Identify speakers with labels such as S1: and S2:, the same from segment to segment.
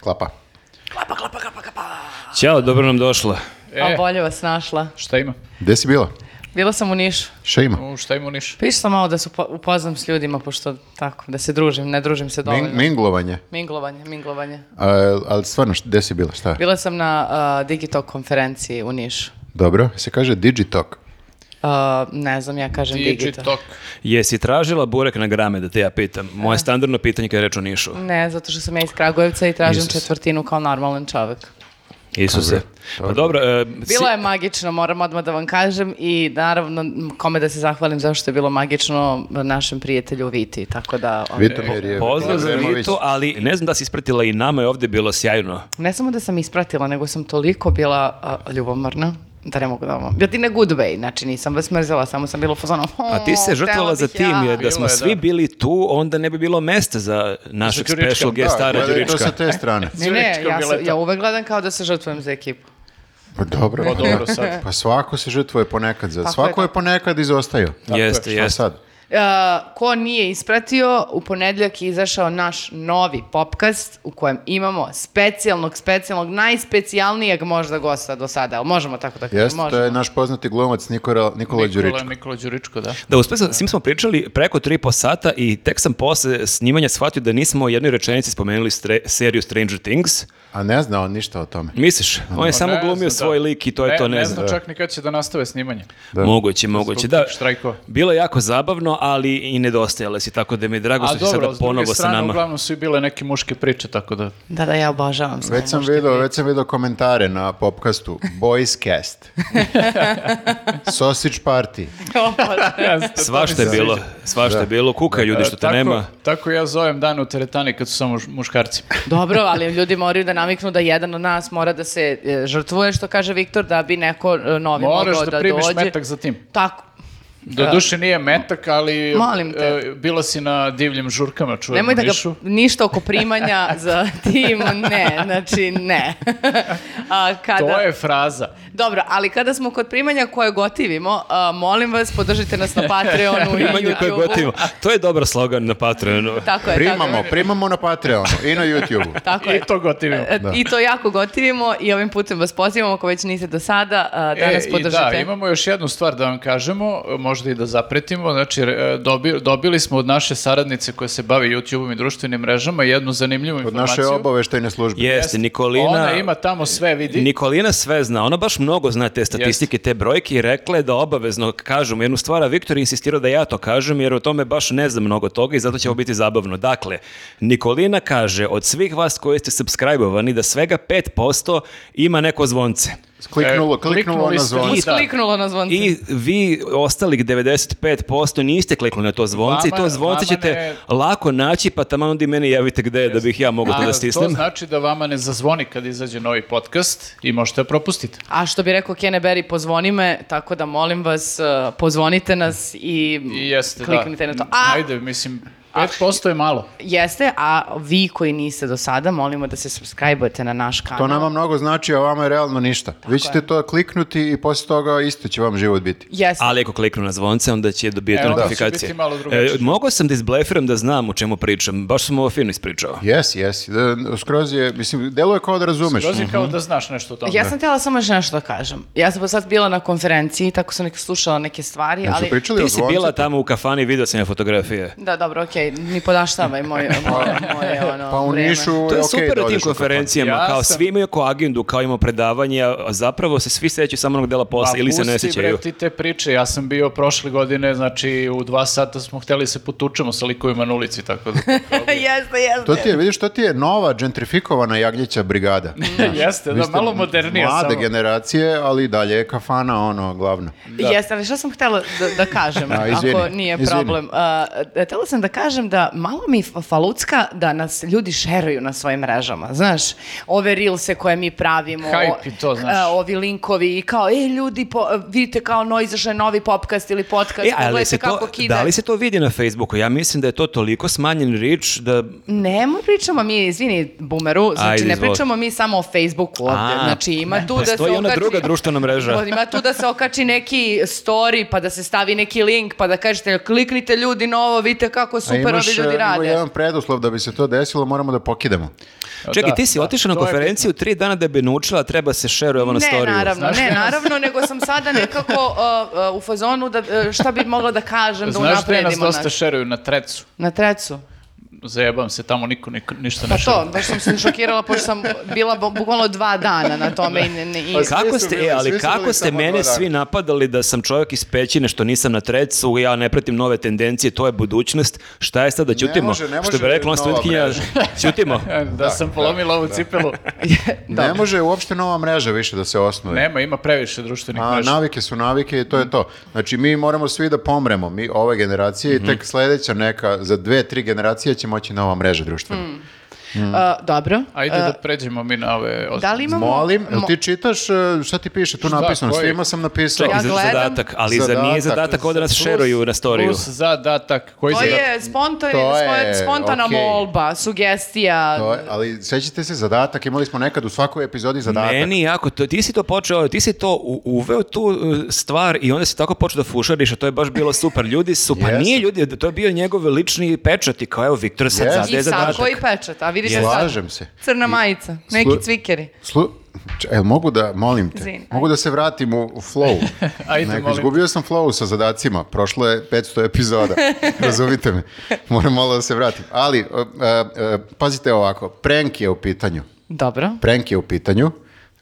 S1: Klapa.
S2: Ćao, dobro nam došla.
S3: A
S4: E,
S3: bolje vas našla.
S4: šta ima?
S1: Gde si bila?
S3: Bila sam u Nišu.
S1: Šta ima?
S4: U, šta ima u Nišu?
S3: Pišla sam malo da se upo- upoznam s ljudima, pošto tako, da se družim, ne družim se dovoljno.
S1: Min- minglovanje.
S3: Minglovanje, minglovanje.
S1: A, ali stvarno, šta- gde si bila? Šta?
S3: Bila sam na uh, Digitalk konferenciji u Nišu.
S1: Dobro, se kaže Digitalk.
S3: Uh, ne znam, ja kažem Digital.
S4: Digitalk.
S2: Jesi tražila burek na grame, da te ja pitam? Moje standardno pitanje kada je reč o Nišu.
S3: Ne, zato što sam ja iz Kragujevca i tražim
S2: Isus.
S3: četvrtinu kao normalan čovek.
S2: Isuse. Pa dobro, e,
S3: Bilo
S2: si-
S3: je magično, moram odmah da vam kažem i naravno m, kome da se zahvalim zašto je bilo magično našem prijatelju Viti, tako da... ono,
S1: Vitomir je...
S2: pozdrav za
S1: Vitomović.
S2: Vitu, ali ne znam da si ispratila i nama je ovdje bilo sjajno.
S3: Ne samo da sam ispratila, nego sam toliko bila a, ljubomorna da ne mogu da vam... Ja ti ne good way, znači nisam vas mrzela, samo sam bila u fazonu...
S2: A ti se
S3: "O, htela
S2: žrtvovala za
S3: bih
S2: tim,
S3: ja."
S2: jer da smo
S4: je, da.
S2: svi bili tu, onda ne bi bilo mesta za našeg
S4: Đurička,
S2: special
S4: da,
S2: guest stara
S1: Gledaj to
S2: Đurička.
S1: sa te strane.
S3: Ne, ne,
S4: Zurička
S3: ja, se-
S4: bileta.
S3: ja uvek gledam kao da se žrtvujem za ekipu.
S1: Pa dobro.
S4: Pa dobro sad.
S1: Pa svako se žrtvuje ponekad. Za,
S3: Pa Tako je,
S1: svako je
S3: da.
S1: ponekad izostaju.
S2: Jeste,
S1: Šta
S2: jeste.
S1: sad?
S3: E, ko nije ispratio, u ponedljak je izašao naš novi popkast u kojem imamo specijalnog, specijalnog, najspecijalnijeg možda gosta do sada, ali možemo tako da kažemo,
S1: Jeste, to
S3: možemo.
S1: je naš poznati glumac Nikola, Nikola
S4: Nikola,
S1: Đuričko.
S4: Nikola Đuričko, da.
S2: Da, uspio sam, s njim smo pričali preko 3,5 sata i tek sam posle snimanja shvatio da nismo u jednoj rečenici spomenuli stre- seriju Stranger Things.
S1: A ne zna on ništa o tome.
S2: Misliš? On je E, samo
S4: Pa Ne
S2: glumio
S4: znam,
S2: svoj
S4: da.
S2: lik i to je to, ne, znam.
S4: znam čak ni kad će da nastave snimanje.
S2: Moguće, moguće.
S4: tih
S2: Da,
S4: štrajkova.
S2: bilo je jako zabavno, ali i nedostajale si, tako da mi je drago
S4: A
S2: što si
S4: dobro,
S2: sada
S4: s druge
S2: ponovo sa
S4: strane,
S2: nama.
S4: uglavnom su i bile neke muške priče, tako da...
S3: Da, da, ja obožavam. sve
S1: Već sam
S3: muške
S1: video,
S3: priče.
S1: već sam video komentare na popkastu. Boys cast. Sausage party.
S2: Svašta je bilo, svašta je bilo. Kuka ljudi što te
S4: tako,
S2: nema.
S4: Tako ja zovem dan u teretani kad su samo ž- muškarci.
S3: Dobro, ali ljudi moraju da naviknu da jedan od nas mora da se e, žrtvuje, što kaže Viktor, da bi neko e, novi
S4: Moraš
S3: mogao
S4: da,
S3: da,
S4: primiš
S3: dođe.
S4: metak za tim.
S3: Tako.
S4: Do duše nije metak, ali
S3: Molim te.
S4: e, bila si na divljim žurkama, čujem u
S3: E, Nemoj da ga
S4: Nišu.
S3: ništa oko primanja za tim, ne, znači ne. A, kada...
S4: To je fraza.
S3: Dobro, ali kada smo kod primanja koje gotivimo, a, molim vas, podržite nas na Patreonu i
S2: Primanje koje
S3: YouTubeu.
S2: gotivimo. To je dobar slogan na Patreonu.
S3: Tako je,
S1: Primamo,
S3: tako je.
S1: primamo na Patreonu i na YouTubeu.
S3: Tako
S4: I
S3: je.
S4: to gotivimo.
S3: E, I to jako gotivimo i ovim putem vas pozivamo, ako već niste do sada, a, da nas
S4: E, i
S3: podržite.
S4: Da, imamo još jednu stvar da vam kažemo, možda i da zapretimo. Znači, e, dobi- dobili smo od naše saradnice koja se bavi YouTube-om i društvenim mrežama jednu zanimljivu
S1: Od
S4: informaciju.
S1: naše obaveštajne službe.
S2: Jeste, Nikolina...
S4: Ona ima tamo sve, vidi.
S2: Nikolina sve zna, ona baš mnogo zna te statistike, te brojke i rekla je da obavezno kažemo jednu stvar, a Viktor je insistirao da ja to kažem jer o tome baš ne znam mnogo toga i zato će ovo biti zabavno. Dakle, Nikolina kaže od svih vas koji ste subscribe-ovani da svega 5% ima neko zvonce.
S1: Kliknulo,
S4: E,
S1: kliknulo ono
S4: kliknuli ste
S1: zvonce.
S4: i
S3: Da. Kliknulo na zvonce.
S2: I vi ostalih 95% niste kliknuli na to zvonce i
S4: Vama-
S2: to zvonce
S4: vama
S2: ćete
S4: ne-
S2: lako naći pa tamo onda i meni javite gde je da bih ja mogao to
S4: A
S2: da
S4: to
S2: stisnem.
S4: znači da vama ne zazvoni kad izađe novi podcast i možete da propustite.
S3: A što bi rekao Kene Berry, pozvoni me, tako da molim vas, e, pozvonite nas i,
S4: I jeste,
S3: kliknite
S4: da.
S3: na to. A,
S4: Ajde, mislim, 5% je malo.
S3: jeste, a vi koji niste do sada, molimo da se subscribe-ujete na naš kanal.
S1: To nama mnogo znači, a vama je realno ništa. Vi ćete to kliknuti i posle toga isto će vam život biti.
S3: Jeste.
S2: Ali ako kliknu na zvonce, onda će dobijeti
S4: E, onda će
S2: notifikacije. E,
S4: biti malo drugačije.
S2: mogao sam da izblefiram da znam o čemu pričam. Baš sam ovo fino ispričao.
S1: Jes, jes. Da, E, Skroz je, mislim, deluje kao da razumeš.
S4: Rozi kao da znaš nešto o tome.
S3: Ja sam htjela samo još nešto da kažem. Ja sam sad bila na konferenciji, tako sam nek slušala neke stvari,
S1: Jel su
S3: ali...
S1: pričali o
S2: Ti si
S1: zvoncu?
S2: bila tamo u kafani i video sam ja fotografije.
S3: Da, dobro, okej, mi podaštavaj moje, moje, moje, ono,
S1: Pa u
S3: vreme.
S1: Nišu je
S2: To je
S1: okej
S2: super
S1: da
S2: na tim
S1: odeš u kafanu.
S2: konferencijama,
S4: Ja
S2: kao
S4: sam-
S2: svi imaju kao agendu, kao imamo predavanje, a zapravo se svi sećaju samo onog dela posla ili se ne
S4: Pa pusti,
S2: sećaju.
S4: bre, ti te priče, ja sam bio prošle godine, znači u dva sata smo hteli se potučemo sa likovima na ulici, tako da...
S3: jeste, jeste.
S1: To ti je, vidiš, to ti je nova džentrifikovana jagljića brigada.
S4: Jeste,
S1: Vi
S4: da,
S1: ste
S4: malo modernije
S1: Mlade
S4: samo.
S1: generacije, ali i dalje je kafana ono glavno.
S3: Jeste, ali što sam htjela da, da kažem,
S1: A, izvini,
S3: ako nije
S1: izvini.
S3: problem. Uh, htjela sam da kažem da malo mi fa- falucka da nas ljudi šeruju na svojim mrežama, znaš, ove reelse koje mi pravimo,
S4: Hype i to, znaš.
S3: uh, ovi linkovi i kao, e, ljudi, po, vidite kao, no, izašao je novi podcast ili podcast,
S2: E, ali
S3: pogledajte
S2: se to,
S3: kako kida.
S2: da li se to vidi na Facebooku? Ja mislim da je to toliko smanjen rič da...
S3: Nemoj pričamo mi, izvini, bumeru, znači
S2: Ajde,
S3: ne
S2: izvoli.
S3: pričamo mi samo o Facebooku ovdje,
S2: A,
S3: znači ima tu da se
S2: postoji ona
S3: okači-
S2: druga društvena mreža.
S3: Ima tu da se okači neki story, pa da se stavi neki link, pa da kažete, kliknite ljudi na ovo, vidite kako su super
S1: imaš,
S3: ovi ljudi
S1: e, ima
S3: rade.
S1: jedan preduslov da bi se to desilo, moramo da pokidamo.
S2: Čekaj,
S4: Da,
S2: ti si
S4: da,
S2: otišao na
S4: to je
S2: konferenciju tri dana da bi naučila, treba se šeruje ovo na
S3: Ne,
S2: storiju.
S3: naravno,
S4: Znaš-
S3: ne, naravno, nego sam sada nekako uh, uh, u fazonu da, uh, šta bi mogla da kažem, da
S4: Znaš da nas
S3: unapredimo
S4: dosta
S3: naš.
S4: šeruju na trecu.
S3: Na trecu.
S4: Zajebam se, tamo niko, niko ništa
S3: Pa
S4: ne šeruje.
S3: to, baš sam se šokirala, pošto sam bila bu- bukvalno dva dana na tome i, ne, ne, i
S1: Pa
S2: Kako
S1: Svi su
S2: ste,
S1: bili,
S2: e, ali
S1: svi su
S2: kako
S1: bili
S2: ste
S1: samo
S2: mene
S1: dva dana.
S2: svi napadali da sam čovjek iz pećine što nisam na trecu, ja ne pratim nove tendencije, to je budućnost, šta je sad da ćutimo?
S1: može, ne
S2: što
S1: može
S2: bi rekla
S1: nova
S2: ona studentkinja,
S1: mreža.
S2: ćutimo.
S4: E, Da, sam polomila ovu cipelu.
S1: Ne može uopšte nova mreža više da se osnuje.
S4: Nema, ima previše društvenih
S1: A,
S4: mreža.
S1: navike su navike i to je to. Znači, mi moramo svi da pomremo, mi ove generacije i tek
S2: Mhm.
S1: sledeća neka, za dve, tri generacije će moći nova mreža društvena.
S2: Mhm.
S3: Uh, dobro.
S4: Ajde da pređemo mi na ove...
S3: Da li imamo...
S1: Molim, jel
S3: mo-
S1: ti čitaš, e, šta ti piše tu
S4: Šta,
S1: napisano?
S4: koji?
S1: Svima sam napisao.
S2: Čekaj,
S3: Ja
S2: za-
S3: gledam.
S2: zadatak, ali za nije
S1: Zadatak.
S2: zadatak ovo da nas
S4: Plus-
S2: šeruju na storiju.
S4: Plus zadatak. Koji
S3: To
S4: zadatak?
S3: je, spontan,
S1: To je,
S3: spon- spontana
S1: okej.
S3: molba, sugestija.
S1: To je, ali sećate se zadatak, imali smo nekad u svakoj epizodi zadatak.
S2: Meni jako, to, ti si to počeo, ti si to u- uveo tu uh, stvar i onda si tako počeo da fušariš, a to je baš bilo super. Ljudi su, pa
S1: Jesam.
S2: nije ljudi, to je bio njegov lični pečat i kao evo Viktor sad
S1: Jesam.
S2: zadaje
S3: I sad
S2: zadatak.
S3: koji pečat, a vidite sad,
S1: Slažem se.
S3: crna majica, neki
S1: Slu-
S3: cvikeri.
S1: Slu... Č- jel mogu da, molim te,
S3: Izvini,
S1: mogu da se vratim u, u flow.
S4: Ajde,
S1: Neko,
S4: molim.
S1: Izgubio sam flow sa zadacima, prošlo je 500 epizoda, razumite me. Moram malo da se vratim. Ali, e, e, e, pazite ovako, prank je u pitanju.
S3: Dobro.
S1: Prank je u pitanju.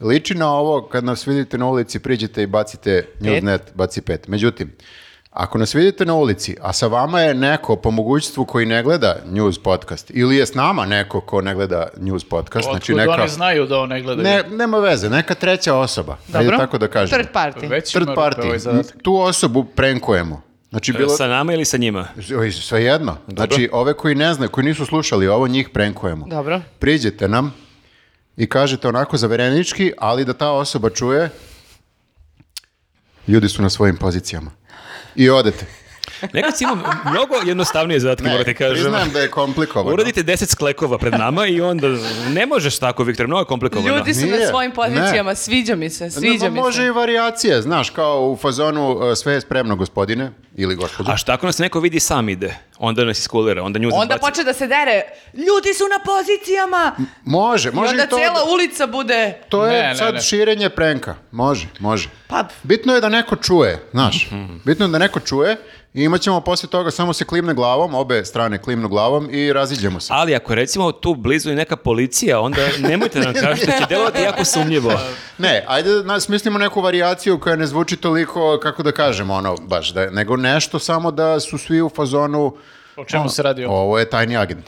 S1: Liči na ovo, kad nas vidite na ulici, priđete i bacite Newsnet, baci pet. Međutim, ako nas vidite na ulici, a sa vama je neko po mogućstvu koji ne gleda news podcast, ili je s nama neko ko ne gleda news podcast, znači
S4: Otkud
S1: neka...
S4: oni znaju da ovo ne gledaju?
S1: Ne, nema veze, neka treća osoba. Dobro.
S3: Dobro.
S1: tako da kažem.
S3: Third party.
S4: Već
S1: Third
S4: ima rupe
S1: party.
S4: ovaj zadatak.
S1: Tu osobu prenkujemo. Znači,
S3: E,
S1: bilo...
S2: Sa nama ili sa njima?
S1: Oj, Svejedno. Znači, ove koji ne znaju, koji nisu slušali ovo, njih prenkujemo.
S3: Dobro.
S1: Priđete nam i kažete onako zaverenički, ali da ta osoba čuje ljudi su na svojim pozicijama. I odete. E,
S2: Nekad si imao mnogo jednostavnije zadatke, morate kažem.
S1: priznajem da je komplikovano.
S2: Uradite 10 sklekova pred nama i onda ne možeš tako, Viktor, mnogo je komplikovano.
S3: Ljudi su na
S1: Nije, Pa
S3: svojim pozicijama, sviđa mi se, sviđa
S1: Ne,
S3: mi
S1: može
S3: se.
S1: i varijacije, znaš, kao u fazonu e, sve je spremno gospodine ili gospođo.
S2: A šta ako nas neko vidi sam ide? Onda nas iskulira, onda nju
S3: Onda
S2: zabaci.
S3: počne da se dere, ljudi su na pozicijama!
S1: Može,
S3: I
S1: može
S3: onda
S1: i to.
S3: cijela ulica bude...
S1: To je
S4: Ne, ne,
S1: sad
S4: ne.
S1: širenje prenka. Može, može.
S3: Pa,
S1: Bitno je da neko čuje, znaš.
S4: Mhm.
S1: Bitno je da neko čuje i imat ćemo poslije toga samo se klimne glavom, obe strane klimnu glavom i raziđemo se.
S2: Ali ako je, recimo tu blizu i neka policija, onda nemojte da nam kažete, će delovati jako sumnjivo.
S1: Ne, ajde da nas mislimo neku varijaciju koja ne zvuči toliko, kako da kažemo, ono, baš, da, nego nešto samo da su svi u fazonu
S4: O čemu se radi ovo?
S1: ovo je tajni agent.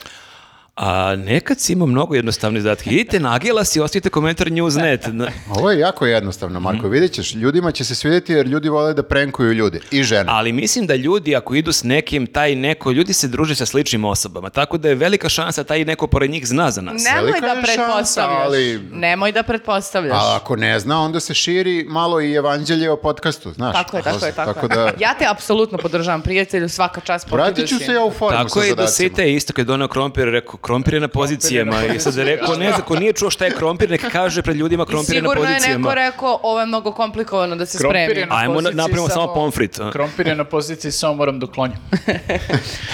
S2: A nekad si imao mnogo jednostavne zadatke. Idite na Agilas i ostavite komentar Newsnet. Na-
S1: Ovo je jako jednostavno,
S4: Mhm.
S1: Marko, vidjet ćeš, ljudima će se svidjeti jer ljudi vole da prenkuju ljudi i žene.
S2: Ali mislim da ljudi ako idu s nekim, taj neko, ljudi se druže sa sličnim osobama. Tako da je velika šansa da taj neko pored njih zna za nas.
S3: nemoj
S1: velika
S3: da
S1: je šansa,
S3: pretpostavljaš.
S1: ali-
S3: Nemoj da pretpostavljaš.
S1: A ako ne zna, onda se širi malo i evanđelje o podcastu, znaš.
S3: Tako je, tako je, tako, je.
S1: da,
S3: Ja te apsolutno podržavam, prijatelju, svaka čast.
S1: vratit ću
S3: potrudioš
S1: se
S3: si.
S1: ja u formu
S2: Tako
S1: sa
S2: je i do
S1: zadacima.
S2: Site isto kad je donao krompir, rekao krompir je na pozicijama i sad je rekao ne znam, ko nije čuo šta je krompir, neka kaže pred ljudima
S3: I
S2: krompir je na
S3: sigurno je neko
S2: pozicijama.
S3: rekao, ovo je mnogo komplikovano da se spremi.
S4: na
S2: Ajmo na-
S4: poziciji
S2: napravimo samo pomfrit, a?
S4: Krompir je na poziciji, samo moram da uklonjam.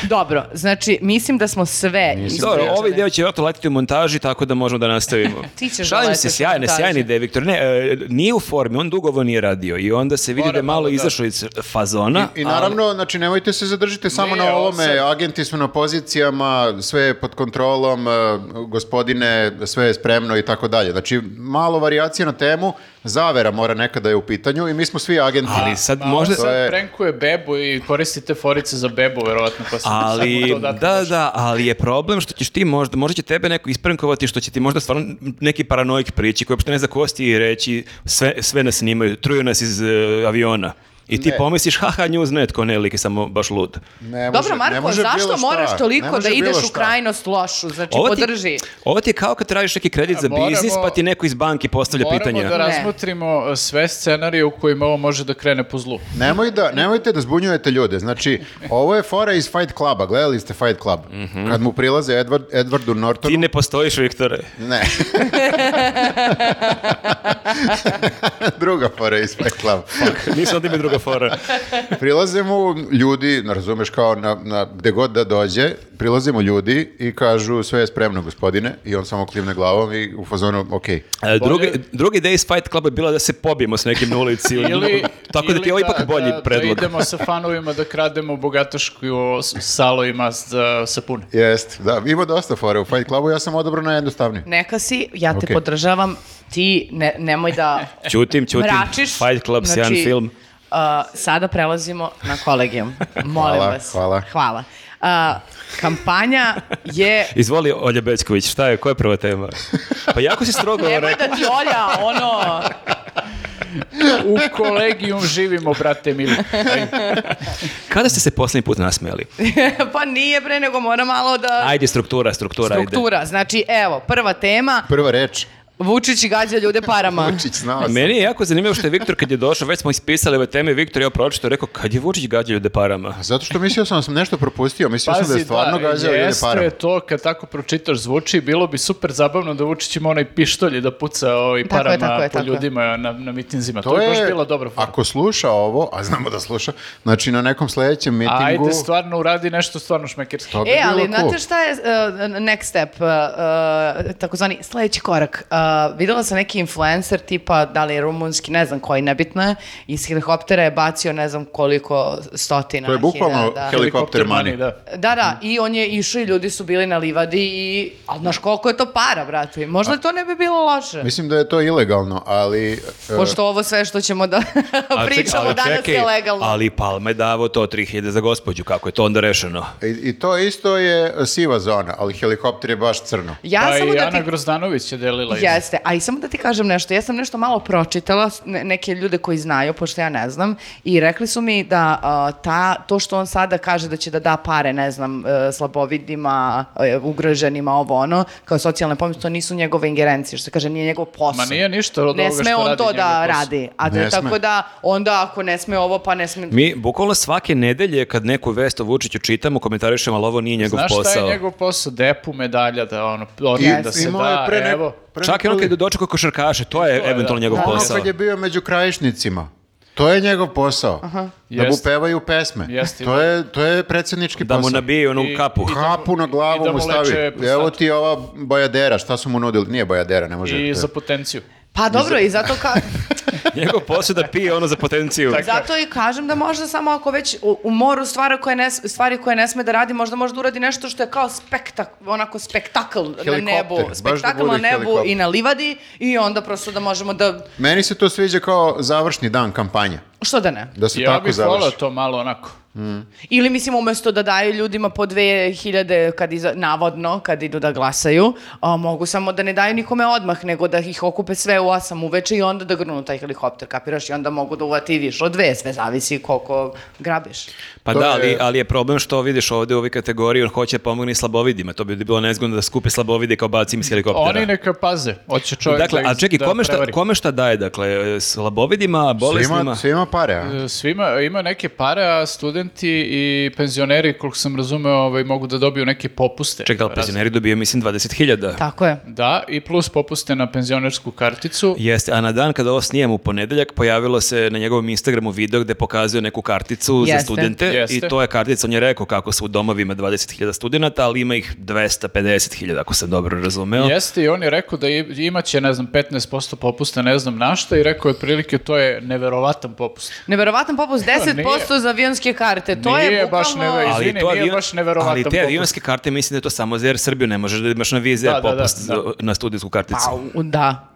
S3: Dobro, znači, mislim da smo sve...
S2: Dobro,
S3: ispričali.
S2: ovaj deo će vjerojatno letiti u montaži, tako da možemo da nastavimo.
S3: Ti ćeš da
S2: Šalim se,
S3: letiš u
S2: sjajne,
S3: montaži.
S2: sjajne ideje, Viktor. Ne, e, nije u formi, on dugo ovo nije radio i onda se vidi
S4: Mora
S2: da je malo
S4: malo da-
S2: izašao iz fazona.
S1: I naravno, znači nemojte se zadržite samo
S4: Nije,
S1: na
S4: ovo
S1: ovome,
S4: sad-
S1: agenti su na pozicijama, sve je pod kontrolom, e, gospodine, sve je spremno i tako dalje. Znači, malo varijacije na temu, zavera mora nekada je u pitanju i mi smo svi agenti.
S2: Ali sad
S4: A
S2: možda...
S4: on sad
S1: To je-
S4: prenkuje bebu i koristite forice za bebu, verovatno, pa sam
S2: Ali,
S4: samo to dati
S2: da,
S4: baš.
S2: da, ali je problem što ćeš ti možda, možda će tebe neko isprankovati što će ti možda stvarno neki paranoik prići koji uopšte ne zna ko si i reći sve, sve nas snimaju, truju nas iz e, aviona. I ti
S1: Ne.
S2: pomisliš, haha, news net, ko ne, lik je samo baš lud.
S3: Znači,
S1: Ne može-
S3: Dobro,
S1: ne
S3: Marko,
S1: može bilo šta,
S3: zašto moraš
S1: ne
S3: toliko
S1: može
S3: da ideš
S1: bilo
S3: u
S1: šta.
S3: krajnost lošu? Znači, podrži.
S2: ovo ti je kao kad tražiš neki kredit za
S4: Moramo-
S2: biznis, pa ti neko iz banke postavlja
S4: Moramo
S2: pitanja.
S3: Ne.
S4: da razmotrimo e, sve scenarije u kojima ovo može da krene po zlu.
S1: Nemoj da, nemojte da zbunjujete ljude. Znači, ovo je fora iz Fight Cluba. Gledali ste Fight Club?
S2: Mhm.
S1: Kad mu prilaze Edward, Edwardu Nortonu...
S2: Ti ne postojiš, Viktore.
S1: Ne. Druga fora iz Fight Club.
S2: Nisam da mi druga fora.
S1: Prilaze mu ljudi, ne razumeš kao na, na, gde god da dođe, prilaze mu ljudi i kažu sve je spremno gospodine i on samo klivne glavom i u fazonu ok.
S2: E, drugi, drugi Days Fight Club je bila da se pobijemo s nekim na ulici.
S4: Ili,
S2: tako da ti je ovo
S4: ili
S2: ipak bolji
S4: da,
S2: predlog.
S4: Da idemo sa fanovima da krademo bogatašku salojima e, sa sapune.
S1: Jest, da, ima dosta fore u Fight Clubu, ja sam odabrao najjednostavniju.
S3: Neka si, ja te
S1: Okej.
S3: podržavam, ti ne, nemoj da
S2: Ćutim, ćutim.
S3: mračiš.
S2: Fight Club, sjajan
S3: Znači,
S2: film.
S3: a, sada prelazimo na kolegijum. Molim
S1: Hvala,
S3: vas.
S1: hvala.
S3: Hvala. A, kampanja je...
S2: Izvoli, Olja Bećković, šta je, koja je prva tema? Pa jako si strogo
S3: Nemoj
S2: rekao.
S3: da ti Olja, ono...
S4: U kolegijum živimo, brate mili.
S2: Kada ste se posljednji put nasmijali?
S3: pa nije bre, nego mora malo da...
S2: Ajde, struktura, struktura. ajde.
S3: Struktura. Znači, evo, prva tema,
S1: Prva reč,
S3: Vučić gađa ljude parama.
S1: Vučić, znao sam.
S2: Meni je jako zanimljivo što je Viktor kad je došao, već smo ispisali ove teme, Viktor je opročito rekao, kad je Vučić gađa ljude parama?
S1: Zato što mislio sam da sam nešto propustio, mislio sam da je stvarno gađao ljude
S4: jeste
S1: parom.
S4: to kad tako pročitaš zvuči, bilo bi super zabavno da Vučić ima onaj pištolj i da puca ovaj
S3: Tako je,
S4: parama
S3: tako je,
S4: po
S3: tako je.
S4: ljudima na, na mitinzima. To, je baš bila dobra fora.
S1: Ako sluša ovo, a znamo da sluša, znači na nekom sledećem mitingu...
S4: Ajde, stvarno uradi nešto stvarno šmekerski.
S1: to bi
S3: E,
S1: bilo
S3: ali
S1: cool.
S3: znate šta je uh, next step, uh, uh, takozvani sledeći korak. Uh, videla sam neki influencer tipa, da li je rumunski, ne znam koji, nebitno je, iz helikoptera je bacio ne znam koliko stotina.
S1: To je bukvalno
S3: hiljada.
S1: heli- Helikopter money.
S4: da.
S3: Da, da, i on je išao i ljudi su bili na livadi i, ali znaš koliko je to para, brate, možda to ne bi bilo loše.
S1: Mislim da je to ilegalno, ali... e,
S3: Pošto ovo sve što ćemo da
S2: A ček-
S3: Pa pričamo
S2: ali
S3: danas
S2: čekaj,
S3: je legalno.
S2: Ali Palma je davo to 3000 za gospođu, kako je to onda rešeno?
S1: I, e, I to isto je e, siva zona, ali helikopter je baš crno.
S3: Ja
S4: Pa
S3: samo
S4: i
S3: da
S4: Ana
S3: ti
S4: Grozdanović je delila. iz-
S3: Jeste, a i samo da ti kažem nešto, ja sam nešto malo pročitala, s- ne- neke ljude koji znaju, pošto ja ne znam, i rekli su mi da a, ta, to što on sada kaže da će da da pare, ne znam, e, slabovidima, e, ugroženima, ovo ono, kao socijalne pomoći, to nisu njegove ingerencije, što se kaže, nije njegov posao.
S4: Ma nije ništa od
S3: ne
S4: ovoga
S3: sme
S4: što
S3: on
S4: radi
S3: to
S4: njegov
S3: da
S4: posao.
S3: radi. A to
S1: Ne
S3: je tako
S1: sme.
S3: da, onda ako ne sme ovo, pa ne sme...
S2: Mi bukvalno svake nedelje kad neku vest o Vučiću čitamo, komentarišemo, ali ovo nije njegov
S4: Znaš
S2: posao.
S4: šta je njegov posao? Depu medalja da ono, organ
S3: Jeste.
S4: da se
S1: imao je
S4: da,
S1: pre ne-
S4: evo.
S1: pre
S2: Čak i ono
S1: nekoliko-
S2: kad je dočekao košarkaše, to je
S4: To je,
S2: eventualno
S4: da.
S2: njegov
S1: Ono
S2: posao.
S1: kad je bio među krajišnicima. To je njegov posao. Da mu
S4: Jeste.
S1: pevaju pesme.
S4: Jeste.
S1: To je, to je predsjednički
S2: Da mu
S1: posao.
S2: nabije onu
S4: I-
S2: kapu.
S4: i-
S1: Kapu na
S4: I da
S1: glavu
S4: mu
S1: mu stavi.
S4: leče prostatu.
S1: Evo ti ova bojadera, šta su mu nudili? Nije bojadera, ne može.
S4: I
S1: to je-
S4: za potenciju.
S3: Pa dobro, i zato ka...
S2: Njegov posao je da pije ono za potenciju.
S3: Zato i kažem da možda samo ako već u, u moru stvara koje ne, s- stvari koje ne sme da radi, možda može da uradi nešto što je kao spektak, onako spektakl na
S1: Helikopter,
S3: nebu.
S1: baš da
S3: Spektakl
S1: bude
S3: na nebu
S1: helikopter.
S3: i na livadi i onda prosto da možemo da...
S1: Meni se to sviđa kao završni dan kampanje.
S3: Što da ne?
S1: Da se
S4: Ja
S1: tako
S4: bih volao
S1: završi.
S4: to malo onako.
S3: Ili mislim umesto da daju ljudima po 2000 kad iza, navodno kad idu da glasaju, a, mogu samo da ne daju nikome odmah, nego da ih okupe sve u 8 uveče i onda da grnu taj helikopter, kapiraš? I onda mogu da uvati i više od dve, sve zavisi koliko grabiš.
S2: Pa
S1: To
S2: da,
S1: je-
S2: ali, ali je problem što vidiš ovdje u ovoj kategoriji, on hoće da pomogne i slabovidima. To bi bilo nezgodno da skupi slabovide kao bacim iz helikoptera.
S4: Oni neka paze. Hoće čovjek
S2: dakle,
S4: da,
S2: a čekaj,
S4: da
S2: kome, šta,
S4: prevari.
S2: kome šta daje? Dakle, slabovidima, bolesnima?
S1: Svima, svima pare, a?
S4: E, Svima, ima neke pare, a studenti i penzioneri, koliko sam razumeo, ovaj, mogu da dobiju neke popuste.
S2: Čekaj, da li penzioneri dobio, mislim, 20.000?
S3: Tako je.
S4: Da, i plus popuste na penzionersku karticu.
S2: Jeste, a na dan kada ovo snijemo u ponedeljak pojavilo se na njegovom Instagramu video gde pokazuje neku karticu za
S3: Jeste.
S2: studente i
S4: Jeste.
S2: to je kartica, on je rekao kako su u domovima 20.000 studenta, ali ima ih 250.000 ako sam dobro razumeo.
S4: Jeste i on je rekao da i- imaće, ne znam, 15% popusta, ne znam na šta, i rekao je otprilike to je neverovatan popust.
S3: Neverovatan popust 10%
S4: Nije.
S3: za avionske karte. To je
S4: Nije baš
S3: bukvalno...
S4: neve-
S3: Ali-
S4: pa Izvini, nije baš neverovatan
S2: ali te
S4: popust.
S2: avionske karte mislim da je to samo za Air Srbiju, ne možeš da imaš na vize
S4: Da, da, da,
S2: popust
S4: da.
S2: za- na studijsku karticu.
S3: Au, da.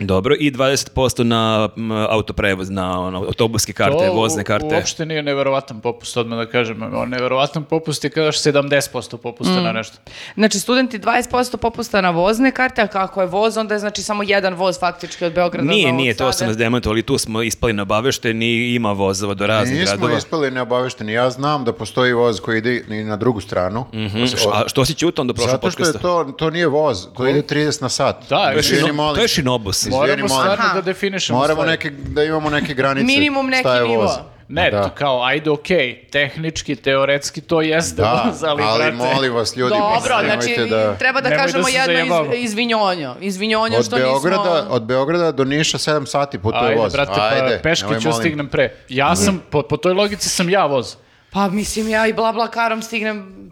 S2: Dobro, i 20% na m, autoprevoz, na ono, autobuske karte,
S4: To u-
S2: vozne karte.
S4: uopšte nije neverovatan popust, odmah da kažem. O, Neverovatan popust je kada 70% popusta
S1: Mm.
S4: na nešto.
S3: Znači, studenti 20% popusta na vozne karte, a kako je voz, onda je znači samo jedan voz faktički od Beograda do
S2: Nije,
S3: Novog
S2: nije, to
S3: Sada.
S2: sam nas demantovao, ali tu smo ispali na bavešteni, ima vozova do raznih
S1: Nismo
S2: gradova.
S1: ispali neobavešteni. Ja znam da postoji voz koji ide i na drugu stranu.
S2: Mhm, A što si ćutao onda prošlo
S1: Zato što je
S2: podcasta?
S1: to, to nije voz, to ide 30 na sat.
S4: Da,
S2: To je
S1: Izvini,
S2: šino-
S1: molim.
S2: to je šinobus.
S1: Izvini,
S4: Moramo
S1: molim.
S4: stvarno
S3: Aha.
S4: da definišemo
S1: Moramo
S4: stvari.
S1: neke, da imamo neke granice.
S3: Minimum neki
S1: šta je
S3: nivo.
S1: voz.
S4: Ne,
S1: Da.
S4: to kao, ajde, okej, tehnički, teoretski to jeste
S1: Da,
S4: voz, ali,
S1: ali,
S4: brate,
S1: molim vas ljudi,
S3: Dobro,
S1: mislim,
S3: znači
S1: nemojte da...
S3: treba da
S4: Nemoj da
S3: kažemo
S4: se
S3: jedno
S4: zajebavamo.
S3: iz, izvinjonjo. Izvinjonjo
S1: Od
S3: što
S1: Beograda,
S3: nismo...
S1: od Beograda do Niša 7 sati putuje
S4: Ajde,
S1: voz.
S4: brate, pa peške
S1: nemoj,
S4: ću
S1: molim.
S4: stignem pre. Ja sam, po, po toj logici sam ja voz.
S3: Pa mislim ja i bla bla karom stignem...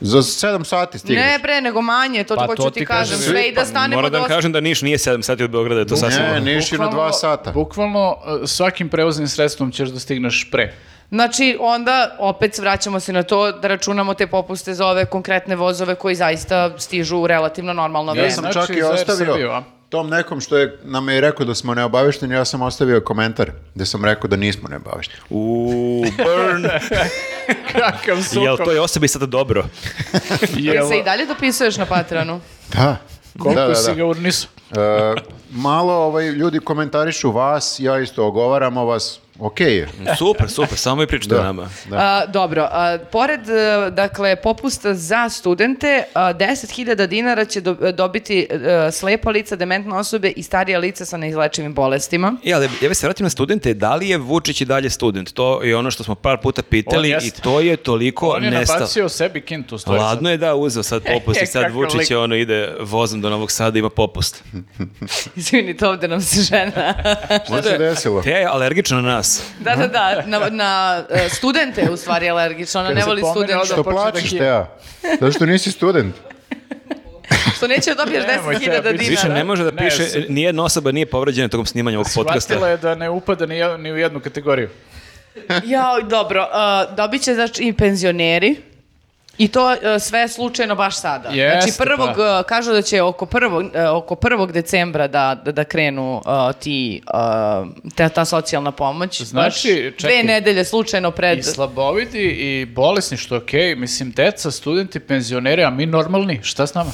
S1: Za 7 sati stigneš.
S3: Ne bre, nego manje, to
S4: Pa
S3: hoću
S4: to
S3: ti
S4: ti
S3: kažem.
S4: kažem.
S3: Sve i da stanemo
S2: Pa, Moram da
S3: do...
S2: vam kažem da Niš nije 7 sati od Beograda, to sasvim...
S1: Ne, Niš je na
S3: Bukvalno-
S1: 2 sata.
S4: Bukvalno e, svakim prevoznim sredstvom ćeš da stigneš pre.
S3: Znači, onda opet vraćamo se na to da računamo te popuste za ove konkretne vozove koji zaista stižu u relativno normalno
S1: Ja
S3: vreme.
S1: sam
S4: Znači,
S1: čak i
S4: za Air
S1: ostavio
S4: Srbiju, a?
S1: tom nekom što je nam je rekao da smo neobavešteni, ja sam ostavio komentar gde sam rekao da nismo neobavešteni.
S2: Uuu, burn.
S4: Kakav sukob.
S2: Jel to je osobi sada dobro?
S3: Jel
S4: Jel-
S3: se i dalje dopisuješ na Patreonu?
S1: Da.
S4: Koliko
S1: da, da,
S4: si
S1: da.
S4: ga urnisu?
S1: E, malo ovaj, ljudi komentarišu vas, ja isto ogovaramo vas, okej je.
S2: Super, super, samo i pričate o
S1: Da.
S2: nama.
S3: A, dobro, a, pored e, dakle popusta za studente, a, 10.000 dinara će do- dobiti e, slepa lica, dementne osobe i starija lica sa neizlečivim bolestima.
S2: E, ali ja bih se vratio na studente, da li je Vučić i dalje student? To je ono što smo par puta pitali
S4: On
S2: i
S4: jeste.
S2: to je toliko
S4: On je
S2: nestalo.
S4: nabacio sebi kintu, u stvari.
S2: Ladno je da uzeo sad popust i sad
S4: Kakav
S2: Vučić
S4: lik.
S2: je ono ide vozom do Novog Sada ima popust.
S3: Izvinite, ovde nam se žena.
S1: Šta se desilo?
S2: Te je alergična na nas.
S3: da, da, da, na, na e, studente je u stvari je alergična, ona ne
S4: se
S3: voli
S4: pomene,
S3: studente.
S4: onda
S1: Što
S4: počne da
S1: plačeš,
S4: hije.
S1: Teja? Zato što nisi student.
S3: Što neće da dobiješ
S4: Nemoj
S3: 10.000
S4: tebi.
S3: dinara.
S2: Više ne može da
S4: Ne,
S2: piše,
S4: s-
S2: nijedna osoba nije povređena tokom snimanja ovog
S4: Shvatila
S2: podcasta.
S4: je da ne upada ni, jed- ni u jednu kategoriju.
S3: Jao, dobro. Uh, dobit će znači i penzioneri. I to e, sve slučajno baš sada.
S4: Jeste,
S3: znači prvog,
S4: pa.
S3: e, kažu da će oko prvog, e, oko prvog decembra da, da, da krenu e, ti, e, ta, ta socijalna pomoć.
S4: Znači,
S3: baš
S4: čekaj.
S3: dve nedelje slučajno pred...
S4: I slabovidi i bolesni, što je okej. Mislim, deca, studenti, penzioneri, a mi normalni, šta s nama?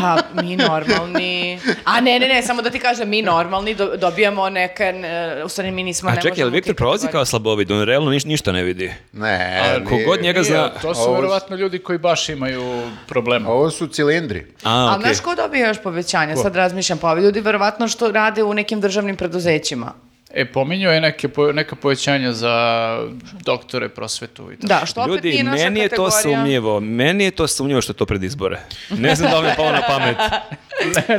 S3: Pa, mi normalni... A ne, ne, ne, samo da ti kažem, mi normalni do- dobijamo neke... e, u stvari, mi nismo...
S2: A
S3: ne
S2: čekaj, je
S3: možemo
S2: li Viktor
S3: ti
S2: prolazi
S3: kategorije.
S2: kao slabovid? On realno niš- ništa ne vidi.
S1: Ne,
S2: A,
S1: nije.
S2: kogod njega zna...
S4: Nije, to su
S1: Ovo-
S4: verovatno ljudi koji baš imaju problema.
S1: Ovo su cilindri.
S2: A,
S3: A
S2: okej.
S3: znaš ko dobija još povećanja? Sad razmišljam, pa ovi ljudi verovatno što rade u nekim državnim preduzećima.
S4: E, pominjao je neke, po- neka povećanja za doktore, prosvetu i tako.
S3: Da, što opet
S2: Ljudi,
S3: nije naša
S2: meni je to
S3: kategorija.
S2: sumnjivo. Meni je to sumnjivo što je to pred izbore. Ne znam da li mi je palo na pamet.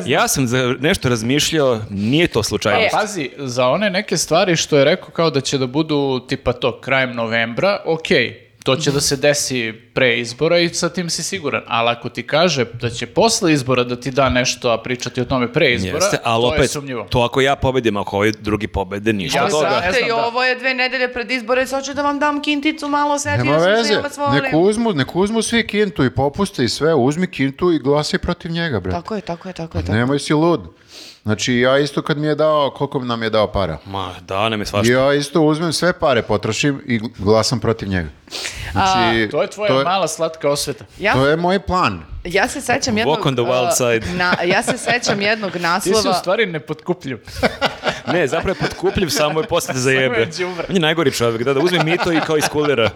S2: Ja sam za nešto razmišljao, nije to slučajno.
S3: E,
S4: Pazi, za one neke stvari što je rekao kao da će da budu tipa to krajem novembra, okej, to će da se desi pre izbora i sa tim si siguran. Ali ako ti kaže da će posle izbora da ti da nešto, a pričati o tome pre izbora,
S2: Jeste, ali
S4: to
S2: opet,
S4: je sumnjivo.
S2: to ako ja pobedim, ako ovi drugi pobede, ništa
S4: Ja
S2: od
S3: Ali
S2: toga.
S4: sam-
S3: znate,
S4: ne
S3: i
S4: znam, da.
S3: ovo je dve nedelje pred izbore, i sad ću da vam dam kinticu malo, setio
S1: Nema
S3: sam se,
S1: veze,
S3: Znači, ja vas volim.
S1: nek uzmu, nek uzmu svi kintu i popuste i sve, uzmi kintu i glasaj protiv njega, bre.
S3: Tako je, tako je, tako je. Tako.
S1: Nemoj si lud. Znači, ja isto kad mi je dao, koliko nam je dao para?
S2: Ma, da, nam je svašta.
S1: Ja isto uzmem sve pare, potrošim i glasam protiv njega. Znači,
S4: To je tvoja mala slatka osveta.
S3: Ja,
S1: To je moj plan.
S3: ja se sećam jednog...
S2: on the wild
S3: uh,
S2: side.
S3: na- ja se sećam jednog
S4: Ti si u
S3: naslova...
S4: stvari nepotkupljiv.
S2: Ne, zapravo je potkupljiv, samo je posle za jebe.
S4: je đubre.
S2: On je najgori čovjek, da, da uzme mito i kao iz kulira.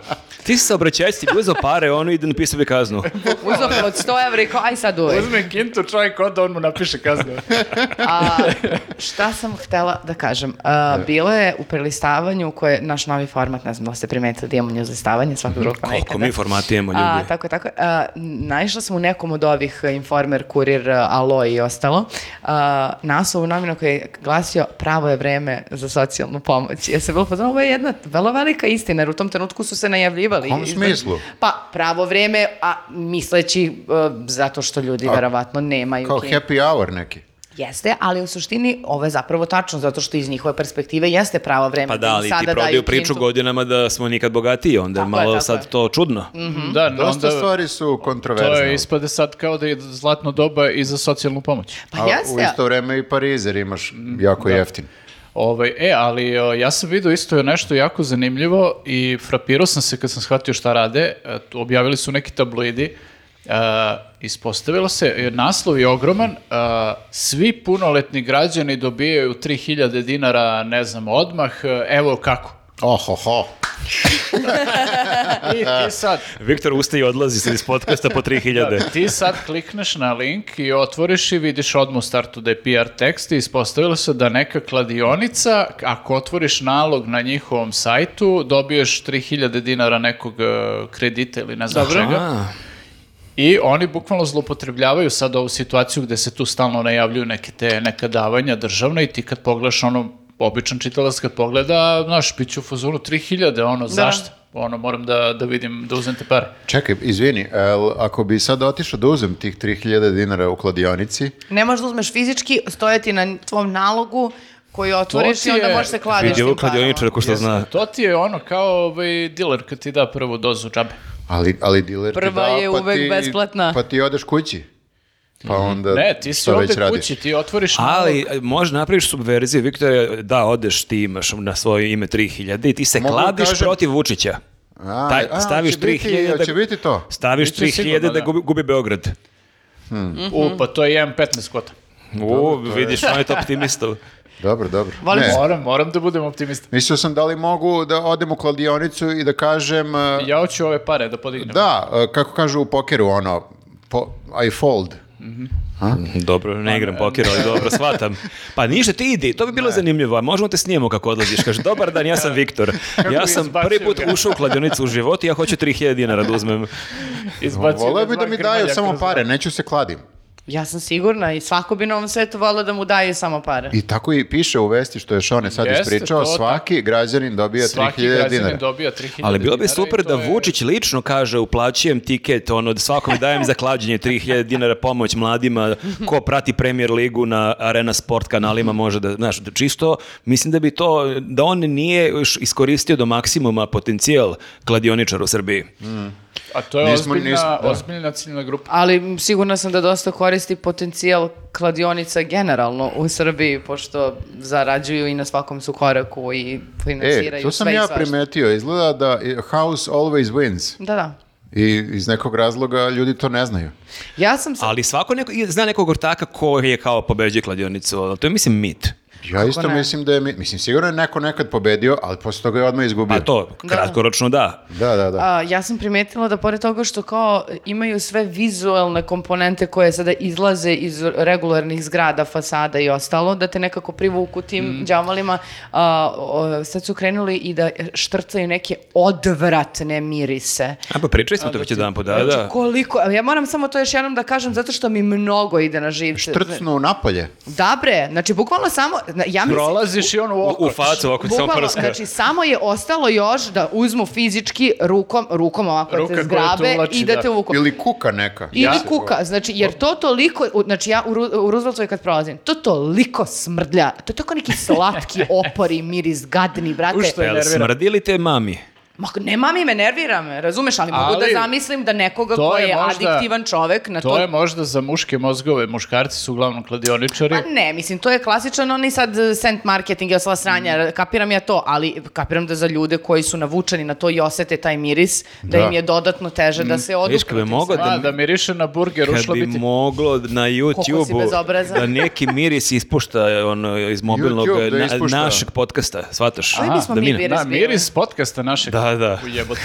S2: Ti si se obraćajac, ti bi uzeo pare, ono ide napisao bi kaznu.
S3: Uzeo od 100 evra i kao, aj sad uve.
S4: Uzme kintu čovjek, onda on mu napiše kaznu.
S3: A, šta sam htela da kažem? A, bilo je u prelistavanju koje je naš novi format, ne znam da li ste primetili da imamo newslistavanje svakog
S1: Mhm.
S3: roka
S2: Koliko mi formatijemo
S3: A,
S2: ljudi.
S3: tako, je, tako. je. A, naišla sam u nekom od ovih e, informer, kurir, e, alo i ostalo. A, naslov u novinu koji je glasio pravo je vreme za socijalnu pomoć. Ja se bilo poznala, ovo je jedna velo velika istina, jer u tom trenutku su se najavljivali.
S1: U kom
S3: Izbor-
S1: smislu?
S3: Pa, pravo vreme, a misleći e, zato što ljudi verovatno nemaju.
S1: Kao
S3: kin-
S1: happy hour neki.
S3: Jeste, ali u suštini ovo je zapravo tačno, zato što iz njihove perspektive jeste pravo vreme.
S2: Pa da,
S3: im
S2: ali ti
S3: sada
S2: prodaju
S3: daju
S2: priču
S3: kintu.
S2: godinama da smo nikad bogatiji, onda je
S3: Tako je,
S2: malo
S3: tako
S2: sad
S3: je. Mm.
S2: to čudno.
S4: Da,
S1: Dosta
S4: onda
S1: stvari su
S4: to
S1: kontroverzne.
S4: je ispade sad kao da je zlatno doba i za socijalnu pomoć.
S3: Pa
S1: A
S3: jeste.
S1: u isto vreme i Parizer imaš
S4: Mm,
S1: jako jeftin.
S4: Ovaj, e, ali o, ja sam vidio isto nešto jako zanimljivo i frapirao sam se kad sam shvatio šta rade. E, tu Objavili su neki tabloidi. E, ispostavilo se, e, naslov je ogroman, e, svi punoletni građani dobijaju 3000 dinara, ne znam, odmah, e, evo kako.
S1: Ohoho.
S4: I ti sad,
S2: Viktor ustaje i odlazi se iz podcasta po 3000.
S4: ti sad klikneš na link i otvoriš i vidiš odmah u startu da je PR tekst i ispostavilo se da neka kladionica, ako otvoriš nalog na njihovom sajtu, dobiješ 3000 dinara nekog e, kredita ili ne znam čega.
S2: A,
S4: I oni bukvalno zloupotrebljavaju sad ovu situaciju gde se tu stalno najavljuju neke te neka davanja državna i ti kad pogledaš ono, običan čitalac kad pogleda, znaš, bit će u fazonu 3000, ono, zašto? Ono, moram da, da vidim, da uzmem te pare.
S1: Čekaj, izvini, el, ako bi sad otišao da uzem tih 3000 dinara u kladionici,
S3: Ne možeš da uzmeš fizički, stoje ti na tvom nalogu koji otvoriš
S4: ti
S3: i onda
S4: je-
S3: možeš se kladiš
S2: vidi
S3: tim
S2: ovo
S3: parama.
S2: kladioničar ko što zna.
S4: To ti je ono kao ovaj, diler kad ti da prvu dozu džabe.
S1: ali, ali diler ti
S3: Prva
S1: da,
S3: je
S1: pa
S3: uvek
S1: ti,
S3: besplatna.
S1: Pa ti odeš kući. Pa onda
S4: Mhm. Ne, ti si
S1: šta već
S4: ovde
S1: radiš?
S4: kući, ti otvoriš nalog.
S2: Ali možeš napraviš subverziju, Viktor, da odeš ti imaš na svoje ime 3000 i ti se
S1: Mogu da
S2: kladiš
S1: kažem-
S2: protiv Vučića.
S1: A,
S2: Taj-
S1: a,
S2: staviš
S1: hoće biti-
S2: 3000
S1: hoće biti to?
S2: Staviš
S4: Biće sigurno,
S2: 3000 da
S4: da.
S2: gubi, gubi Beograd.
S4: U, pa to je 1.15 kvota.
S2: U, vidiš, on je to optimistov.
S1: Dobro, dobro.
S3: Volim
S1: Ne,
S4: Moram, moram da budem optimista.
S1: mislio sam da li mogu da odem u kladionicu i da kažem... e,
S4: Ja hoću ove pare da podignem.
S1: Da, e, kako kažu u pokeru, ono, po, I fold.
S2: Dobro, ne
S4: Pa,
S2: igram poker, ali dobro, shvatam. Pa ništa, ti idi, to bi bilo zanimljivo, a možemo te snijemo kako odlaziš. Kaže, dobar dan, ja sam Viktor. Ja sam
S4: izbacio
S2: prvi put
S4: ga.
S2: ušao u kladionicu u životu i ja hoću 3000 dinara da uzmem.
S4: Izbacio
S1: Voleo
S4: ga
S1: bi da
S4: Zvonko
S1: mi daju
S4: Grmolja
S1: samo
S4: kroz-
S1: pare, neću se kladim.
S3: Ja sam sigurna i svako bi na ovom svetu volio da mu daje samo pare.
S1: I tako i piše u vesti što je Šone sad
S4: Jeste,
S1: ispričao,
S4: to,
S1: svaki građanin dobija
S4: Svaki
S1: 3000 dinara.
S4: građanin dobija 3000
S2: Ali bilo bi
S4: dinara i
S2: super
S4: to
S2: da
S4: je-
S2: Vučić lično kaže uplaćujem tiket, ono, da svakom dajem za klađenje 3000 dinara pomoć mladima, ko prati Premier ligu na Arena Sport kanalima može da, znaš, da čisto, mislim da bi to, da on nije još iskoristio do maksimuma potencijal kladioničara u Srbiji.
S4: A to je
S1: Nismo-
S4: ozbiljna,
S1: nismo- da.
S4: ozbiljna ciljna grupa.
S3: Ali m, sigurna sam da dosta koristi potencijal kladionica generalno u Srbiji, pošto zarađuju i na svakom su koraku i
S1: E,
S3: financiraju
S1: to
S3: sve
S1: sam
S3: i
S1: ja
S3: svašta.
S1: primetio. Izgleda da i- house always wins.
S3: Da, da.
S1: I iz nekog razloga ljudi to ne znaju.
S3: Ja sam se...
S2: Ali svako neko, i zna nekog ortaka ko je kao pobeđuje kladionicu, ali to je mislim mit.
S1: Ja isto
S3: ne?
S1: mislim da je, mi- mislim, sigurno je neko nekad pobedio, ali posle toga je odmah izgubio.
S2: Pa to,
S3: Da.
S2: kratkoročno da.
S1: Da, da, da.
S3: A, ja sam primetila da pored toga što kao imaju sve vizuelne komponente koje sada izlaze iz regularnih zgrada, fasada i ostalo, da te nekako privuku tim
S2: Mm.
S3: đavolima, a, o, sad su krenuli i da štrcaju neke odvratne mirise. Znači,
S2: A pa pričali smo to već jedan po, da, da.
S3: Koliko, ja moram samo to još jednom da kažem zato što mi mnogo ide na živce.
S1: Trcnu napolje.
S3: Da bre, znači bukvalno samo, na- ja mislim,
S4: Prolaziš i ono u
S2: U,
S4: oko.
S2: u facu, ako ti samo
S3: Bukvalno,
S2: prska.
S3: znači samo je ostalo još da uzmu fizički rukom, rukom ovako
S4: Ruka
S3: Ruka te
S4: koja
S3: zgrabe
S4: te uvlači,
S3: i da,
S4: da.
S3: te uvuku. Ili,
S1: Ili kuka neka.
S3: kuka, znači jer to toliko, u- znači ja u, Ru- u Rooseveltovoj kad prolazim, to toliko smrdlja, to je tako neki slatki opori, miris, gadni,
S4: Ušto
S3: brate.
S4: je
S2: Jel
S4: nervira.
S2: smrdili te mami?
S3: Ma, nema mi me, nervira me, razumeš, ali, mogu
S4: Ali,
S3: da zamislim da nekoga
S4: to
S3: ko je,
S4: je možda-
S3: adiktivan čovek na to...
S4: To je možda za muške mozgove. Muškarci su uglavnom kladioničari.
S3: Pa ne, mislim, to je klasičan onaj sad eh, sent marketing i osla sranja,
S4: Mm.
S3: kapiram ja to, ali kapiram da za ljude koji su navučeni na to i osete taj miris, da,
S1: Da.
S3: im je dodatno teže
S4: Mm.
S3: da se odupru.
S2: Viš, kad bi mogao
S4: A,
S2: da,
S4: da miriše na burger,
S2: kad
S4: ušla
S2: bi
S4: bi ti...
S2: moglo na
S3: bezobrazan.
S2: YouTube-u da neki miris ispušta ono, iz mobilnog
S1: YouTube da
S2: na-
S1: ispušta.
S2: našeg podcasta, shvataš?
S3: Koji bismo mi
S2: ne-
S3: bili?
S4: Da,
S3: Razbijaju.
S4: miris podcasta našeg.
S2: Da, da.
S4: U jebote.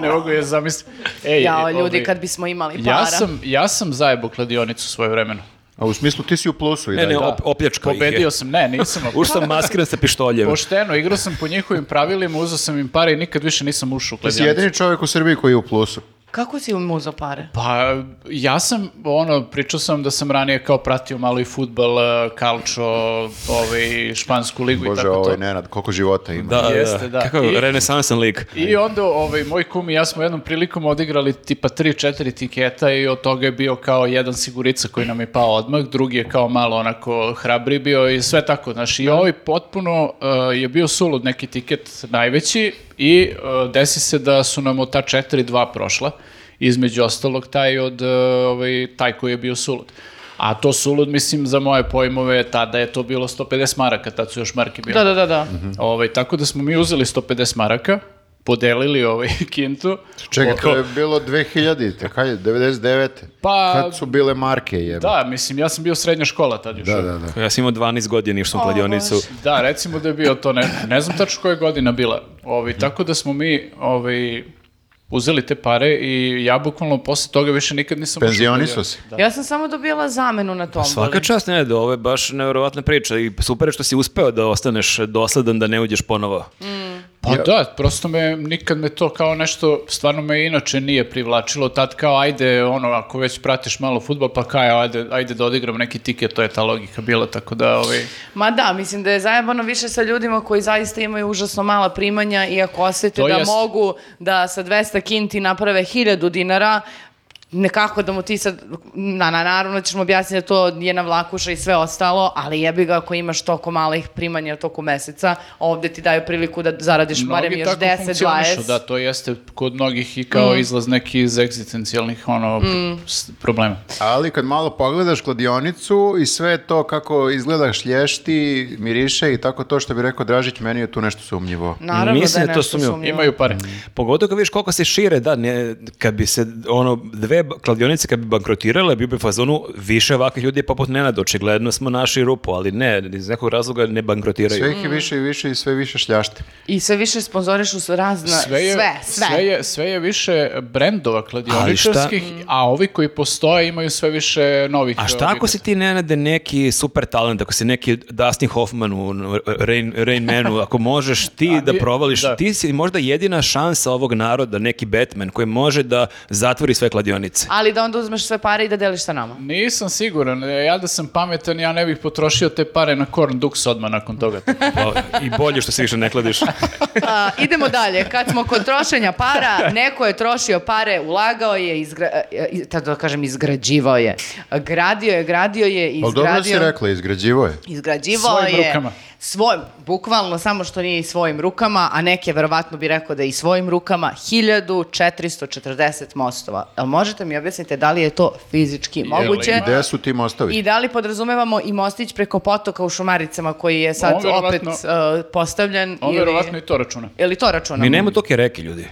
S4: ne mogu je zamisliti. Ej,
S3: Jao,
S4: ovaj,
S3: ljudi, kad bismo imali para.
S4: Ja sam, ja sam zajebo kladionicu svoje vremeno.
S1: A u smislu ti si u plusu i
S2: Ne,
S1: dalje.
S2: ne, op, opljačkao ih je.
S4: Pobedio sam, ne, nisam.
S2: Ušao sam maskiran sa pištoljem.
S4: Pošteno, igrao sam po njihovim pravilima, uzao sam im pare i nikad više nisam ušao u
S1: Ti si
S4: kladionicu.
S1: jedini čovjek u Srbiji koji je u plusu.
S3: Kako si im uzao pare?
S4: Pa, ja sam, ono, pričao sam da sam ranije kao pratio malo i futbal, kalčo, ovaj, špansku ligu i
S1: Bože,
S4: tako
S1: ovo
S4: to.
S1: je Nenad, koliko života ima.
S2: Da,
S4: Jeste, da.
S2: Kako je,
S4: I-
S2: renesansan lik.
S4: I onda ovaj, moj kum i ja smo jednom prilikom odigrali tipa 3-4 tiketa i od toga je bio kao jedan sigurica koji nam je pao odmah, drugi je kao malo onako hrabri bio i sve tako. Znaš, i ovaj potpuno eh, je bio sulud neki tiket najveći i eh, desi se da su nam od ta 4-2 prošla, između ostalog taj od eh, ovaj, taj koji je bio sulud. A to sulud, mislim, za moje pojmove, tada je to bilo 150 maraka, tad su još marke
S3: Da,
S4: bile.
S3: da, da, da.
S4: Ovaj, tako da smo mi uzeli 150 maraka, podelili ovaj kintu.
S1: Čekaj,
S4: Oko-
S1: to je bilo 2000-te, kad je, 99.
S4: Pa-
S1: Kad su bile marke jebe.
S4: Da, mislim, ja sam bio srednja škola tad još.
S1: da, da. da.
S2: Ja sam imao 12 godina, išao sam u
S3: O,
S2: kladionicu.
S3: Bože.
S4: Da, recimo da je bio to, ne, ne znam tačno koja je godina bila. Ovi,
S1: Mhm.
S4: tako da smo mi ovi, uzeli te pare i ja bukvalno posle toga više nikad nisam... ušao u
S1: Penzionisao
S4: kladionicu.
S1: si.
S3: Ja sam samo dobijala zamenu na
S4: Pa
S3: tom.
S2: Svaka čast, ne, da ovo je baš nevjerovatna priča i super je što si uspeo da ostaneš dosledan, da ne uđeš ponovo.
S4: Pa da, prosto me, nikad me to kao nešto, stvarno me inače nije privlačilo, tad kao ajde, ono, ako već pratiš malo futbol, pa kao ajde, ajde da odigram neki tiket, to je ta logika bila, tako da, ovaj, ovi,
S3: Ma da, mislim da je zajebano više sa ljudima koji zaista imaju užasno mala primanja i ako osete
S4: To
S3: da
S4: jest.
S3: mogu da sa 200 kinti naprave 1000 dinara, nekako da mu ti sad, na, na, naravno ćeš mu objasniti da to je na vlakuša i sve ostalo, ali jebi ga ako imaš toliko malih primanja toku meseca, ovde ti daju priliku da zaradiš barem
S4: mnogi
S3: još Mm.
S4: tako
S3: 10,
S4: funkcionišu,
S3: 20.
S4: Da, to jeste kod mnogih i kao izlaz neki iz egzistencijalnih,
S3: Mm.
S4: ono, s- problema.
S1: Ali kad malo pogledaš kladionicu i sve to kako izgleda šlješti, miriše i tako to što bi rekao Dražić, meni je tu nešto sumnjivo.
S3: Naravno
S2: Mislim
S3: da
S2: da
S3: je
S2: to
S3: nešto
S2: sumnjivo.
S3: sumnjivo.
S4: Imaju pare.
S2: Pogotovo kad vidiš koliko se šire, da, ne, kad bi se ono, dve ba- kladionice kad bi bankrotirale, bio bi u fazonu više ovakvih ljudi je poput Nenada, očigledno smo naši rupu, ali ne, iz nekog razloga ne bankrotiraju.
S1: Sve ih je više i više i sve više šljašti.
S3: I sve više sponzorišu su razna, sve, sve,
S4: je, sve je više brendova kladioničarskih,
S2: Ali
S4: a ovi koji postoje imaju sve više novih.
S2: A šta ako si ti Nenade neki super talent, ako si neki Dustin Hoffman u u Rain, Rain Manu, ako možeš ti da
S4: bi-
S2: provališ,
S4: da.
S2: ti si možda jedina šansa ovog naroda, neki Batman koji može da zatvori sve kladionice.
S3: Ali da onda uzmeš sve pare i da deliš sa nama.
S4: Nisam siguran, e, ja da sam pametan, ja ne bih potrošio te pare na Korn Dux odmah nakon toga.
S2: Pa, I bolje što se više ne kladiš.
S3: A, idemo dalje. Kad smo kod trošenja para, neko je trošio pare, ulagao je, izgra, tako da kažem, izgrađivao je. Gradio je, gradio je,
S1: Ali dobro si
S3: izgradio.
S1: rekla, izgrađivo je.
S3: Izgrađivao
S4: Svojim
S3: je
S4: rukama.
S3: svojim, bukvalno samo što nije i svojim rukama, a neke verovatno bi rekao da je i svojim rukama 1440 mostova. Jel možete mi objasniti da li je to fizički moguće?
S4: ima?
S1: Gde su ti mostovi?
S3: I da li podrazumevamo i mostić preko potoka u Šumaricama koji je sad
S4: On
S3: opet
S4: verovatno-
S3: uh, postavljen?
S4: On
S3: ili-
S4: verovatno i to računa.
S3: Je li to računamo?
S2: Mi nemamo toke reke, ljudi.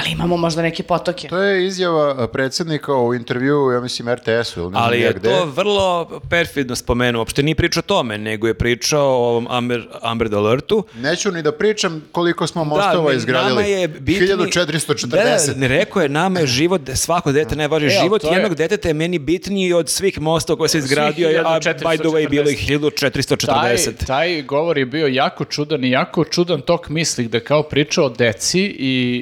S3: Ali imamo možda neke potoke.
S1: To je izjava e, predsjednika u intervjuu, ja mislim, RTS-u ili ne znam
S2: Ali
S1: ni ja
S2: je
S1: gde.
S2: to vrlo perfidno spomenuo. Uopšte nije pričao o tome, nego je pričao o ovom Amber, Amber Alertu.
S1: Neću ni da pričam koliko smo mostova
S2: ne,
S1: izgradili.
S2: Nama je bitni...
S1: 1440.
S2: Da, ne rekao je, nama je život, svako dete najvažnije.
S4: E, ali
S2: život
S4: to je-
S2: jednog deteta je meni bitniji od svih mostova koje se izgradio, a by the way, bilo ih 1440.
S4: Taj, taj govor je bio jako čudan i jako čudan tok misli da kao priča o deci i,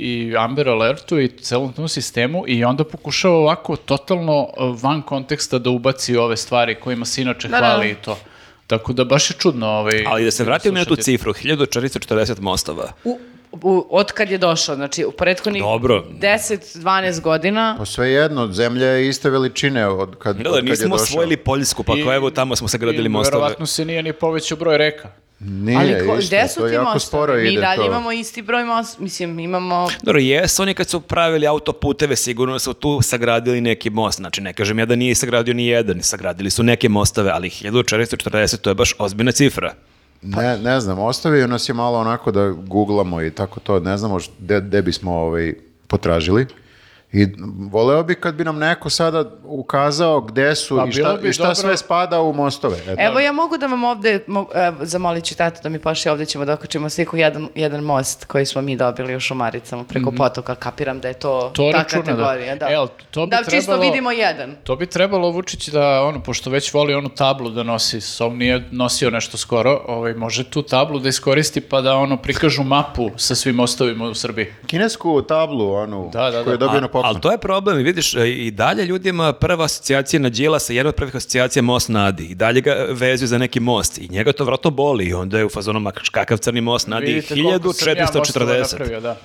S4: i Amber Alertu i celom tom sistemu i onda pokušava ovako totalno e, van konteksta da ubaci ove stvari kojima se inače
S3: Da, da.
S4: hvali i to. Tako da baš je čudno ovaj...
S2: Ali da se vratimo na tu
S4: slušati.
S2: cifru, 1440 mostova.
S3: U, u- od kad je došao, znači u prethodnih
S2: Dobro.
S3: 10-12 godina.
S1: Pa sve jedno, zemlja je iste veličine od kad,
S2: Da,
S1: od
S2: da,
S1: kad je
S2: nismo
S1: došao.
S2: osvojili Poljsku, pa
S4: I-
S2: ako evo tamo smo sagradili
S4: I
S2: mostove.
S4: Verovatno se nije ni povećao broj reka.
S1: Pa Nije,
S3: Ali ko,
S1: isto,
S3: gde su
S1: to
S3: ti
S1: jako sporo
S3: mostovi? Mi
S1: ide
S3: dalje
S1: to.
S3: imamo isti broj most, mislim imamo...
S2: Dobro, jes, oni kad su pravili autoputeve, sigurno su tu sagradili neki most. Znači, ne kažem ja da nije sagradio ni jedan, sagradili su neke mostove, ali 1440 to je baš ozbiljna cifra.
S1: Ne, ne znam, ostavio nas je malo onako da googlamo i tako to, ne znamo št- gde, gde bismo ovaj, potražili. I voleo bi kad bi nam neko sada ukazao gde su
S4: Pa
S1: i
S4: bilo
S1: šta,
S4: bi
S1: i šta
S4: dobro-
S1: sve spada u mostove. E, Eto.
S3: Evo ja mogu da vam ovde, mo, e, zamolit ću tata da mi pošli, ovde ćemo da okačimo sliku jedan, jedan most koji smo mi dobili u Šumaricama preko potoka, kapiram da je to,
S4: Mhm. To
S3: ta
S4: računa, da.
S3: kategorija. Da,
S4: E, ali to bi
S3: da čisto
S4: trebalo-
S3: vidimo jedan.
S4: To bi trebalo Vučić da, ono, pošto već voli onu tablu da nosi, s ovom nije nosio nešto skoro, ovaj, može tu tablu da iskoristi pa da ono prikažu mapu sa svim mostovima u Srbiji.
S1: Kinesku tablu, onu,
S4: Da, da, da.
S1: koju je dobio na poklon.
S2: ali to je problem, i vidiš, e, i dalje ljudima prva asocijacija na Đilasa, jedna od prvih asocijacija je most Nadi, i dalje ga vezuju za neki most, i njega to vratno boli, i onda je u fazonu, ma kakav crni most Nadi,
S4: Vidite koliko sam ja mostova
S2: 1440.
S4: napravio, da.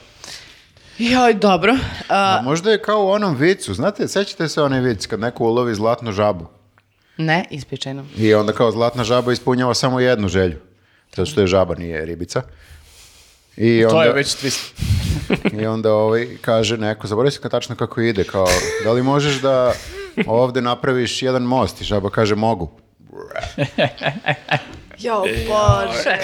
S3: Joj, dobro. A,
S1: A možda je kao u onom vicu, znate, sećate se onaj vic kad neko ulovi zlatnu žabu
S3: ne, ispičajno.
S1: i onda kao zlatna žaba ispunjava samo jednu želju, zato što je žaba, nije ribica. I onda,
S4: To je već twist.
S1: I onda ovaj kaže neko, zaboravio sam kad tačno kako ide, kao, da li možeš da ovde napraviš jedan most? I žaba kaže, mogu.
S3: Jo, Bože,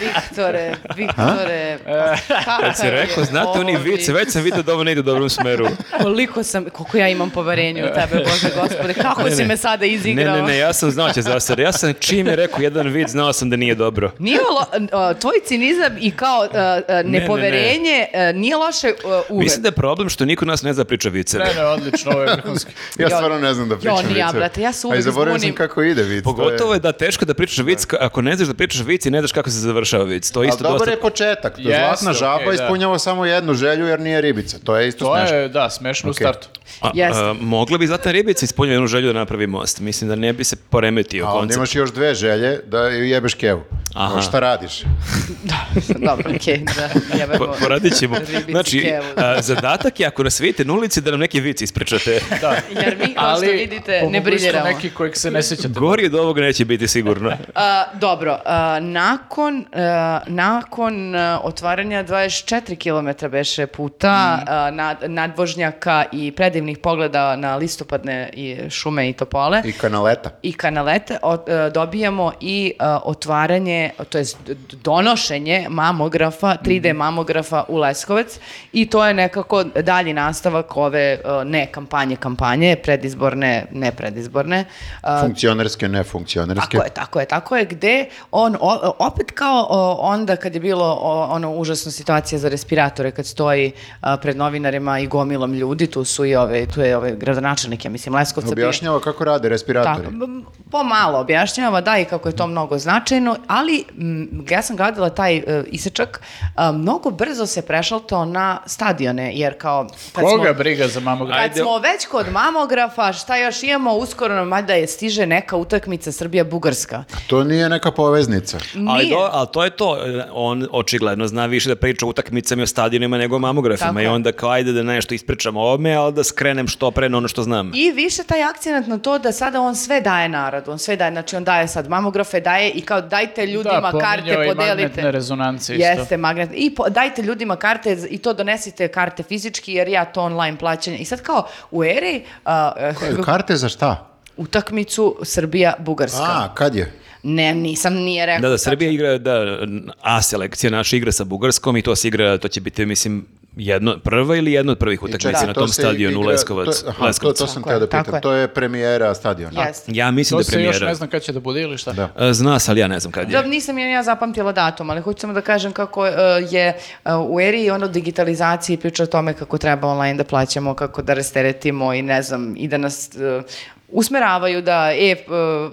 S3: Viktore, Viktore. Pa Kad
S2: E, Si rekao, znate oni vic, već sam vidio da ovo ne ide u dobrom smeru.
S3: Koliko sam, koliko ja imam poverenja u tebe, Bože gospode, kako si me sada
S2: Ne,
S3: izigrao?
S2: ne, ne, ja sam znao da će zasad. Ja sam čim je rekao jedan vid, znao sam da nije dobro.
S3: Nije lo, a, tvoj cinizam i kao a, a,
S2: ne.
S3: nepoverenje a, nije loše a, uvek.
S2: Mislim da je problem što niko od nas ne zna priča viceve.
S4: Ne, ne, odlično, ovo je vrhunski.
S1: Ja
S3: Jo,
S1: stvarno ne znam da pričam
S3: jo, ni ja,
S1: viceve.
S3: brate, ja se
S1: A i
S3: uvek
S1: zaboravio sam
S3: zbunim.
S1: kako ide vic. to je-
S2: Pogotovo je da teško da pričaš vic ka- ako ne znaš da pričaš vic i ne znaš kako se završava vic. To je
S1: Ali
S2: Pa isto
S1: dobar
S2: dosta...
S1: je početak. to je
S4: Jeste,
S1: Zlatna žaba
S4: okej, da.
S1: ispunjava samo jednu želju jer nije ribica. To je isto
S4: To
S1: smešno.
S4: je, da, smešno u startu.
S2: A,
S3: Jeste.
S2: a, mogla bi Zlatan Ribica ispunjava jednu želju da napravi most. Mislim da ne bi se poremetio
S1: A onda
S2: koncept.
S1: imaš još dve želje da ju jebeš kevu.
S2: Aha.
S1: Pa Šta radiš?
S3: Dobro, okej, da, jebemo.
S2: Po- poradit ćemo.
S3: Ribici
S2: Znači,
S3: kevu, da.
S2: a, zadatak je ako nas vidite na ulici da nam neki vic ispričate.
S4: Da.
S3: Jer mi, kao što vidite, ne
S4: pomogli ste
S3: briljiramo.
S4: neki kojeg se ne sjećate.
S2: Gori od ovog neće biti sigurno.
S3: A, dobro, a, nakon, a, nakon a, otvaranja 24 km beše puta, a, nad- nadvožnjaka i predivnih pogleda na listopadne i šume i topole
S1: I kanaleta.
S3: i kanalete, o- e, dobijamo i e, otvaranje, to jest d- d- donošenje mamografa, 3D mamografa u Leskovac i to je nekako dalji nastavak ove e, ne kampanje, kampanje, predizborne, ne predizborne. e,
S1: Funkcionerske, ne funkcionerske.
S3: tako je, tako je, tako je, gde on o- opet kao o, onda kad je bilo o, ono užasna situacija za respiratore kad stoji a, pred novinarima i gomilom ljudi, tu su i ove, tu je ove gradonačelnik, ja mislim, Leskovca. bio-
S1: Objašnjava kako rade respiratori.
S3: tako, m- pomalo objašnjava, da, i kako je to mnogo značajno, ali m, ja sam gledala taj e, isečak, a, mnogo brzo se prešaltao na stadione, jer kao... kad smo-
S4: Koga briga za mamografu?
S2: Ajde.
S3: kad smo već kod mamografa, šta još imamo, uskoro nam valjda je stiže neka utakmica Srbija-Bugarska.
S1: To nije neka poveznica.
S2: Ali,
S3: Nije.
S2: do, ali to je to. On očigledno zna više da priča o utakmicama i o stadionima nego o mamografima.
S3: Tako
S2: I
S3: je.
S2: onda kao ajde da nešto ispričam o ovome, ali da skrenem što pre na ono što znam.
S3: I više taj akcenat na to da sada on sve daje narodu, on sve daje, znači on daje sad mamografe, daje i kao dajte ljudima
S4: pominjao
S3: karte,
S4: je i magnetne
S3: podelite.
S4: rezonance isto.
S3: Jeste, magnet. I po- dajte ljudima karte z- i to donesite karte fizički jer ja to online plaćanje. I sad kao u eri a, eh,
S1: Karte za šta?
S3: utakmicu Srbija-Bugarska.
S1: A, kad je?
S3: Ne, nisam, nije rekao.
S2: Da, da, Srbija igra, da, A selekcija naša igra sa Bugarskom i to se igra, to će biti, mislim, jedno, prva ili jedna od prvih utakmica
S1: Čekaj,
S2: na
S1: to
S2: tom
S1: se
S2: stadionu u
S1: igra-
S2: Leskovac.
S1: to- aha,
S2: Leskovcu.
S1: To, to sam
S3: Tako
S1: teo da
S3: je, tako
S1: pitam.
S3: je.
S1: To je premijera stadiona.
S3: Jeste.
S2: Ja mislim
S4: To
S2: da
S4: se još
S2: premijera.
S4: ne znam kad će da bude ili šta.
S1: Da.
S2: E, Zna se, ali ja ne znam kad je.
S3: Dobro, nisam jer ja zapamtila datum, ali hoću samo da kažem kako e, je e, u eri ono digitalizacije priča o tome kako treba online da plaćamo, kako da rasteretimo i ne znam, i da nas e, usmeravaju da e, e,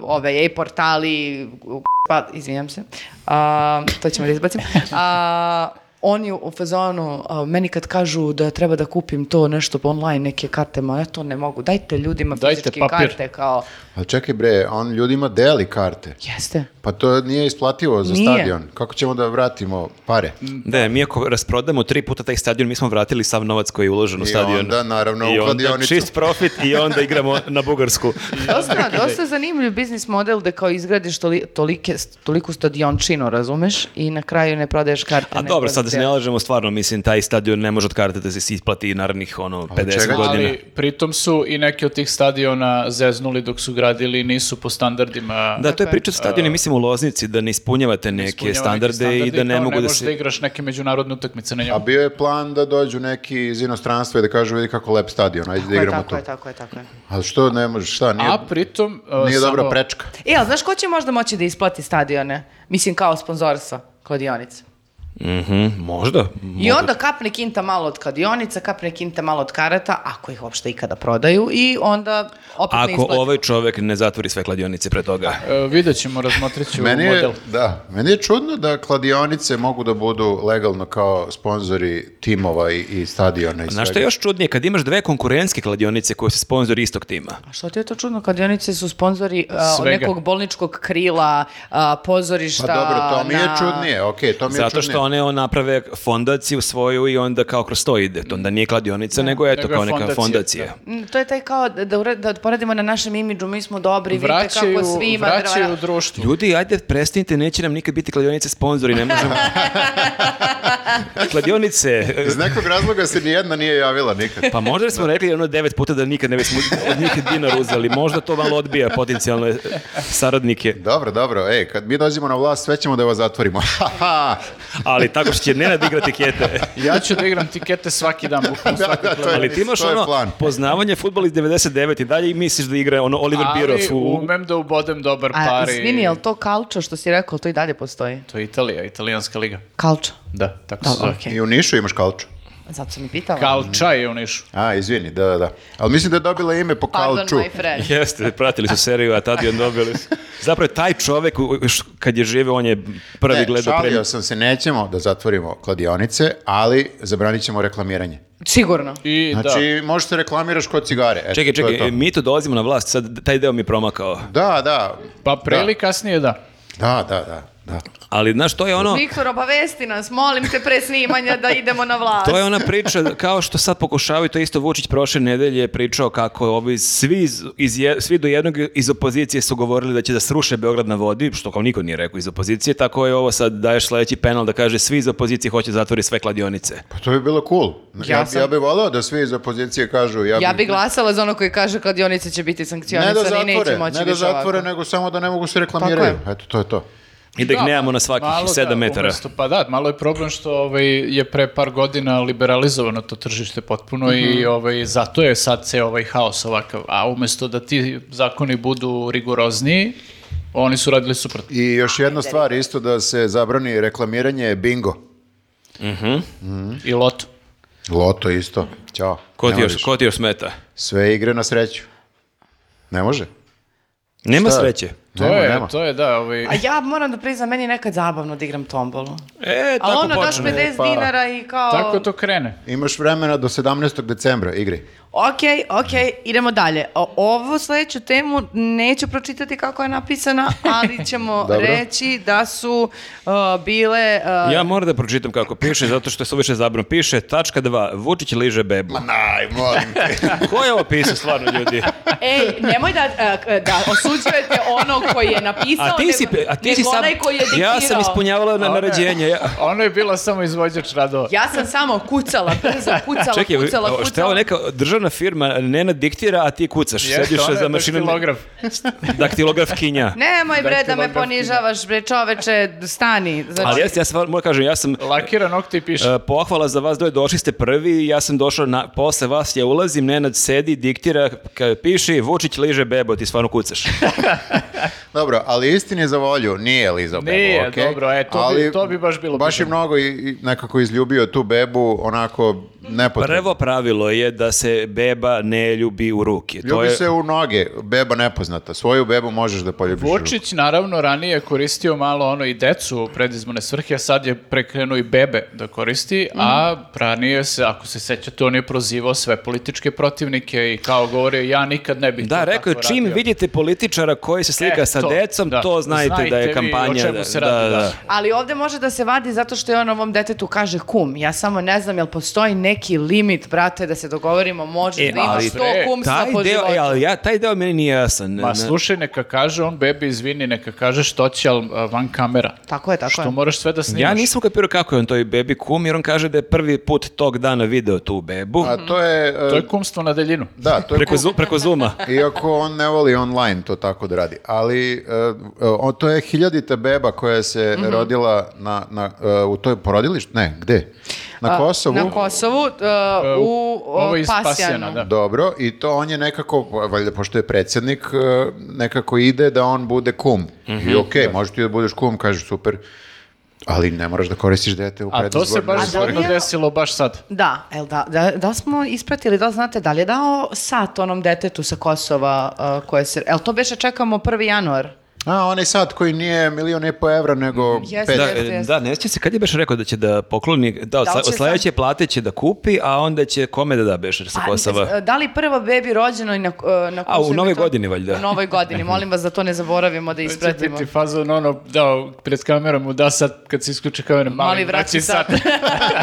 S3: ove e-portali, u- pa, izvinjam se, a, to ćemo da izbacim, a, oni u fazonu, a, meni kad kažu da treba da kupim to nešto online, neke karte, ma ja to ne mogu, dajte ljudima
S4: Dajte
S3: fizičke
S4: papir.
S3: karte, kao,
S1: Ali čekaj bre, on ljudima deli karte.
S3: jeste.
S1: Pa to nije isplativo za
S3: Nije.
S1: stadion. Kako ćemo da vratimo pare?
S2: Da, mi ako rasprodamo tri puta taj stadion, mi smo vratili sav novac koji je uložen u
S1: I
S2: stadion.
S1: onda, naravno, u
S2: I onda
S1: kladionicu.
S2: čist profit i onda igramo na Bugarsku.
S3: Dosta, dosta zanimljiv biznis model da kao izgradiš toli, tolike, toliku stadiončinu, razumeš? I na kraju ne prodaješ karte.
S2: A
S3: ne
S2: dobro, sad da se ne
S3: prodaješ.
S2: lažemo, stvarno, mislim, taj stadion ne može od karte da se isplati narednih ono, 50
S1: čega?
S2: godina.
S4: Ali pritom su i neki od tih stadiona zeznuli dok su gradili, nisu po standardima.
S2: Da, to je
S3: je.
S2: priča o stadionu, mislim, u Loznici, da ne ispunjavate neke
S4: ispunjava neke
S2: standarde, i da
S4: kao
S2: ne mogu da
S4: možeš da
S2: se...
S4: igraš neke međunarodne utakmice na
S1: A
S4: njemu.
S1: bio je plan da dođu neki iz inostranstva i da kažu vidi kako lep stadion, ajde da
S3: Tako je,
S1: igramo
S3: tako
S1: tu.
S3: je, tako je, tako je.
S1: Ali što ne možeš, šta, nije,
S4: A pritom... uh,
S1: nije
S4: samo-
S1: dobra prečka.
S3: E, ali znaš ko će možda moći da isplati stadione? Mislim, kao sponzorstva, kladionice.
S2: Mhm, možda.
S3: I onda kapne kinta malo od kladionica, kapne kinta malo od karata, ako ih uopšte ikada prodaju, i onda opet ne
S2: Ako
S3: isplati.
S2: ovaj čovek ne zatvori sve kladionice pre toga.
S4: Uh, vidjet ćemo, razmotrit ćemo
S1: Meni je,
S4: model.
S1: da, meni je čudno da kladionice mogu da budu legalno kao sponzori timova i, i stadiona i
S2: Znaš što je još čudnije? Kad imaš dve konkurentske kladionice koje su sponzori istog tima.
S3: A što ti je to čudno? Kladionice su sponzori a,
S4: Svega.
S3: nekog bolničkog krila, a, pozorišta.
S1: Pa dobro, to mi je
S3: na-
S1: čudnije, okej, to mi je
S2: Zato
S1: čudnije.
S2: što one on naprave fondaciju svoju i onda kao kroz to ide. To onda nije kladionica, nego eto
S4: Nego je
S2: kao neka
S4: fondacija,
S2: fondacija.
S4: da.
S3: Mm, To je taj kao da, da, ure- da poradimo na našem imidžu, mi smo dobri, vidite
S4: Vraćaju,
S3: kako svima...
S4: vraćaju
S3: drva-
S4: društvu.
S2: Ljudi, ajde prestanite, neće nam nikad biti kladionice sponzori, ne možemo. kladionice.
S1: Iz nekog razloga se nijedna nije javila nikad.
S2: Pa možda smo rekli ono devet puta da nikad ne bismo od njih dinar uzeli. Možda to malo odbija potencijalne saradnike.
S1: Dobro, dobro. Ej, kad mi dođemo na vlast, sve ćemo da vas zatvorimo.
S2: Ali tako što će Nenad igrati kete.
S4: Ja ću da igram tikete svaki dan, bukvalno svaki
S1: da, to je-
S2: Ali ti imaš
S1: to je
S2: ono
S1: plan.
S2: poznavanje futbola iz 99 i dalje i misliš da igra ono Oliver Birov
S4: Ali
S2: u...
S4: umem da ubodem dobar
S3: A,
S4: par i...
S3: izvini, je li to kalčo što si rekao, to i dalje postoji?
S4: To je Italija, italijanska liga.
S3: Kalčo.
S4: Da, tako se
S3: Dobro,
S4: zove.
S3: okej.
S1: I u Nišu imaš kalču.
S3: Zato sam i pitala.
S4: Kalča je u Nišu.
S1: A, izvini, da, da, da. Ali mislim da je dobila ime po
S3: Pardon,
S1: kalču.
S3: my friend.
S2: Jeste, pratili su seriju, a tad je dobili. Zapravo taj čovek, u- u- š- kad je živeo, on je prvi
S1: Ne,
S2: gledao
S1: šalio
S2: pre...
S1: sam se, nećemo da zatvorimo kladionice, ali zabranit ćemo reklamiranje.
S3: Sigurno.
S4: I da.
S1: Znači, možeš da reklamiraš kod cigare. Eto,
S2: Čekaj,
S1: to je
S2: čekaj, e,
S1: to.
S2: mi tu dolazimo na vlast, sad taj deo mi je promakao.
S1: Da, da.
S4: Pa pre ili kasnije da.
S1: Da, da, da. da.
S2: Ali, znaš, to je ono...
S3: Viktor, obavesti nas, molim te pre snimanja da idemo na vlast.
S2: To je ona priča, kao što sad pokušavaju, to je isto Vučić prošle nedelje je pričao kako ovi, svi, iz, iz je- svi do jednog iz opozicije su govorili da će da sruše Beograd na vodi, što kao niko nije rekao iz opozicije, tako je ovo sad daješ sledeći penal da kaže svi iz opozicije hoće da zatvori sve kladionice.
S1: Pa to bi bilo cool. Ja,
S3: Ja
S1: ja,
S3: sam-
S1: bih volao da svi iz opozicije kažu... Ja,
S3: Ja
S1: bi
S3: bi glasala za ono koji kaže kladionice će biti
S1: Ne da
S3: sankcionisani i neće
S1: zatvore,
S3: moći
S1: ne da
S3: više
S1: zatvore,
S3: ovako.
S1: nego samo da ne mogu se reklamiraju.
S3: Tako
S1: Eto, to je to.
S2: I da ih
S4: Da,
S2: nemamo na svakih
S4: malo da,
S2: 7 metara.
S4: umesto- pa da, malo je problem što ovaj, je pre par godina liberalizovano to tržište potpuno i
S2: Mhm.
S4: ovaj, zato je sad ceo ovaj haos ovakav. A umesto da ti zakoni budu rigorozniji, oni su radili suprotno.
S1: I još jedna stvar, isto da se zabrani reklamiranje bingo.
S2: Mhm.
S4: I loto.
S1: Loto isto. Ćao.
S2: Ko ti,
S1: Nema
S2: još,
S1: više.
S2: ko ti još smeta?
S1: Sve igre na sreću. Ne može.
S2: Nema
S1: Šta je?
S2: sreće.
S4: To
S1: nema,
S4: je,
S1: nema.
S4: to je da, ovaj,
S3: A ja moram da priznam, meni je nekad zabavno da igram tombolu.
S2: E,
S3: A
S2: tako
S3: ono, daš
S2: počne.
S3: 50
S1: pa.
S3: dinara i kao...
S4: tako to krene.
S1: Imaš vremena do 17. decembra igri.
S3: Ok, ok, idemo dalje. O, ovo sledeću temu neću pročitati kako je napisana, ali ćemo
S1: Dobro.
S3: reći da su uh, bile... uh,
S2: Ja moram da pročitam kako piše, zato što je suviše zabron. Piše, tačka 2, Vučić liže bebu.
S1: Naj, molim te.
S2: Ko je ovo pisao stvarno, ljudi?
S3: Ej, e, nemoj da, uh, da osuđujete onog koji je napisao,
S2: A ti si,
S3: nego,
S2: a ti
S3: nego
S2: si sam,
S3: onaj koji je diktirao.
S2: ja sam ispunjavala na naređenje. Ja.
S4: Ona Ono je bila samo izvođač radova.
S3: Ja sam samo kucala, brzo, kucala,
S2: Čekaj,
S3: kucala,
S2: o,
S3: kucala.
S2: šta je ovo neka državna firma, Nena diktira, a ti kucaš,
S4: Jeste,
S2: sediš
S4: ona je
S2: za mašinom.
S4: daktilograf.
S2: Daktilografkinja.
S3: Nemoj bre da me
S4: Daktilografkinja.
S3: ponižavaš, bre čoveče, stani. Znači,
S2: Ali jeste, ja stvarno moram kažem, ja sam...
S4: Lakira nokte i piše.
S2: e, pohvala za vas, dvoje, došli ste prvi, ja sam došao na, posle vas, ja ulazim, Nenad sedi, diktira, ka, piši, Vučić liže bebo, ti stvarno kucaš.
S1: Dobro, ali istini za volju, nije lizao bebu,
S4: Nije,
S1: okej?
S4: dobro, e, to bi- to bi baš bilo
S1: Baš je
S4: pitanje.
S1: mnogo i, i nekako izljubio tu bebu, onako nepotrebno.
S2: Prvo pravilo je da se beba ne ljubi u ruke. To
S1: Ljubi
S2: je,
S1: se u noge, beba nepoznata. Svoju bebu možeš da poljubiš. u ruku.
S4: Vučić naravno ranije je koristio malo ono i decu u predizmone svrhe, a sad je prekrenuo i bebe da koristi, a ranije se, ako se sećate, on je prozivao sve političke protivnike i kao govorio ja nikad ne bih
S2: Da,
S4: to
S2: rekao je,
S4: tako
S2: čim
S4: radio."
S2: vidite političara koji se slika
S4: E,
S2: sa
S4: to,
S2: decom,
S4: da.
S2: to znajte,
S4: Znajte
S2: da
S4: vi
S2: je
S4: o
S2: kampanja.
S4: čemu
S2: da-
S4: se radi,
S2: da,
S4: da.
S2: da.
S3: Ali ovde može da se vadi zato što je on ovom detetu kaže kum. Ja samo ne znam jel postoji neki limit, brate, da se dogovorimo, može
S2: E,
S3: da imaš
S2: ali-
S3: to
S4: Bre,
S3: kumstva
S2: Taj
S3: po
S2: deo,
S3: životu.
S2: e, ali ja, taj deo meni nije jasan.
S4: Ma
S2: Ne-
S4: slušaj, neka kaže on bebi, izvini, neka kaže što će, ali a, van kamera.
S3: Tako je, tako
S4: Što
S3: je.
S4: moraš sve da snimaš.
S2: Ja nisam kapirao kako je on toj bebi kum, jer on kaže da je prvi put tog dana video tu bebu
S1: A to je... e,
S4: To je kumstvo na daljinu.
S1: Da, to je
S2: preko, zu- preko Zuma.
S1: Iako on ne voli online to tako da radi, ali e, e, o, to je hiljadita beba koja se
S4: Mhm.
S1: rodila na, na, e, u toj porodilištu, ne, gde? Na Kosovu.
S3: Na Kosovu, uh,
S4: E,
S3: u,
S4: ovo
S3: uh,
S4: je iz
S3: Pasjanu.
S4: da.
S1: Dobro, i to on je nekako, valjda pošto je predsjednik, e, nekako ide da on bude kum.
S4: Mhm.
S1: I okej, možeš ti da budeš kum, kažeš super, ali ne moraš da koristiš dete u
S4: A to se
S1: predizborne
S4: baš
S1: svrhe.
S4: zgodno
S3: nije-
S4: desilo baš sad.
S3: Da, el da, da, da smo ispratili, da li znate da li je dao sat onom detetu sa Kosova uh, koje se... El to beše čekamo 1. januar?
S1: A, onaj sad koji nije milion i po evra,
S4: Mhm.
S1: nego
S3: Jeste.
S1: pet.
S2: Da,
S3: jeste,
S2: e,
S3: jeste.
S2: da, ne sjećam se kad je Beš rekao da će da pokloni, da,
S3: Da li će
S2: da sledeće plate će da kupi, a onda će kome da da Beš sa
S3: Pa,
S2: Kosova?
S3: e, Da li prvo bebi rođeno i na, e,
S2: A,
S3: na
S2: u
S3: Kosovu i
S2: Novoj
S3: Metohiji?
S2: godini, valjda.
S3: U novoj godini, molim vas da to ne zaboravimo, da
S4: To će
S3: ispratimo.
S4: biti fazon ono, da, pred kamerom mu da sad, kad se isključi kamera, mali,
S3: Mali vraći sat.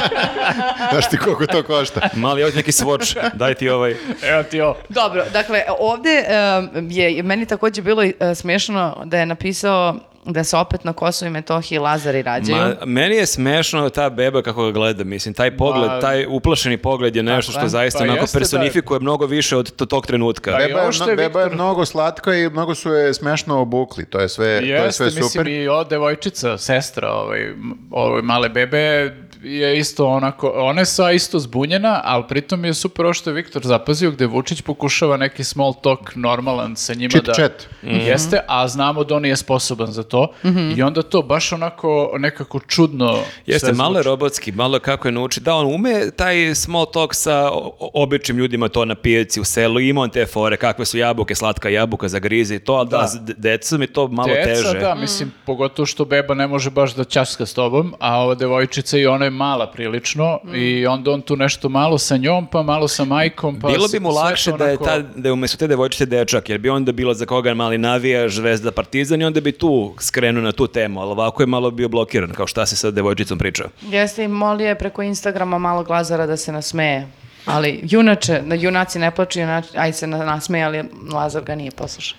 S1: Znaš ti koliko to košta?
S2: Mali, ovdje neki svoč, daj ti ovaj.
S4: Evo ti ovo.
S3: Dobro, dakle, ovde em, eh, je meni takođe bilo e, smiješno da je napisao da se opet na Kosovo i Metohiji Lazari rađaju.
S2: Ma, meni je smešno ta beba kako ga gleda, mislim, taj pogled,
S4: Ma-
S2: taj uplašeni pogled je nešto
S3: Tako
S2: što
S3: je.
S2: zaista
S4: Pa
S2: onako
S4: jeste da-
S2: personifikuje mnogo više od to- tog trenutka.
S4: Pa i
S1: Beba, je,
S4: ovo što je
S1: beba je
S4: Viktor-
S1: mnogo slatka i mnogo su je smešno obukli. To je sve, to je
S4: Jeste,
S1: sve super.
S4: mislim i ova devojčica, sestra ovaj, m- ovaj male bebe je isto onako, ona je sva isto zbunjena, ali pritom je super ovo što je Viktor zapazio gde Vučić pokušava neki small talk normalan sa njima
S1: Chit
S4: da... Mhm.
S1: chat.
S4: Jeste, a znamo da on nije sposoban za to i onda to baš onako nekako čudno
S2: Jeste,
S4: sve
S2: malo je
S4: zvuči.
S2: robotski, malo kako je nauči. Da, on ume taj small talk sa o- o- običnim ljudima to na pijaci u selu, ima on te fore, kakve su jabuke, slatka jabuka za grize i to, ali da, s d- decom je to malo
S4: Deca,
S2: teže.
S4: da, mislim, pogotovo što beba ne može baš da ćaska s tobom, a ova devojčica i ona je mala prilično i onda on tu nešto malo sa njom, pa malo sa majkom, pa...
S2: Bilo bi
S4: sve
S2: mu
S4: to
S2: lakše da je,
S4: onako-
S2: ta, da je umjesto te devojčice dečak, jer bi onda bilo za koga je mali navija, žvezda, partizan i onda bi tu skrenuo na tu temu, ali ovako je malo bio blokiran, kao šta se sa devojčicom priča.
S3: Jeste i molio je preko Instagrama malog Lazara da se nasmeje. Ali junače, da junaci ne plaču, junači, aj se na- nasmeje, ali Lazar ga nije poslušao.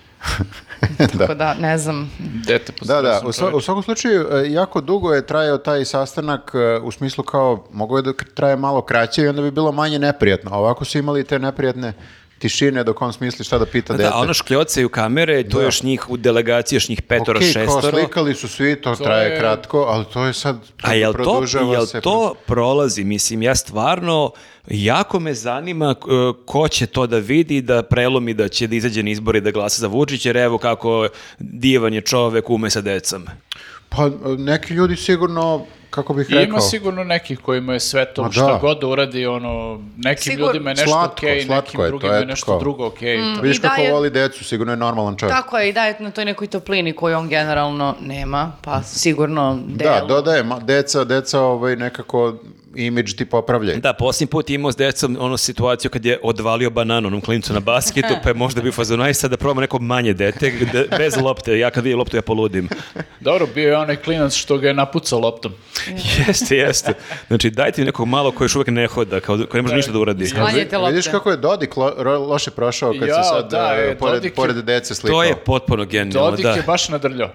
S3: Tako da, ne znam.
S4: Dete pod
S1: Da, da,
S4: stresom
S1: u, sva-
S4: čoveče.
S1: u svakom slučaju e, jako dugo je trajao taj sastanak e, u smislu kao mogao je da k- traje malo kraće i onda bi bilo manje neprijatno. A ovako su imali te neprijatne tišine dok on smisli šta da pita dete.
S2: Da, a ono škljocaju kamere, to
S1: Da.
S2: je još njih u delegaciji, još njih petoro,
S1: Okej, kao
S2: šestoro.
S1: slikali su svi, to,
S4: To
S1: traje
S4: je-
S1: kratko, ali to je sad
S2: A jel to,
S1: produžava
S2: jel
S1: se-
S2: to prolazi? Mislim, ja stvarno, jako me zanima e, ko će to da vidi, da prelomi, da će da izađe na izbore i da glasa za Vučić, jer evo kako divan je čovek ume sa decom.
S1: Pa e, neki ljudi sigurno, kako bih
S4: I
S1: rekao...
S4: ima sigurno nekih kojima je sve to
S1: Ma
S4: šta
S1: da.
S4: god da uradi, ono, nekim
S3: Sigur-
S4: ljudima je nešto
S1: Slatko,
S4: okej,
S1: slatko
S4: nekim
S1: je,
S4: drugima
S1: to
S4: je,
S1: je
S4: nešto
S1: tako.
S4: drugo okej. to-
S1: Vidiš
S3: I da
S1: kako
S3: je-
S1: voli decu, sigurno je normalan čovjek.
S3: Tako je, i daje na toj nekoj toplini koju on generalno nema, pa sigurno
S1: Da,
S3: delo.
S1: dodaje, ma- deca, deca ovaj, nekako imidž ti popravljaju.
S2: Da, posljednji put je imao s decom onu situaciju kad je odvalio banan onom klincu na basketu, pa je možda bio fazon, aj sad da probamo neko manje dete, gde- bez lopte, ja kad vidim loptu ja poludim.
S4: Dobro, bio je onaj klinac što ga je napucao loptom.
S2: jeste, jeste. Znači, dajte mi nekog malo koji još uvijek ne hoda, kao, koji ne može ništa da uradi.
S3: Sklanjajte lopte.
S1: Vidiš kako je Dodik lo- ro- loše prošao kad se
S4: Jao,
S1: sad
S4: da,
S1: e,
S4: e,
S1: pored,
S4: Dodik je-
S1: pored dece slikao.
S2: To je potpuno genijalno,
S4: Dodik
S2: da.
S4: je baš nadrljao.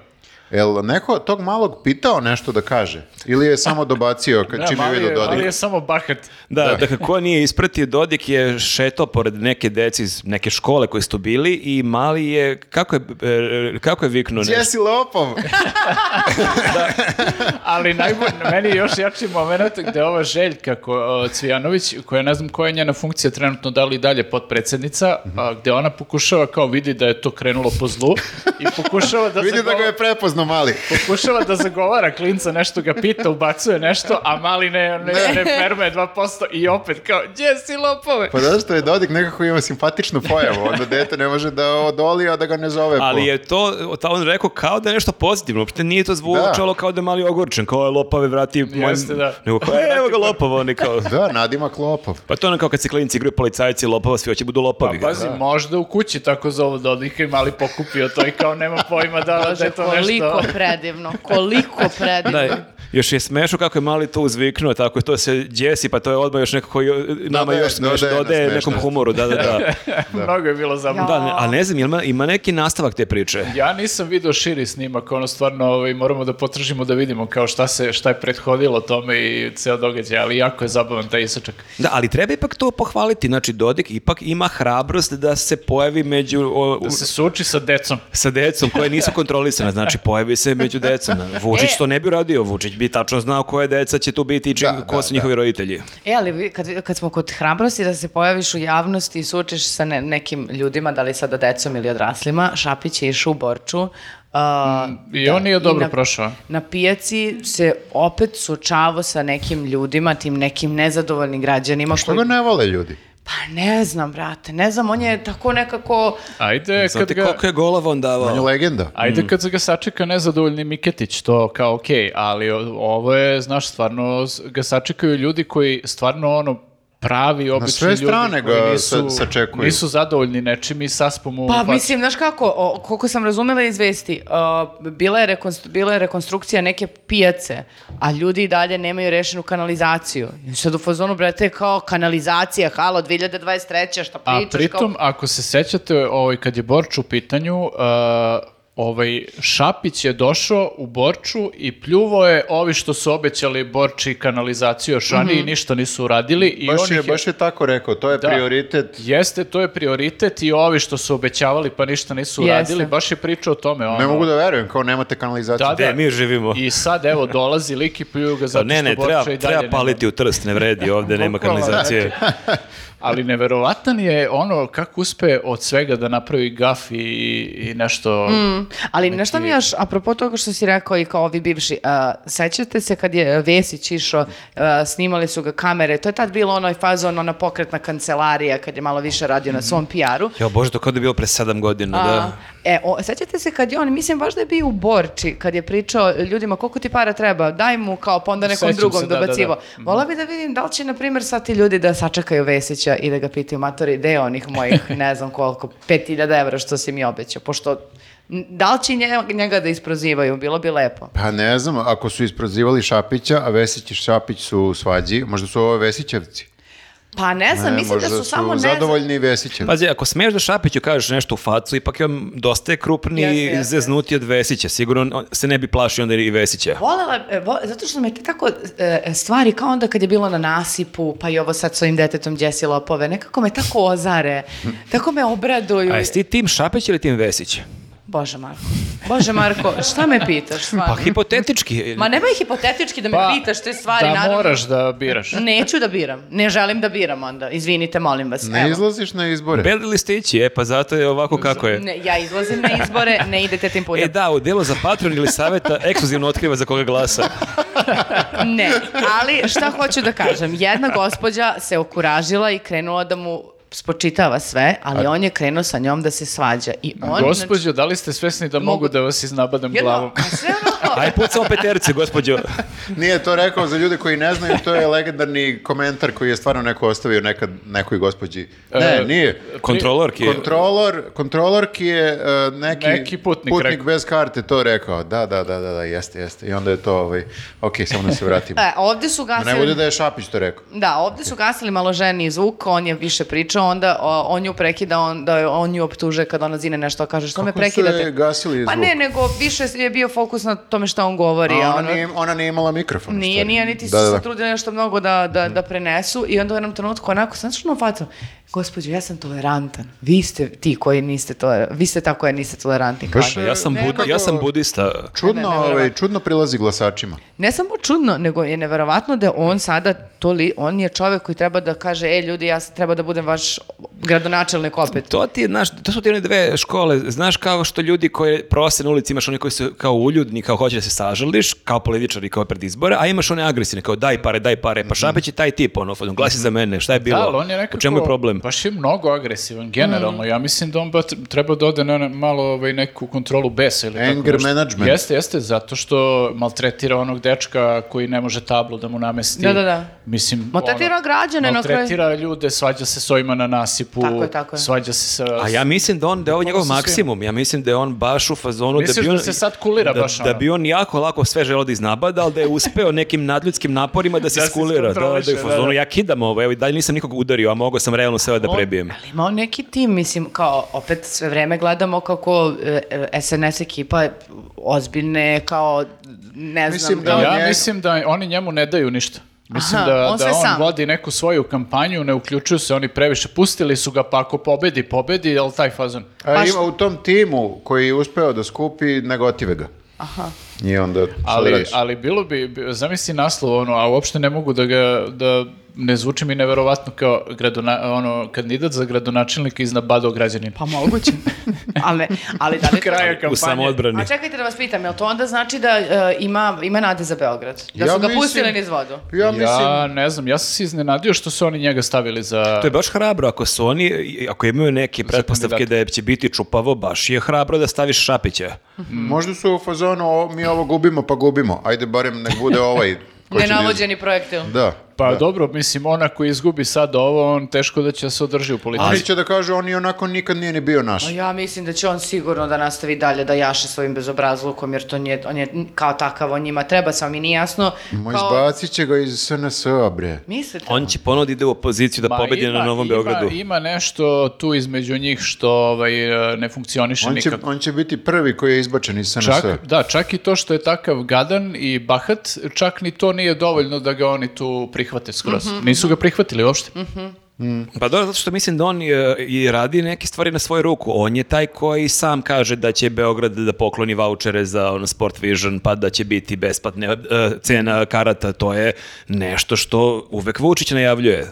S1: Jel neko tog malog pitao nešto da kaže? Ili je samo dobacio kad
S4: Da,
S1: čim je
S4: mali,
S1: vidio
S4: je, mali
S1: Dodika?
S4: je samo bahat.
S2: Da, dakle, ko nije ispratio, Dodik je šetao pored neke deci iz neke škole koji su tu bili i mali je, kako je, e, kako je viknuo nešto?
S1: Gdje si lopov?
S4: Ali najbolj, meni je još jači moment gde ova Željka ko, o, Cvijanović, koja ne znam koja je njena funkcija trenutno, da li i dalje potpredsednica, a, gde ona pokušava kao vidi da je to krenulo po zlu i pokušava da
S1: Vidio da ga
S4: zagovara-
S1: je prepoznao mali.
S4: Pokušava da zagovara klinca, nešto ga pita, ubacuje nešto, a mali ne, ne, ne ferme 2% i opet kao, gdje si lopove?
S1: Pa zato što je Dodik nekako ima simpatičnu pojavu, onda dete ne može da odoli, a da ga ne zove. po-
S2: Ali je to, ta- on rekao kao da je nešto pozitivno, uopšte nije to zvučalo kao da je mali ogorčen, kao je lopave vrati mojem-
S4: Jeste, da.
S2: Nego kao, "E, evo ga lopava, oni kao...
S1: Da, nadimak lopov.
S2: Pa to je ono kao kad se klinci igraju policajci i lopava, svi hoće budu lopavi.
S1: Pa,
S4: Pazi, možda u kući tako zovu Dodika i mali pokupio to i kao nema pojma da, da
S3: Bože,
S4: je to nešto.
S3: koliko predivno, koliko predivno.
S2: Da, još je smešno kako je mali to uzviknuo, tako je to se djesi, pa to je odmah još nekako jo- nama
S1: Dodaje-
S2: još smešno,
S1: dodaje na
S2: dodaje nekom
S1: smešnost.
S2: humoru, da, da, da.
S4: Mnogo je bilo zabavno.
S2: Da, ne, a ne znam, jel ima, ima neki nastavak te priče?
S4: Ja nisam video širi snimak, ono stvarno ovaj, moramo da potražimo da vidimo kao šta, se, šta je prethodilo tome i ceo događaj, ali jako je zabavan taj isočak.
S2: Da, ali treba ipak to pohvaliti, znači Dodik ipak ima hrabrost da se pojavi među... o, u-
S4: Da se suči sa decom.
S2: sa decom koje nisu kontrolisane, znači pojavi se među decom. Vučić
S3: E.
S2: to ne bi uradio, Vučić bi tačno znao koje deca će tu biti i čim,
S1: Da,
S2: ko
S1: da,
S2: su njihovi roditelji.
S3: E, ali vi- kad, kad smo kod hrabrosti, da se pojaviš u javnosti i sučeš sa ne- nekim ljudima, da li sada decom ili odraslima, Šapić je išao u Borču. uh,
S4: Mm. I
S3: da,
S4: on nije
S3: i
S4: dobro
S3: na-
S4: prošao.
S3: Na pijaci se opet suočavao sa nekim ljudima, tim nekim nezadovoljnim
S4: Pa
S3: građanima.
S1: Što ga ne vole ljudi?
S3: Pa ne znam, brate, ne znam, on je tako nekako...
S4: Ajde, kad
S2: Znate
S4: ga...
S2: koliko je Mm. golova on
S1: On je
S2: davao?
S1: legenda.
S4: Ajde kad se ga sačeka nezadovoljni Miketić, to kao okej, ali o- ovo je, znaš, stvarno s- ga sačekaju ljudi koji stvarno ono pravi obični
S1: sve
S4: ljudi
S1: strane
S4: koji
S1: ga
S4: nisu,
S1: sa- sačekuju.
S4: nisu zadovoljni nečim i saspom u
S3: Pa
S4: facu.
S3: mislim, znaš kako, o, koliko sam razumela iz vesti, uh, bila, je rekonstru- bila je rekonstrukcija neke pijace, a ljudi i dalje nemaju rešenu kanalizaciju. I sad u fazonu, brate, kao kanalizacija, halo, 2023. šta
S4: A
S3: pričaš?
S4: pritom,
S3: kao...
S4: ako se sećate, ovaj, kad je Borč u pitanju, uh, ovaj, Šapić je došao u Borču i pljuvo je ovi što su obećali Borči kanalizaciju još ranije
S3: Mhm.
S4: i ništa nisu uradili. I
S1: Baš
S4: on
S1: je,
S4: ih je-
S1: baš je tako rekao, to je
S4: Da.
S1: prioritet.
S4: Jeste, to je prioritet i ovi što su obećavali pa ništa nisu
S3: Jeste.
S4: uradili, baš je pričao o tome. Ono.
S1: Ne mogu da verujem, kao nemate kanalizaciju.
S4: Da,
S2: Gde mi živimo?
S4: I sad evo dolazi lik i pljuju ga zato
S2: Pa ne, ne,
S4: što Borča
S2: treba,
S4: i dalje
S2: treba
S4: nema.
S2: paliti u trst, ne vredi, ovde nema
S4: Bukvalno,
S2: kanalizacije.
S4: Ali neverovatan je ono kako uspe od svega da napravi gaf i, i nešto...
S3: Mm. Ali nešto mi još, apropo toga što si rekao i kao ovi bivši, uh, sećate se kad je Vesić išao, uh, snimali su ga kamere, to je tad bilo onoj fazon, ona pokretna kancelarija kad je malo više radio na
S4: Mhm.
S3: svom PR-u.
S2: Jo, Bože, to kao da je bilo pre sedam godina, da.
S3: E, o, sećate se kad je on, mislim baš da je bio u Borči, kad je pričao ljudima koliko ti para treba, daj mu kao pa onda nekom
S4: Sećam se,
S3: drugom
S4: da, da, da.
S3: dobacivo. Vola bi da vidim da li će, na primjer, sad ti ljudi da sačekaju Vesića i da ga pitaju, matori, gde je onih mojih, ne znam koliko, 5000 evra što si mi obećao, pošto m, da li će nje- njega da isprozivaju, bilo bi lepo.
S1: Pa ne znam, ako su isprozivali Šapića, a Vesić i Šapić su u svađi, možda su ovo Vesićevci.
S3: Pa ne znam,
S1: E,
S3: mislim da
S1: možda
S3: su, samo ne znam-
S1: zadovoljni Vesićevci.
S4: Pa,
S2: Pazi, ako smeš da Šapiću kažeš nešto u facu, ipak je on dosta je krupni
S3: Jeste,
S2: i
S3: jeste.
S2: zeznuti od Vesića. Sigurno on- se ne bi plašio onda i Vesića.
S3: Volela, e, vo- zato što me te tako e, stvari, kao onda kad je bilo na nasipu, pa i ovo sad s ovim detetom Jesse Lopove, nekako me tako ozare, tako me obraduju.
S2: A jesi ti tim Šapić ili tim Vesić?
S3: Bože Marko, Bože Marko, šta me pitaš?
S2: Pa
S3: stvarno?
S2: hipotetički.
S3: Ma nemoj hipotetički da me pitaš te stvari,
S4: Pa, da
S3: naravno. Mm,
S4: moraš da biraš.
S3: Neću da biram, ne želim da biram onda, izvinite, molim vas.
S1: Ne
S3: evo.
S1: izlaziš na izbore.
S2: Beli listići, e pa zato je ovako kako je.
S3: Ne, ja izlazim na izbore, ne idete tim putem.
S2: E da, u delu za patron ili saveta ekskluzivno otkriva za koga glasa.
S3: Ne, ali šta hoću da kažem, jedna gospođa se okuražila i krenula da mu spočitava sve, ali on je krenuo sa njom da se svađa. I on, znači,
S4: Gospodjo, da li ste svesni da mogu da vas iznabadam
S3: jedno-
S4: glavom?
S3: a sve ono onako-
S2: Aj pucamo peterce, gospođo.
S1: Nije to rekao za ljude koji ne znaju, to je legendarni komentar koji je stvarno neko ostavio nekad nekoj gospođi. Ne,
S4: E,
S1: nije.
S2: Kontrolorki.
S1: Kontrolor, kontrolorki je e, neki,
S4: Neki putnik rekao.
S1: bez karte to rekao. Da, da, da, da, da, jeste, jeste. I onda je to, ovaj, ok, samo da se vratimo.
S3: E, ovdje su
S1: Da ne bude
S3: gasili...
S1: da je Šapić to rekao.
S3: Da, ovdje su gasili malo ženi zvuk, on je više pričao, onda o, on ju prekida, on, da je- on ju optuže kad ona zine nešto, kaže što me
S1: Kako su
S3: prekidate.
S1: je gasili
S3: Pa
S1: zvuk?
S3: ne, nego više je bio fokus na tome što on govori.
S1: A
S3: a
S1: ona,
S3: ono-
S1: nije, ona nije imala mikrofon. u
S3: Nije,
S1: stvari.
S3: nije, niti su
S1: Da, da, da.
S3: se trudili nešto mnogo da, da, da prenesu i onda u jednom trenutku onako, znaš što novato, gospođo, ja sam tolerantan, vi ste ti koji niste tolerantan, vi ste ta koja niste tolerantni. kao
S1: Baš-
S3: ja.
S2: Ja sam, bud, ja sam budista.
S1: Čudno,
S3: Ne, ne,
S1: ovaj,
S3: nevjerovatno.
S1: čudno prilazi glasačima.
S3: Ne samo čudno, nego je neverovatno da je on sada, to li, on je čovek koji treba da kaže, e ljudi, ja s- treba da budem vaš gradonačelnik opet.
S2: To ti je, znaš, to su ti one dve škole, znaš kao što ljudi koji prose na ulici, imaš oni koji su kao uljudni, kao hoće da se sažališ, kao političari, kao pred izbore, a imaš one agresivne, kao daj pare, daj pare, pa Šapić je taj tip, ono, glasi za mene, šta je bilo,
S4: Mhm. Da, ali on je nekako, Pa
S2: u čemu je problem?
S4: Baš je mnogo agresivan,
S3: Mm.
S4: generalno. Ja mislim da on ba, treba da ode na na malo ovaj, neku kontrolu besa ili tako
S1: Anger
S4: nešto.
S1: management.
S4: Jeste, jeste, zato što maltretira onog dečka koji ne može tablu da mu namesti.
S3: Da, da, da.
S4: Mislim,
S3: Maltretira
S4: ono,
S3: građane na kraju.
S4: Maltretira ljude, svađa se s ovima na nasipu.
S3: Tako je, tako je.
S4: Svađa se sa...
S2: A ja mislim da on da je ovo njegov
S4: sa svim.
S2: maksimum. Ja mislim da je on baš u fazonu da
S4: Misliš
S2: bi on
S4: da se sad kulira
S2: da,
S4: baš
S2: da
S4: ono?
S2: bi on jako lako sve želeo da iznabada, ali da je uspeo nekim nadljudskim naporima da se
S4: Da se
S2: skulira. Da, da, je u
S4: iskontroliše, da,
S2: fazonu
S4: da.
S2: ja kidam ovo, evo i dalje nisam nikog udario, a mogao sam realno sve da prebijem.
S3: Ali imao neki tim, mislim, kao opet sve vreme gledamo kako e, SNS ekipa ozbiljne, kao ne znam.
S1: Mislim da-
S4: Ja
S1: on je-
S4: mislim da oni njemu ne daju ništa. Mislim
S3: Aha,
S4: da,
S3: on sve
S4: da on
S3: sam.
S4: vodi neku svoju kampanju, ne uključuju se oni previše. Pustili su ga, pa ako pobedi, pobedi, ali taj fazon.
S1: A
S3: Pa
S1: ima u tom timu koji je uspeo da skupi, negotive ga.
S3: Aha.
S1: I onda, šta da
S4: Ali,
S1: radiš?
S4: ali bilo bi, bi- zamisli naslov, ono, a uopšte ne mogu da ga, da ne zvuči mi neverovatno kao gradona, ono, kandidat za gradonačelnika iz Nabado građanina.
S3: Pa moguće. ali, ali da li to...
S4: Kraja
S2: U
S4: kampanje.
S2: samoodbrani.
S3: A čekajte da vas pitam, jel to onda znači da e, ima, ima nade za Beograd? Da
S1: Ja
S3: su ga
S1: mislim-
S3: pustili niz vodu?
S1: Ja mislim,
S4: Ja ne znam, ja sam se iznenadio što su oni njega stavili za...
S2: To je baš hrabro ako su oni i ako imaju neke
S4: Znači,
S2: pretpostavke da je- će biti čupavo, baš je hrabro da staviš Šapića.
S4: Mm.
S1: možda su u fazonu, o, mi ovo gubimo, pa gubimo. Ajde, barem nek bude ovaj. koji će da iz-
S3: Nenavođeni projektil.
S1: Da.
S4: Pa dobro, mislim, ona koji izgubi sad ovo, on teško da će se održi u
S1: Oni
S4: politici.
S1: će da kažu, on i onako nikad nije ni bio naš.
S3: A Ja mislim da će on sigurno da nastavi dalje da jaše svojim bezobrazlukom, jer to nije, on je kao takav, on njima treba, samo mi nije jasno.
S1: Ma
S3: kao-
S1: izbacit će ga iz SNS-a, bre.
S3: Mislite?
S2: On će ponovno da ide u opoziciju da
S4: Ma,
S2: pobedi
S4: ima-
S2: na Novom
S4: ima-
S2: Beogradu.
S4: Ima nešto tu između njih što ovaj, e, ne funkcioniše
S1: On će,
S4: nikako.
S1: on će biti prvi koji je izbačen iz SNS-a.
S4: Čak, da, čak i to što je takav gadan i bahat, čak ni to nije dovoljno da ga oni tu prihvate skroz.
S2: Mhm,
S4: Nisu ga prihvatili uopšte.
S2: Pa dobro, zato što mislim da on e, i radi neke stvari na svoju ruku. On je taj koji sam kaže da će Beograd da pokloni vouchere za ono, Sport Vision, pa da će biti besplatne e, cena karata. To je nešto što uvek Vučić najavljuje.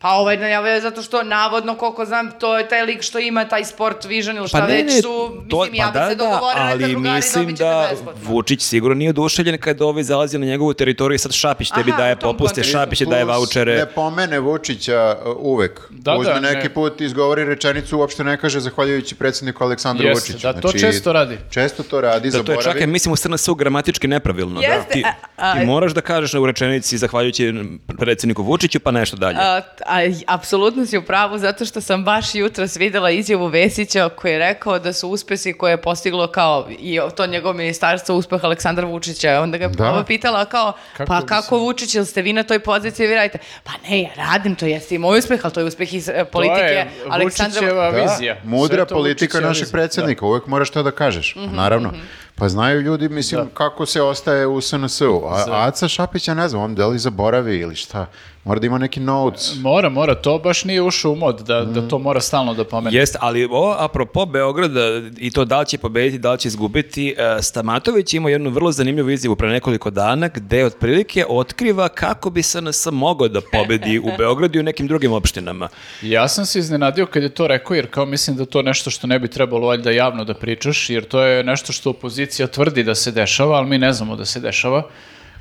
S3: Pa ovaj najavio je zato što navodno, koliko znam, to je taj lik što ima taj sport vision ili šta
S2: Pa ne,
S3: već
S2: ne,
S3: su, mislim,
S2: to- pa
S3: ja bi se dogovorila da
S2: ali
S3: drugari
S2: mislim
S3: dobit ćete
S2: da
S3: besplatno.
S2: Vučić sigurno nije oduševljen kada ovaj zalazi na njegovu teritoriju i sad Šapić tebi
S3: Aha,
S2: daje
S3: u tom
S2: popuste,
S3: kontekstu.
S2: Šapić ti daje
S1: Plus,
S2: vouchere.
S1: Ne pomene Vučića uh, uvek.
S4: Da, da,
S1: Uzme
S4: ne.
S1: neki put, izgovori rečenicu, uopšte ne kaže zahvaljujući predsjedniku Aleksandru
S4: Jeste,
S1: Vučiću. Znači,
S4: da, to često radi.
S1: Često to radi,
S2: Da, to je
S1: zaboravi.
S2: čak, ja mislim, u SNS-u gramatički nepravilno. da.
S3: Jeste,
S2: Ti,
S3: a- a-
S2: ti moraš da kažeš u rečenici zahvaljujući predsjedniku Vučiću, pa nešto dalje.
S3: A, a, apsolutno si u pravu, zato što sam baš jutros videla izjavu Vesića koji je rekao da su uspesi koje je postiglo kao i to njegov ministarstvo uspeh Aleksandra Vučića. Onda ga
S1: Da.
S3: da. pitala kao,
S4: Kako
S3: pa
S4: bi
S3: kako Vučić, jel ste vi na toj poziciji vi radite? Pa ne, ja radim, to jeste i moj uspeh, ali to je uspeh iz e, politike
S4: to je
S3: Aleksandra Vučića.
S4: Vučićeva
S1: Da,
S4: vizija. Sve
S1: mudra
S4: je to
S1: politika
S4: Vučićeva
S1: našeg
S4: vizija. Mhm,
S1: predsjednika, uvek moraš to da kažeš, pa naravno. Pa znaju ljudi, mislim, kako se ostaje u SNS-u. A Aca Šapić, ja ne znam, on da li zaboravi ili šta, mora da ima neki notes.
S4: Da. Mora, mora, to baš nije ušao u mod, da, da
S1: Mhm.
S4: to mora stalno da pomene.
S2: Jeste, ali ovo, apropo Beograda i to da li će pobediti, da li će izgubiti, e, Stamatović ima jednu vrlo zanimljivu izjavu pre nekoliko dana gde otprilike otkriva kako bi SNS mogao da pobedi u Beogradu i u nekim drugim opštinama.
S4: Ja sam se iznenadio kad je to rekao, jer kao mislim da to je nešto što ne bi trebalo valjda javno da pričaš, jer to je nešto što opozicija tvrdi da se dešava, ali mi ne znamo da se dešava.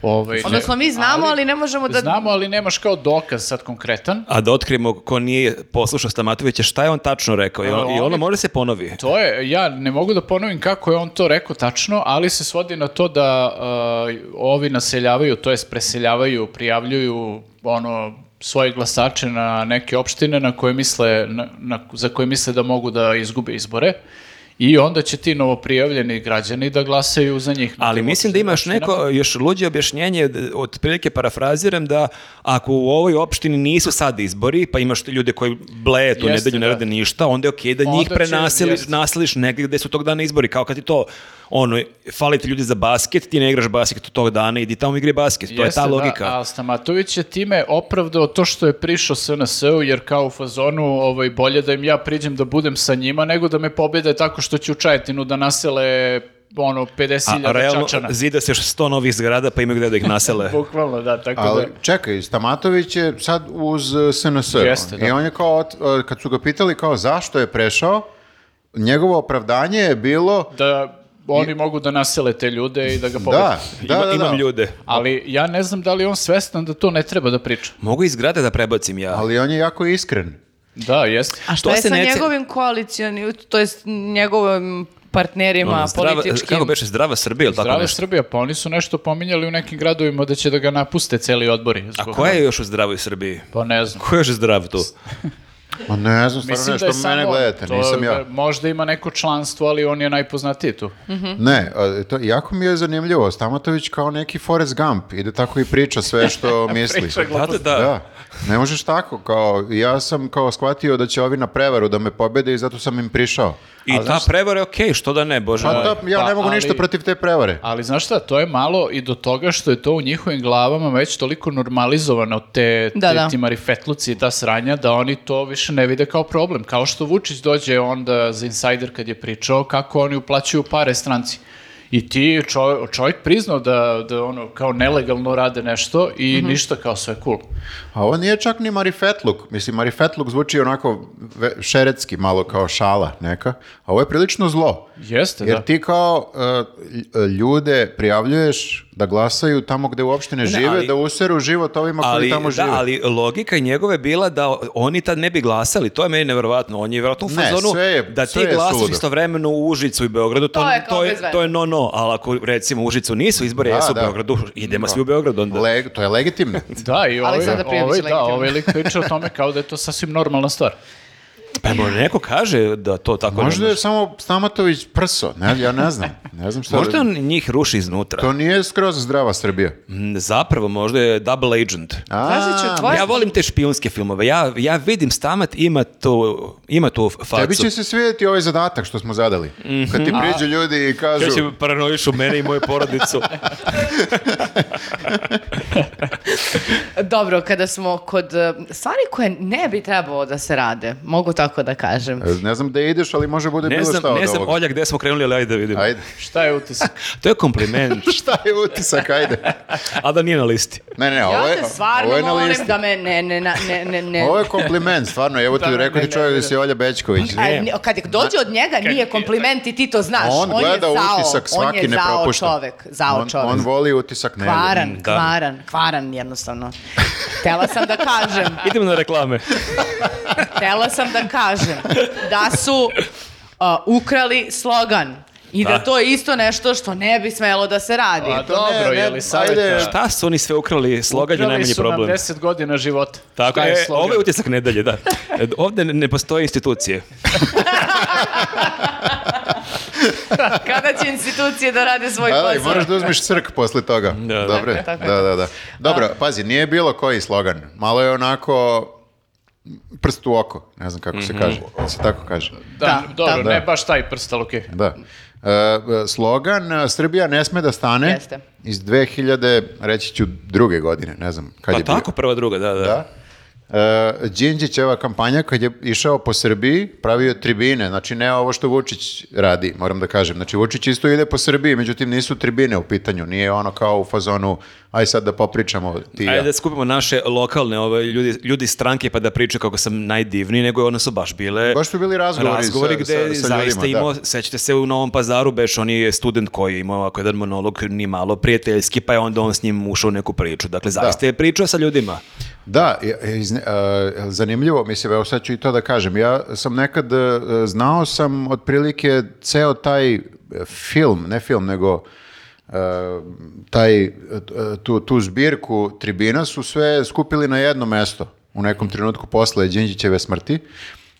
S4: Ovaj, ne-
S3: Odnosno mi znamo, ali, ne možemo da...
S4: Znamo, ali nemaš kao dokaz sad konkretan.
S2: A da otkrijemo ko nije poslušao Stamatovića, šta je on tačno rekao? I, on- i ono može se ponovi.
S4: To je, ja ne mogu da ponovim kako je on to rekao tačno, ali se svodi na to da uh, ovi naseljavaju, to jest preseljavaju, prijavljuju ono svoje glasače na neke opštine na koje misle, na, na- za koje misle da mogu da izgube izbore i onda će ti novoprijavljeni građani da glasaju za njih. Dakle,
S2: Ali mislim da ima još neko, još luđe objašnjenje, d- otprilike parafraziram da ako u ovoj opštini nisu sad izbori, pa imaš ljude koji bleje tu
S4: Jeste,
S2: nedelju, ne
S4: da.
S2: rade ništa, onda je okej da
S4: Onda
S2: njih
S4: će-
S2: prenaseliš,
S4: jeste.
S2: naseliš negdje gde su tog dana izbori, kao kad ti to, ono, fali ti ljudi za basket, ti ne igraš basket tog dana, idi tamo igri basket, to je
S4: Jeste,
S2: ta logika.
S4: Da, a Stamatović je time opravdao to što je prišao SNS-u, jer kao u fazonu ovaj, bolje da im ja priđem da budem sa njima, nego da me pobede tako što ću u Čajetinu da nasele ono,
S2: A
S4: 50.000
S2: realno
S4: čačana.
S2: zida se još 100 novih zgrada pa imaju gde da ih nasele.
S4: Bukvalno, da, tako
S1: Ali
S4: da...
S1: čekaj, Stamatović je sad uz uh, SNS.
S4: Jeste, da.
S1: I on je kao, ot- uh, kad su ga pitali kao zašto je prešao, njegovo opravdanje je bilo
S4: da oni mogu da nasele te ljude i da ga pobede.
S1: da, da, da,
S2: Ima-
S1: da.
S2: imam ljude.
S4: Ali ja ne znam da li je on svestan da to ne treba da priča.
S2: Mogu iz grada da prebacim ja.
S1: Ali on je jako iskren.
S4: Da, jeste.
S3: A šta
S2: to
S3: je
S2: se
S3: sa
S2: ne ce-
S3: njegovim koalicionim, to jest njegovim partnerima
S2: Ono, zdrava-
S3: političkim?
S2: Kako beše, zdrava Srbija ili tako
S4: Zdrava
S2: nešto?
S4: Srbija, pa oni su nešto pominjali u nekim gradovima da će da ga napuste celi odbori.
S2: A
S4: zbog-
S2: koja je još u zdravoj Srbiji?
S4: Pa ne znam.
S2: Ko je još zdrav tu?
S1: Ma ne znam, stvarno
S4: Mislim da je
S1: nešto mene
S4: samo on.
S1: gledate,
S4: To
S1: nisam ja.
S4: je- Možda ima neko članstvo, ali on je najpoznatiji tu.
S1: Ne, a, to, jako mi je zanimljivo. Stamatović kao neki Forrest Gump. Ide tako i priča sve što misli.
S2: Znate da,
S1: Da, ne možeš tako, kao, ja sam kao shvatio da će ovi na prevaru da me pobede i zato sam im prišao.
S2: i ta prevara je okej, što da ne, bože
S1: Pa
S2: moj.
S1: da, ja
S4: pa,
S1: ne mogu
S4: ali-
S1: ništa protiv te prevare.
S4: Ali znaš šta, to je malo i do toga što je to u njihovim glavama već toliko normalizovano, te,
S3: Da,
S4: te-
S3: da.
S4: ti marifetluci i ta sranja, da oni to više ne vide kao problem. Kao što Vučić dođe onda za Insider kad je pričao kako oni uplaćuju pare stranci. I ti čovjek, čovjek priznao da, da ono kao nelegalno rade nešto i
S3: Mhm.
S4: ništa kao sve cool.
S1: A Pa ovo nije čak ni marifetluk. Mislim, marifetluk zvuči onako ve- šeretski, malo kao šala neka. A ovo je prilično zlo.
S4: Jeste,
S1: Jer
S4: da.
S1: ti kao e, lj- ljude prijavljuješ da glasaju tamo gde uopšte ne, žive,
S2: ali-
S1: da useru život ovima koji
S2: Ali,
S1: tamo žive.
S2: da, ali logika njegove je bila da oni tad ne bi glasali, to je meni nevjerovatno. On je vjerojatno u
S1: Ne,
S2: fazonu
S1: sve je-
S2: da ti
S1: sve je
S2: glasaš
S1: suludo.
S2: istovremeno u Užicu i Beogradu, to,
S3: To je kao
S2: to,
S3: bez
S2: je,
S3: veze.
S2: to je no no, ali ako recimo u Užicu nisu izbori,
S1: Da,
S2: jesu u
S1: da.
S2: Beogradu, idemo svi u Beogradu onda.
S1: Leg- to je legitimno.
S4: Da, i ovaj,
S3: Aleksandar Prijević
S4: ovaj,
S3: je
S4: da,
S3: legitiman.
S4: ovaj lik priča o tome kao da je to sasvim normalna stvar.
S2: Pa evo, neko kaže da to tako ne
S1: Možda
S2: može.
S1: je samo Stamatović prso, ne, ja ne znam. Ne znam šta
S2: Možda
S1: da-
S2: on njih ruši iznutra.
S1: To nije skroz zdrava Srbija.
S2: Mm, Zapravo, možda je double agent.
S1: A,
S3: Tražit ću
S4: Pa
S3: tvoje...
S2: Ja volim te špijunske filmove. Ja, ja vidim stamat ima tu, ima tu facu.
S1: Tebi će se svidjeti ovaj zadatak što smo zadali. Kad
S2: Mhm.
S1: ti priđu ljudi i kažu...
S2: Ja ću paranoišu mene i moju porodicu.
S3: Dobro, kada smo kod e, stvari koje ne bi trebalo da se rade, mogu tako da kažem.
S1: E, Ne znam gde ideš, ali može bude
S2: Ne
S1: bilo šta
S2: znam,
S1: od
S2: ne znam
S1: ovoga.
S2: Olja, gde smo krenuli, ali ajde da vidimo.
S1: Ajde.
S4: Šta je utisak?
S2: To je kompliment,
S1: šta je utisak, ajde.
S2: a da nije na listi.
S1: Ne, ne, ne, ovo
S3: Ja
S1: je,
S3: te stvarno
S1: ovo je na
S3: molim
S1: listi.
S3: da me ne, ne, na- ne, ne, ne.
S1: Ovo je kompliment, stvarno, evo ti
S4: Da,
S1: rekao
S4: ne,
S1: ti
S4: ne,
S1: čovjek
S4: ne,
S1: da si Olja Bećković.
S3: A, ni- kad je dođe od njega, nije kompliment i ti to znaš.
S1: On
S3: je
S1: gleda
S3: zao,
S1: utisak, svaki
S3: on je
S1: ne
S3: zao
S1: propušta.
S3: čovek, zao
S1: On,
S3: čovek.
S1: on voli utisak ne.
S3: kvaran,
S2: Da.
S3: kvaran, kvaran jednostavno. Htela sam da kažem,
S2: Idemo na reklame.
S3: htela sam da kažem da su a, ukrali slogan i da.
S2: Da.
S3: to je isto nešto što ne bi smelo da se radi.
S4: A Pa dobro,
S1: ne,
S4: je
S1: ajde.
S4: li savjeta? Šta?
S2: Šta su oni sve ukrali? Slogan je
S4: Ukrali
S2: najmanji
S4: su nam
S2: problem.
S4: 10 godina života.
S2: Tako
S4: Šta
S2: je, ovaj
S4: slogan?
S2: ovo je utisak nedelje, da. E, Ovde ne- ne postoje institucije.
S3: Kada će institucije da rade svoj
S1: Da, da, i
S3: posao?
S1: moraš da uzmiš crk posle toga.
S2: Da, da.
S1: Dobro,
S3: Tako, tako.
S1: da, da, da. Dobro, pazi, nije bilo koji slogan. Malo je onako prst u oko, ne znam kako se
S2: Mhm.
S1: kaže, Jel se tako kaže.
S4: Da,
S3: Da,
S4: dobro,
S1: da.
S4: ne baš taj prst, ali okej.
S1: Da. E, slogan e, Srbija ne sme da stane
S3: Jeste.
S1: iz 2000, reći ću druge godine, ne znam kad
S2: Pa
S1: je bio.
S2: tako, prva, druga, da, da.
S1: Da. E, Đinđićeva kampanja kad je išao po Srbiji pravio je tribine, znači ne ovo što Vučić radi, moram da kažem. Znači Vučić isto ide po Srbiji, međutim nisu tribine u pitanju, nije ono kao u fazonu aj sad da popričamo ti i ja.
S2: Ajde da skupimo naše lokalne ove, ljudi, ljudi iz stranke pa da pričaju kako sam najdivniji, nego one su baš bile...
S1: Baš su bili razgovori sa- sa- sa
S2: gde
S1: ljudima,
S2: zaista
S1: da.
S2: imao, sećate se u Novom pazaru, beš on je student koji je imao ovako jedan monolog ni malo prijateljski, pa je onda on s njim ušao u neku priču. Dakle, zaista je pričao sa ljudima.
S1: Da, i- i izne- e, zanimljivo, mislim, evo sad ću i to da kažem. Ja sam nekad, e, znao sam otprilike ceo taj e, film, ne film, nego e, taj, e, tu, tu zbirku tribina su sve skupili na jedno mesto u nekom trenutku posle Đinđićeve smrti.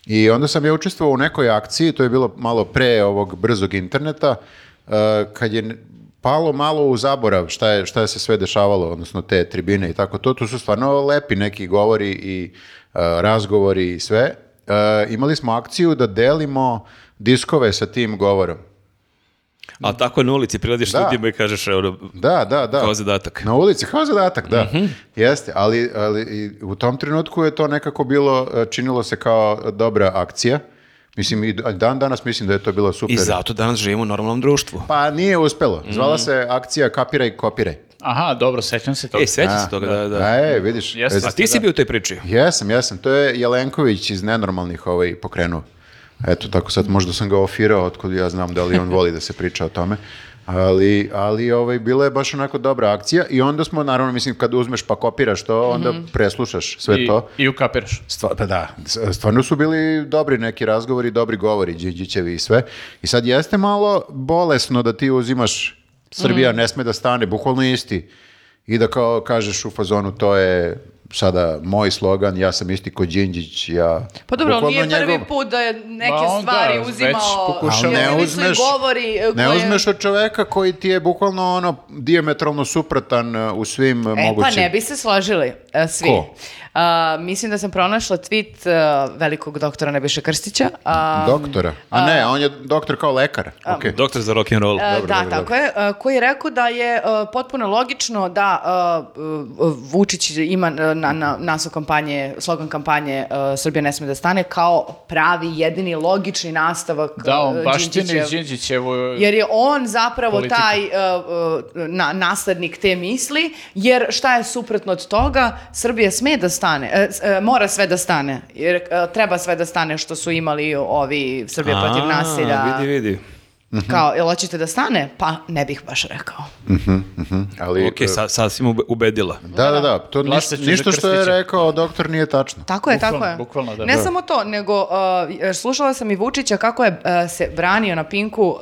S1: I onda sam ja učestvovao u nekoj akciji, to je bilo malo pre ovog brzog interneta, e, kad je n- palo malo u zaborav šta je, šta je se sve dešavalo, odnosno te tribine i tako to. Tu su stvarno lepi neki govori i e, razgovori i sve. E, imali smo akciju da delimo diskove sa tim govorom.
S2: A tako na ulici priladiš
S1: Da.
S2: ljudima i kažeš, evo,
S1: Da, da, da.
S2: Kao zadatak. Mhm.
S1: Na ulici, kao zadatak, da. Jeste, ali, ali i u tom trenutku je to nekako bilo, e, činilo se kao dobra akcija. Mislim, i dan danas mislim da je to bilo super.
S2: I zato danas živimo u normalnom društvu.
S1: Pa nije uspelo. Zvala
S2: Mhm.
S1: se akcija Kapiraj, kopiraj.
S4: Aha, dobro, sećam se toga.
S2: Ej, seća E, se toga, da, da.
S1: E, vidiš.
S4: Jeste.
S2: A ti si bio u toj priči?
S1: Jesam, jesam. To je Jelenković iz Nenormalnih ovaj, pokrenuo. Eto, tako sad možda sam ga ofirao, otkud ja znam da li on voli da se priča o tome. Ali, ali ovaj, bila je baš onako dobra akcija i onda smo, naravno, mislim, kad uzmeš pa kopiraš to, onda preslušaš sve
S4: I,
S1: to.
S4: I ukapiraš.
S1: Stva, pa da, s- stvarno su bili dobri neki razgovori, dobri govori, Đinđićevi i sve. I sad jeste malo bolesno da ti uzimaš
S3: Mm.
S1: Srbija ne sme da stane, bukvalno isti. I da kao kažeš u fazonu, to je sada moj slogan, ja sam isti ko Đinđić, ja...
S3: Pa dobro, ali
S1: Bukvalno
S3: nije prvi
S1: njegov-
S3: put da je neke
S4: Ma on da,
S3: stvari
S4: već
S3: uzimao.
S1: Ali
S4: pokušava.
S3: jer
S1: ne
S3: bili su i
S1: uzmeš,
S3: govori e,
S1: ne
S3: koje-
S1: uzmeš od čoveka koji ti je bukvalno ono diametralno suprotan e, u svim e,
S3: E,
S1: mogućim.
S3: pa ne bi se složili e, svi.
S1: Ko?
S3: A, mislim da sam pronašla tweet e, velikog doktora Nebiša Krstića. A, e,
S1: Doktora. A ne, on je doktor kao lekar. Okej.
S2: Doktor za rock'n'roll.
S3: e,
S1: dobro,
S3: da,
S1: dobro,
S3: tako
S1: dobro.
S3: je, e, koji je rekao da je e, potpuno logično da e, e, Vučić ima e, na, na, naslov kampanje, slogan kampanje e, Srbija ne sme da stane kao pravi, jedini, logični nastavak
S4: Da, on
S3: e,
S4: baštini
S3: Đinđićev-
S4: Đinđićevu...
S3: Jer je on zapravo
S4: Politika.
S3: taj uh, uh, na, naslednik te misli, jer šta je suprotno od toga, Srbija sme da stane, e, s- e, mora sve da stane, eh, jer e, treba sve da stane što su imali ovi Srbije protiv
S2: A,
S3: nasilja.
S2: Vidi, vidi.
S3: Kao, jel hoćete da stane? Pa ne bih baš rekao.
S1: Ali,
S2: Ok, sad, sad si me ube- ubedila.
S1: da, da, da, to niš-
S4: Glasaću za
S1: ništa što je
S4: Krstića.
S1: rekao doktor nije tačno.
S3: Tako je,
S4: Bukvalno,
S3: tako je.
S4: bukvalno, da,
S3: ne
S4: da.
S3: samo to, nego uh, slušala sam i Vučića kako je uh, se branio na Pinku uh,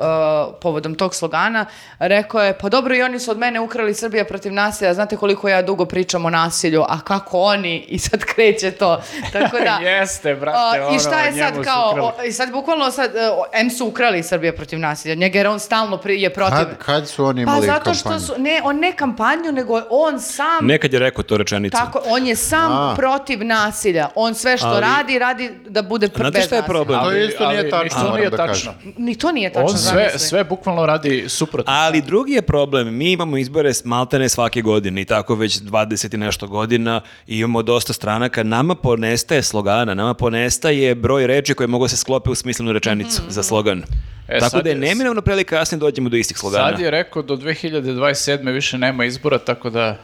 S3: povodom tog slogana. Rekao je, pa dobro i oni su od mene ukrali Srbija protiv nasilja, znate koliko ja dugo pričam o nasilju, a kako oni i sad kreće to. Tako da,
S4: Jeste, brate,
S3: uh, I šta
S4: ono,
S3: je sad
S4: njemu su
S3: kao,
S4: ukrali.
S3: o, i sad bukvalno sad, uh, em su ukrali Srbija protiv nasilja, njega jer on stalno pri- je protiv.
S1: Kad, kad su oni
S3: pa
S1: imali
S3: zato što
S1: kampanju?
S3: su, ne, on ne kampanju, nego on sam
S2: Nekad je rekao to rečenicu.
S3: tako, on je sam
S1: A.
S3: protiv nasilja. On sve što
S2: Ali-
S3: radi, radi da bude pr-
S2: Znate
S3: bez
S2: šta je
S3: nasilja.
S2: problem?
S1: To isto nije tačno,
S4: ni to
S1: moram
S4: nije
S1: da
S4: tačno.
S3: Ni to nije tačno,
S4: On sve,
S3: zamisli.
S4: sve bukvalno radi suprotno.
S2: Ali drugi je problem, mi imamo izbore s maltene svake godine i tako već 20 i nešto godina i imamo dosta stranaka, nama ponestaje slogana, nama ponestaje broj reči koje mogu se sklope u smislenu rečenicu
S3: Mhm.
S2: za slogan.
S4: E,
S2: tako
S4: sad
S2: da je
S4: je-
S2: neminovno pre ili kasnije dođemo do istih slogana.
S4: Sad je rekao do 2027. više nema izbora, tako da...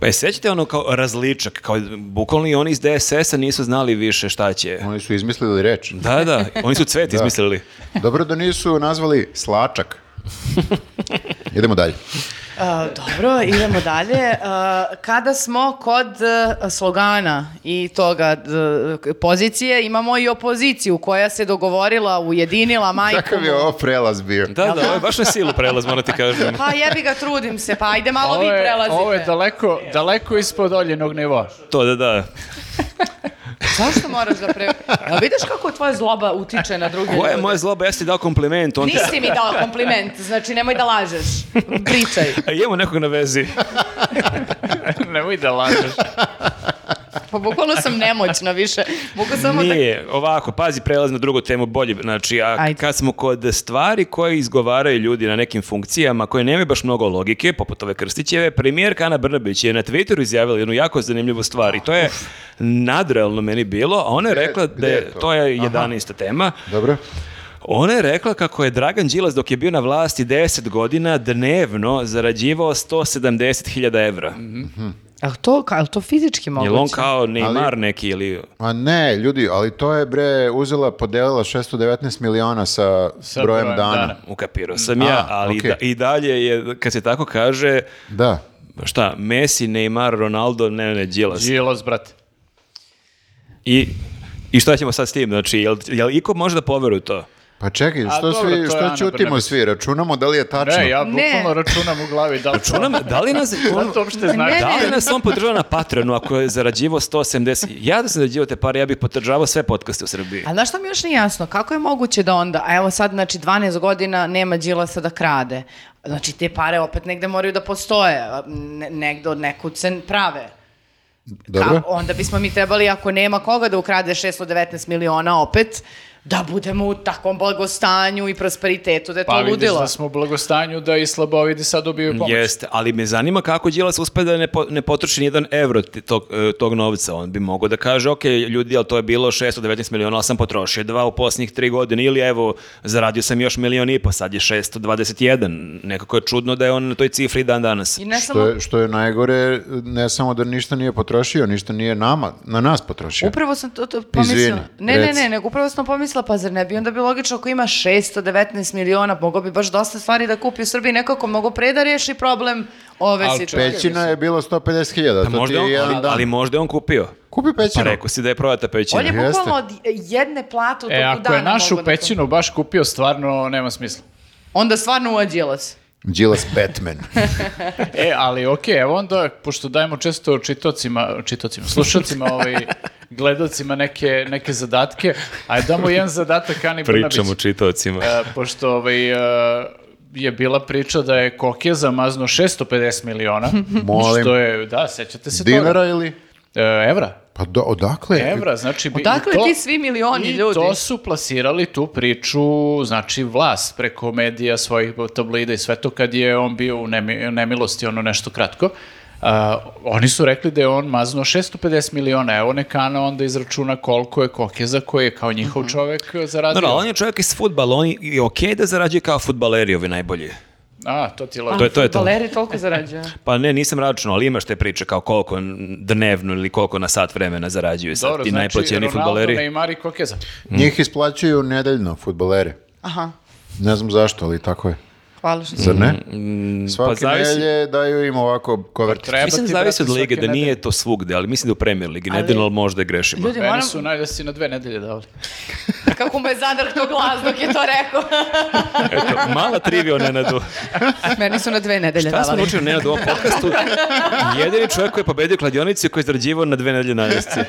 S2: Pa je sećate ono kao različak, kao bukvalno i oni iz DSS-a nisu znali više šta će.
S1: Oni su izmislili reč.
S2: Da, da, oni su cvet izmislili.
S1: Dobro da nisu nazvali slačak. Idemo dalje.
S3: A, dobro, idemo dalje. A, kada smo kod e, slogana i toga d- pozicije, imamo i opoziciju koja se dogovorila, ujedinila majku.
S1: Kakav je ovo prelaz bio?
S2: Da, da, ovo je baš na silu prelaz, moram ti kažem.
S3: Pa jebi ga, trudim se, pa ajde malo
S4: Ovo
S3: vi
S4: je,
S3: prelazite.
S4: ovo je daleko, daleko ispod oljenog nivoa.
S2: To da, da.
S3: Zašto moraš da pre... A vidiš kako tvoja zloba utiče na druge
S2: Koja je
S3: ljude?
S2: moja zloba, ja si ti dao kompliment, on ti...
S3: Nisi mi dao kompliment, znači nemoj da lažeš. Pričaj.
S2: A imamo E, nekog na vezi.
S4: Nemoj da lažeš.
S3: Pa bukvalno sam nemoćna više. Mogu samo da...
S2: Nije, ovako, pazi, prelaz na drugu temu bolje. Znači, a
S3: Ajde.
S2: kad smo kod stvari koje izgovaraju ljudi na nekim funkcijama koje nemaju baš mnogo logike, poput ove Krstićeve, premijerka Ana Brnabić je na Twitteru izjavila jednu jako zanimljivu stvar i to je nadrealno meni bilo, a ona je
S1: Gde-
S2: rekla da
S1: gde je
S2: je,
S1: to?
S2: to je 11. tema,
S1: Dobro.
S2: Ona je rekla kako je Dragan Đilas dok je bio na vlasti 10 godina dnevno zarađivao 170.000 evra.
S3: A to, ka- jel to fizički Mm, moguće?
S2: Je on kao Neymar
S1: Ali-
S2: neki ili...
S1: Ma ne, ljudi, ali to je bre uzela, podelila 619 miliona sa,
S4: Sa
S1: brojem,
S4: brojem
S1: dana.
S4: dana.
S2: Ukapirao sam ja,
S1: Mm. A,
S2: ali i
S1: okej.
S2: da- i dalje je, kad se tako kaže,
S1: Da.
S2: šta, Messi, Neymar, Ronaldo, ne, ne, Đilas.
S4: Đilas, brate.
S2: I, I šta ćemo sad s tim? Znači, jel, jel iko može da poveruje u to?
S1: Pa čekaj,
S4: A
S1: što,
S4: dobro, to
S1: svi,
S4: je
S1: što
S4: Ana
S1: ćutimo
S4: Brnabić.
S1: svi? Računamo da li je tačno?
S4: Ne, ja
S3: Ne.
S4: bukvalno računam u glavi da li to...
S2: Ona, da li nas...
S4: Da li
S2: on-
S4: to uopšte znači?
S3: Ne,
S2: Da li nas on podržava na Patreonu ako je zarađivao 170? Ja da sam zarađivao te pare, ja bih podržavao sve podcaste u Srbiji.
S3: A znaš što mi još nije jasno? Kako je moguće da onda, a evo sad, znači 12 godina nema Đilasa da krade. Znači te pare opet negde moraju da postoje. a Ne, negde od nekud se prave.
S1: Dobro.
S3: Ka- onda bismo mi trebali, ako nema koga da ukrade 619 miliona opet, da budemo u takvom blagostanju i prosperitetu da je to
S4: Pa vidiš
S3: ludilo.
S4: da smo u blagostanju da i slabovidi sad dobiju pomoć.
S2: Jeste, ali me zanima kako Đilas uspe da ne, po, ne potroši nijedan evro ti- tog, e, tog novca. On bi mogao da kaže, ok, ljudi, ali to je bilo 619 miliona, ali sam potrošio dva u posljednjih tri godine, ili evo, zaradio sam još milion i po, sad je 621. Nekako je čudno da je on na toj cifri i dan danas.
S3: I ne samo...
S1: Što je, što je najgore, ne samo da ništa nije potrošio, ništa nije nama, na nas potrošio.
S3: Upravo sam to, to pomislila.
S1: Izvini,
S3: ne, ne,
S1: reci.
S3: ne, nego upravo sam pomislila, pa zar ne bi onda bilo logično ako ima 619 miliona, mogao bi baš dosta stvari da kupi u Srbiji, nekako mogao pre da reši problem ove
S4: Ali
S3: situacije.
S1: Pećina je bilo 150.000, to
S2: Pa
S1: ti
S2: možda
S1: je
S2: on,
S1: jedan
S2: ali,
S1: dan.
S2: ali možda je on kupio.
S1: Kupi
S2: Pa
S1: pećinu.
S2: rekao si da je prodata pećina.
S3: On je
S1: Jeste.
S3: bukvalno od jedne plate u toku
S4: E, ako je
S3: dana
S4: našu
S3: mogao da kupi.
S4: pećinu baš kupio, stvarno nema smisla.
S3: Onda stvarno uvađila se.
S1: Đilas Batman.
S4: E, ali okej, evo onda, pošto dajemo često čitocima, čitocima, slušalcima, ovaj, gledalcima neke, neke zadatke, ajde damo jedan zadatak Ani Brnabić.
S2: Pričam u čitocima.
S4: E, pošto ovaj, e, je bila priča da je Kokeza mazno 650 miliona.
S1: Molim.
S4: Što je, da, sećate se toga.
S1: Dinara ili?
S4: E, evra.
S1: Pa do, odakle?
S4: Evra, znači... bi- i
S3: Odakle ti svi milioni
S4: i
S3: ljudi?
S4: to su plasirali tu priču, znači vlast preko medija, svojih tablida i sve to kad je on bio u nemi- nemilosti, ono nešto kratko. A, oni su rekli da je on mazno 650 miliona evo neka Ana onda izračuna koliko je Kokeza koji je kao njihov čovek zaradio.
S2: No, no, on je čovjek iz futbala, on je i okej da zarađuje kao futbaleri ovi najbolji.
S4: A, to ti je
S3: A,
S4: lepo.
S2: To je- to je to.
S3: Valeri toliko zarađuje.
S2: Pa ne, nisam računao, ali imaš te priče kao koliko dnevno ili koliko na sat vremena zarađuju sad
S4: Dobro,
S2: ti
S4: znači
S2: najplaćeni
S4: Ronaldo,
S2: futbaleri.
S4: Neymar i Kokeza.
S1: Njih isplaćuju nedeljno, futbolere.
S3: Aha.
S1: Ne znam zašto, ali tako je.
S3: Hvala što
S1: Zar
S3: si.
S1: ne?
S2: Mm,
S1: Svake
S2: zavisi- Pa
S1: nelje daju im ovako kovertice.
S4: treba
S2: Mislim
S4: ti,
S2: da zavisi od
S4: brate,
S2: lige,
S4: svake
S2: da nije
S4: nedelje.
S2: to svugde, ali mislim da u Premier Ligi, ali... možda grešimo.
S3: Ljudi,
S4: Meni
S3: moram,
S4: su najda si na dve nedelje davali.
S3: kako mu je zadrhnuo glas dok je to rekao.
S2: Eto, mala trivija o Nenadu.
S3: Meni su na dve nedelje
S2: Šta smo
S3: davali.
S2: naučili o Nenadu u ovom podcastu? Jedini čovjek koji je pobedio kladionicu i koji je zarađivao na dve nedelje najesti.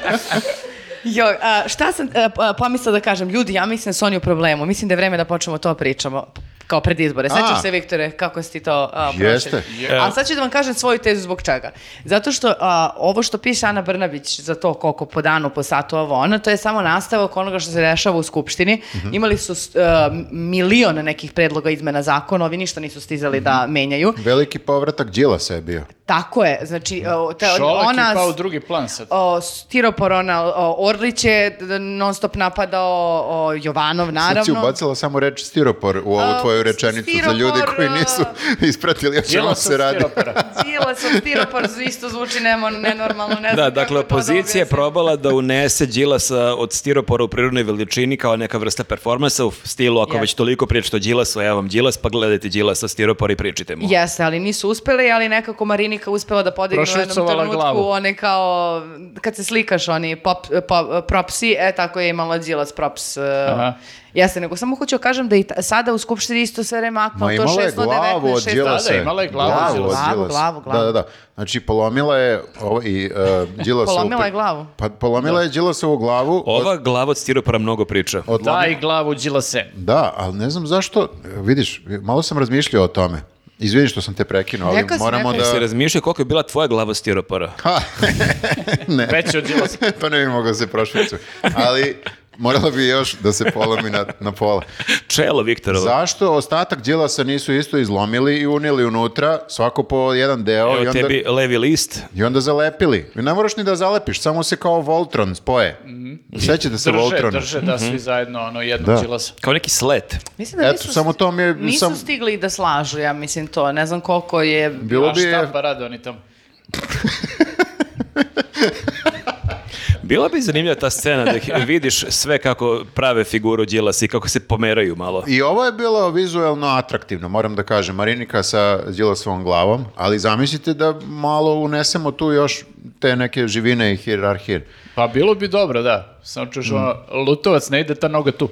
S3: Joj, a, šta sam e, p- pomislila da kažem? Ljudi, ja mislim da su oni u problemu. Mislim da je vreme da počnemo to pričamo p- kao pred izbore. Sad
S1: A.
S3: se, Viktore, kako si ti to a, prošli.
S1: Jeste.
S3: A sad ću da vam kažem svoju tezu zbog čega. Zato što a, ovo što piše Ana Brnabić za to koliko po danu, po satu, ovo ono, to je samo nastavak onoga što se dešava u Skupštini.
S1: Mhm.
S3: Imali su s- e, milion nekih predloga izmena zakona, ovi ništa nisu stizali
S1: Mhm.
S3: da menjaju.
S1: Veliki povratak Đilasa je bio.
S3: Tako je, znači, o, te-
S4: Šolak
S3: ona...
S4: je pao pa u drugi plan sad.
S3: O, stiropor, ona, o, Orlić je d- d- non stop napadao, o, Jovanov,
S1: Sad si
S3: naravno.
S1: ubacila samo reč stiropor u ovu
S3: A,
S1: tvoju rečenicu za ljude koji
S3: stiropor,
S1: nisu ispratili o čemu
S4: Đilasov
S1: se radi.
S4: stiropera.
S3: Đilasov stiropor isto zvuči nemo, nenormalno, ne znam
S2: Da,
S3: kako
S2: dakle,
S3: to da
S2: opozicija je
S3: objasnim.
S2: probala da unese Đilasa od stiropora u prirodnoj veličini kao neka vrsta performansa u stilu, ako
S3: Jeste.
S2: već toliko pričate o Đilasu, evo vam Đilas, pa gledajte Đilasa, stiropor i pričajte mu.
S3: Jeste, ali nisu uspeli, ali nekako Marinika uspela da podigne u jednom
S4: Prošvercovala
S3: trenutku
S4: glavu.
S3: one kao, kad se slikaš oni pop, pop- propsi, e tako je imala Đilas props. e,
S4: Aha.
S3: Jeste, nego samo hoću da kažem da i ta- sada u Skupštini isto se remaknuo
S1: Ma
S3: to 619,
S1: imala je glavu od
S3: 619.
S1: Đilasa.
S4: Da, da, imala je glavu od
S3: Đilasa. Glavu,
S1: Đilasa.
S3: glavu, glavu.
S1: Da, da, da. Znači, polomila je ovo i uh, Đilasovu...
S3: Polomila je
S1: pe-
S3: glavu.
S1: Pa polomila je Đilasovu glavu.
S2: Ova glava od stiropora mnogo priča.
S1: od,
S4: Daj glavu Đilase.
S1: Da, ali ne znam zašto, e, vidiš, malo sam razmišljao o tome. Izvini što sam te prekinuo, ali
S3: Neka si,
S1: moramo
S3: neka
S1: da...
S3: si.
S2: Se razmišljao koliko je bila tvoja glava od stiropora?
S1: e, Ha, ne.
S4: Veći od Đilasa.
S1: pa ne bi mogao da se prošvicu. Ali moralo bi još da se polomi na, na pola.
S2: Čelo Viktorova.
S1: Zašto ostatak Đilasa nisu isto izlomili i unijeli unutra, svako po jedan deo
S2: Evo
S1: i, onda,
S2: tebi levi list.
S1: i onda zalepili? Ne moraš ni da zalepiš, samo se kao Voltron spoje. Sećate se
S4: Mhm. Drže,
S1: Voltrona?
S4: drže da svi zajedno ono jednog
S1: Mhm. Da.
S4: Đilasa.
S2: Kao neki slet.
S3: Mislim da
S1: Eto,
S3: nisu,
S1: samo to mi je-
S3: nisu
S1: sam-
S3: stigli da slažu, ja mislim to. Ne znam koliko je...
S1: Bilo
S4: A
S1: bi
S4: šta
S1: je...
S4: pa rade oni tamo?
S2: Bila bi zanimljiva ta scena da ih vidiš sve kako prave figuru Đilas i kako se pomeraju malo.
S1: I ovo je bilo vizuelno atraktivno, moram da kažem. Marinika sa Đilasovom glavom, ali zamislite da malo unesemo tu još te neke živine i hirarhije.
S4: Pa bilo bi dobro, da. Samo
S1: Mhm.
S4: čuš ono, Lutovac ne ide ta noga tu.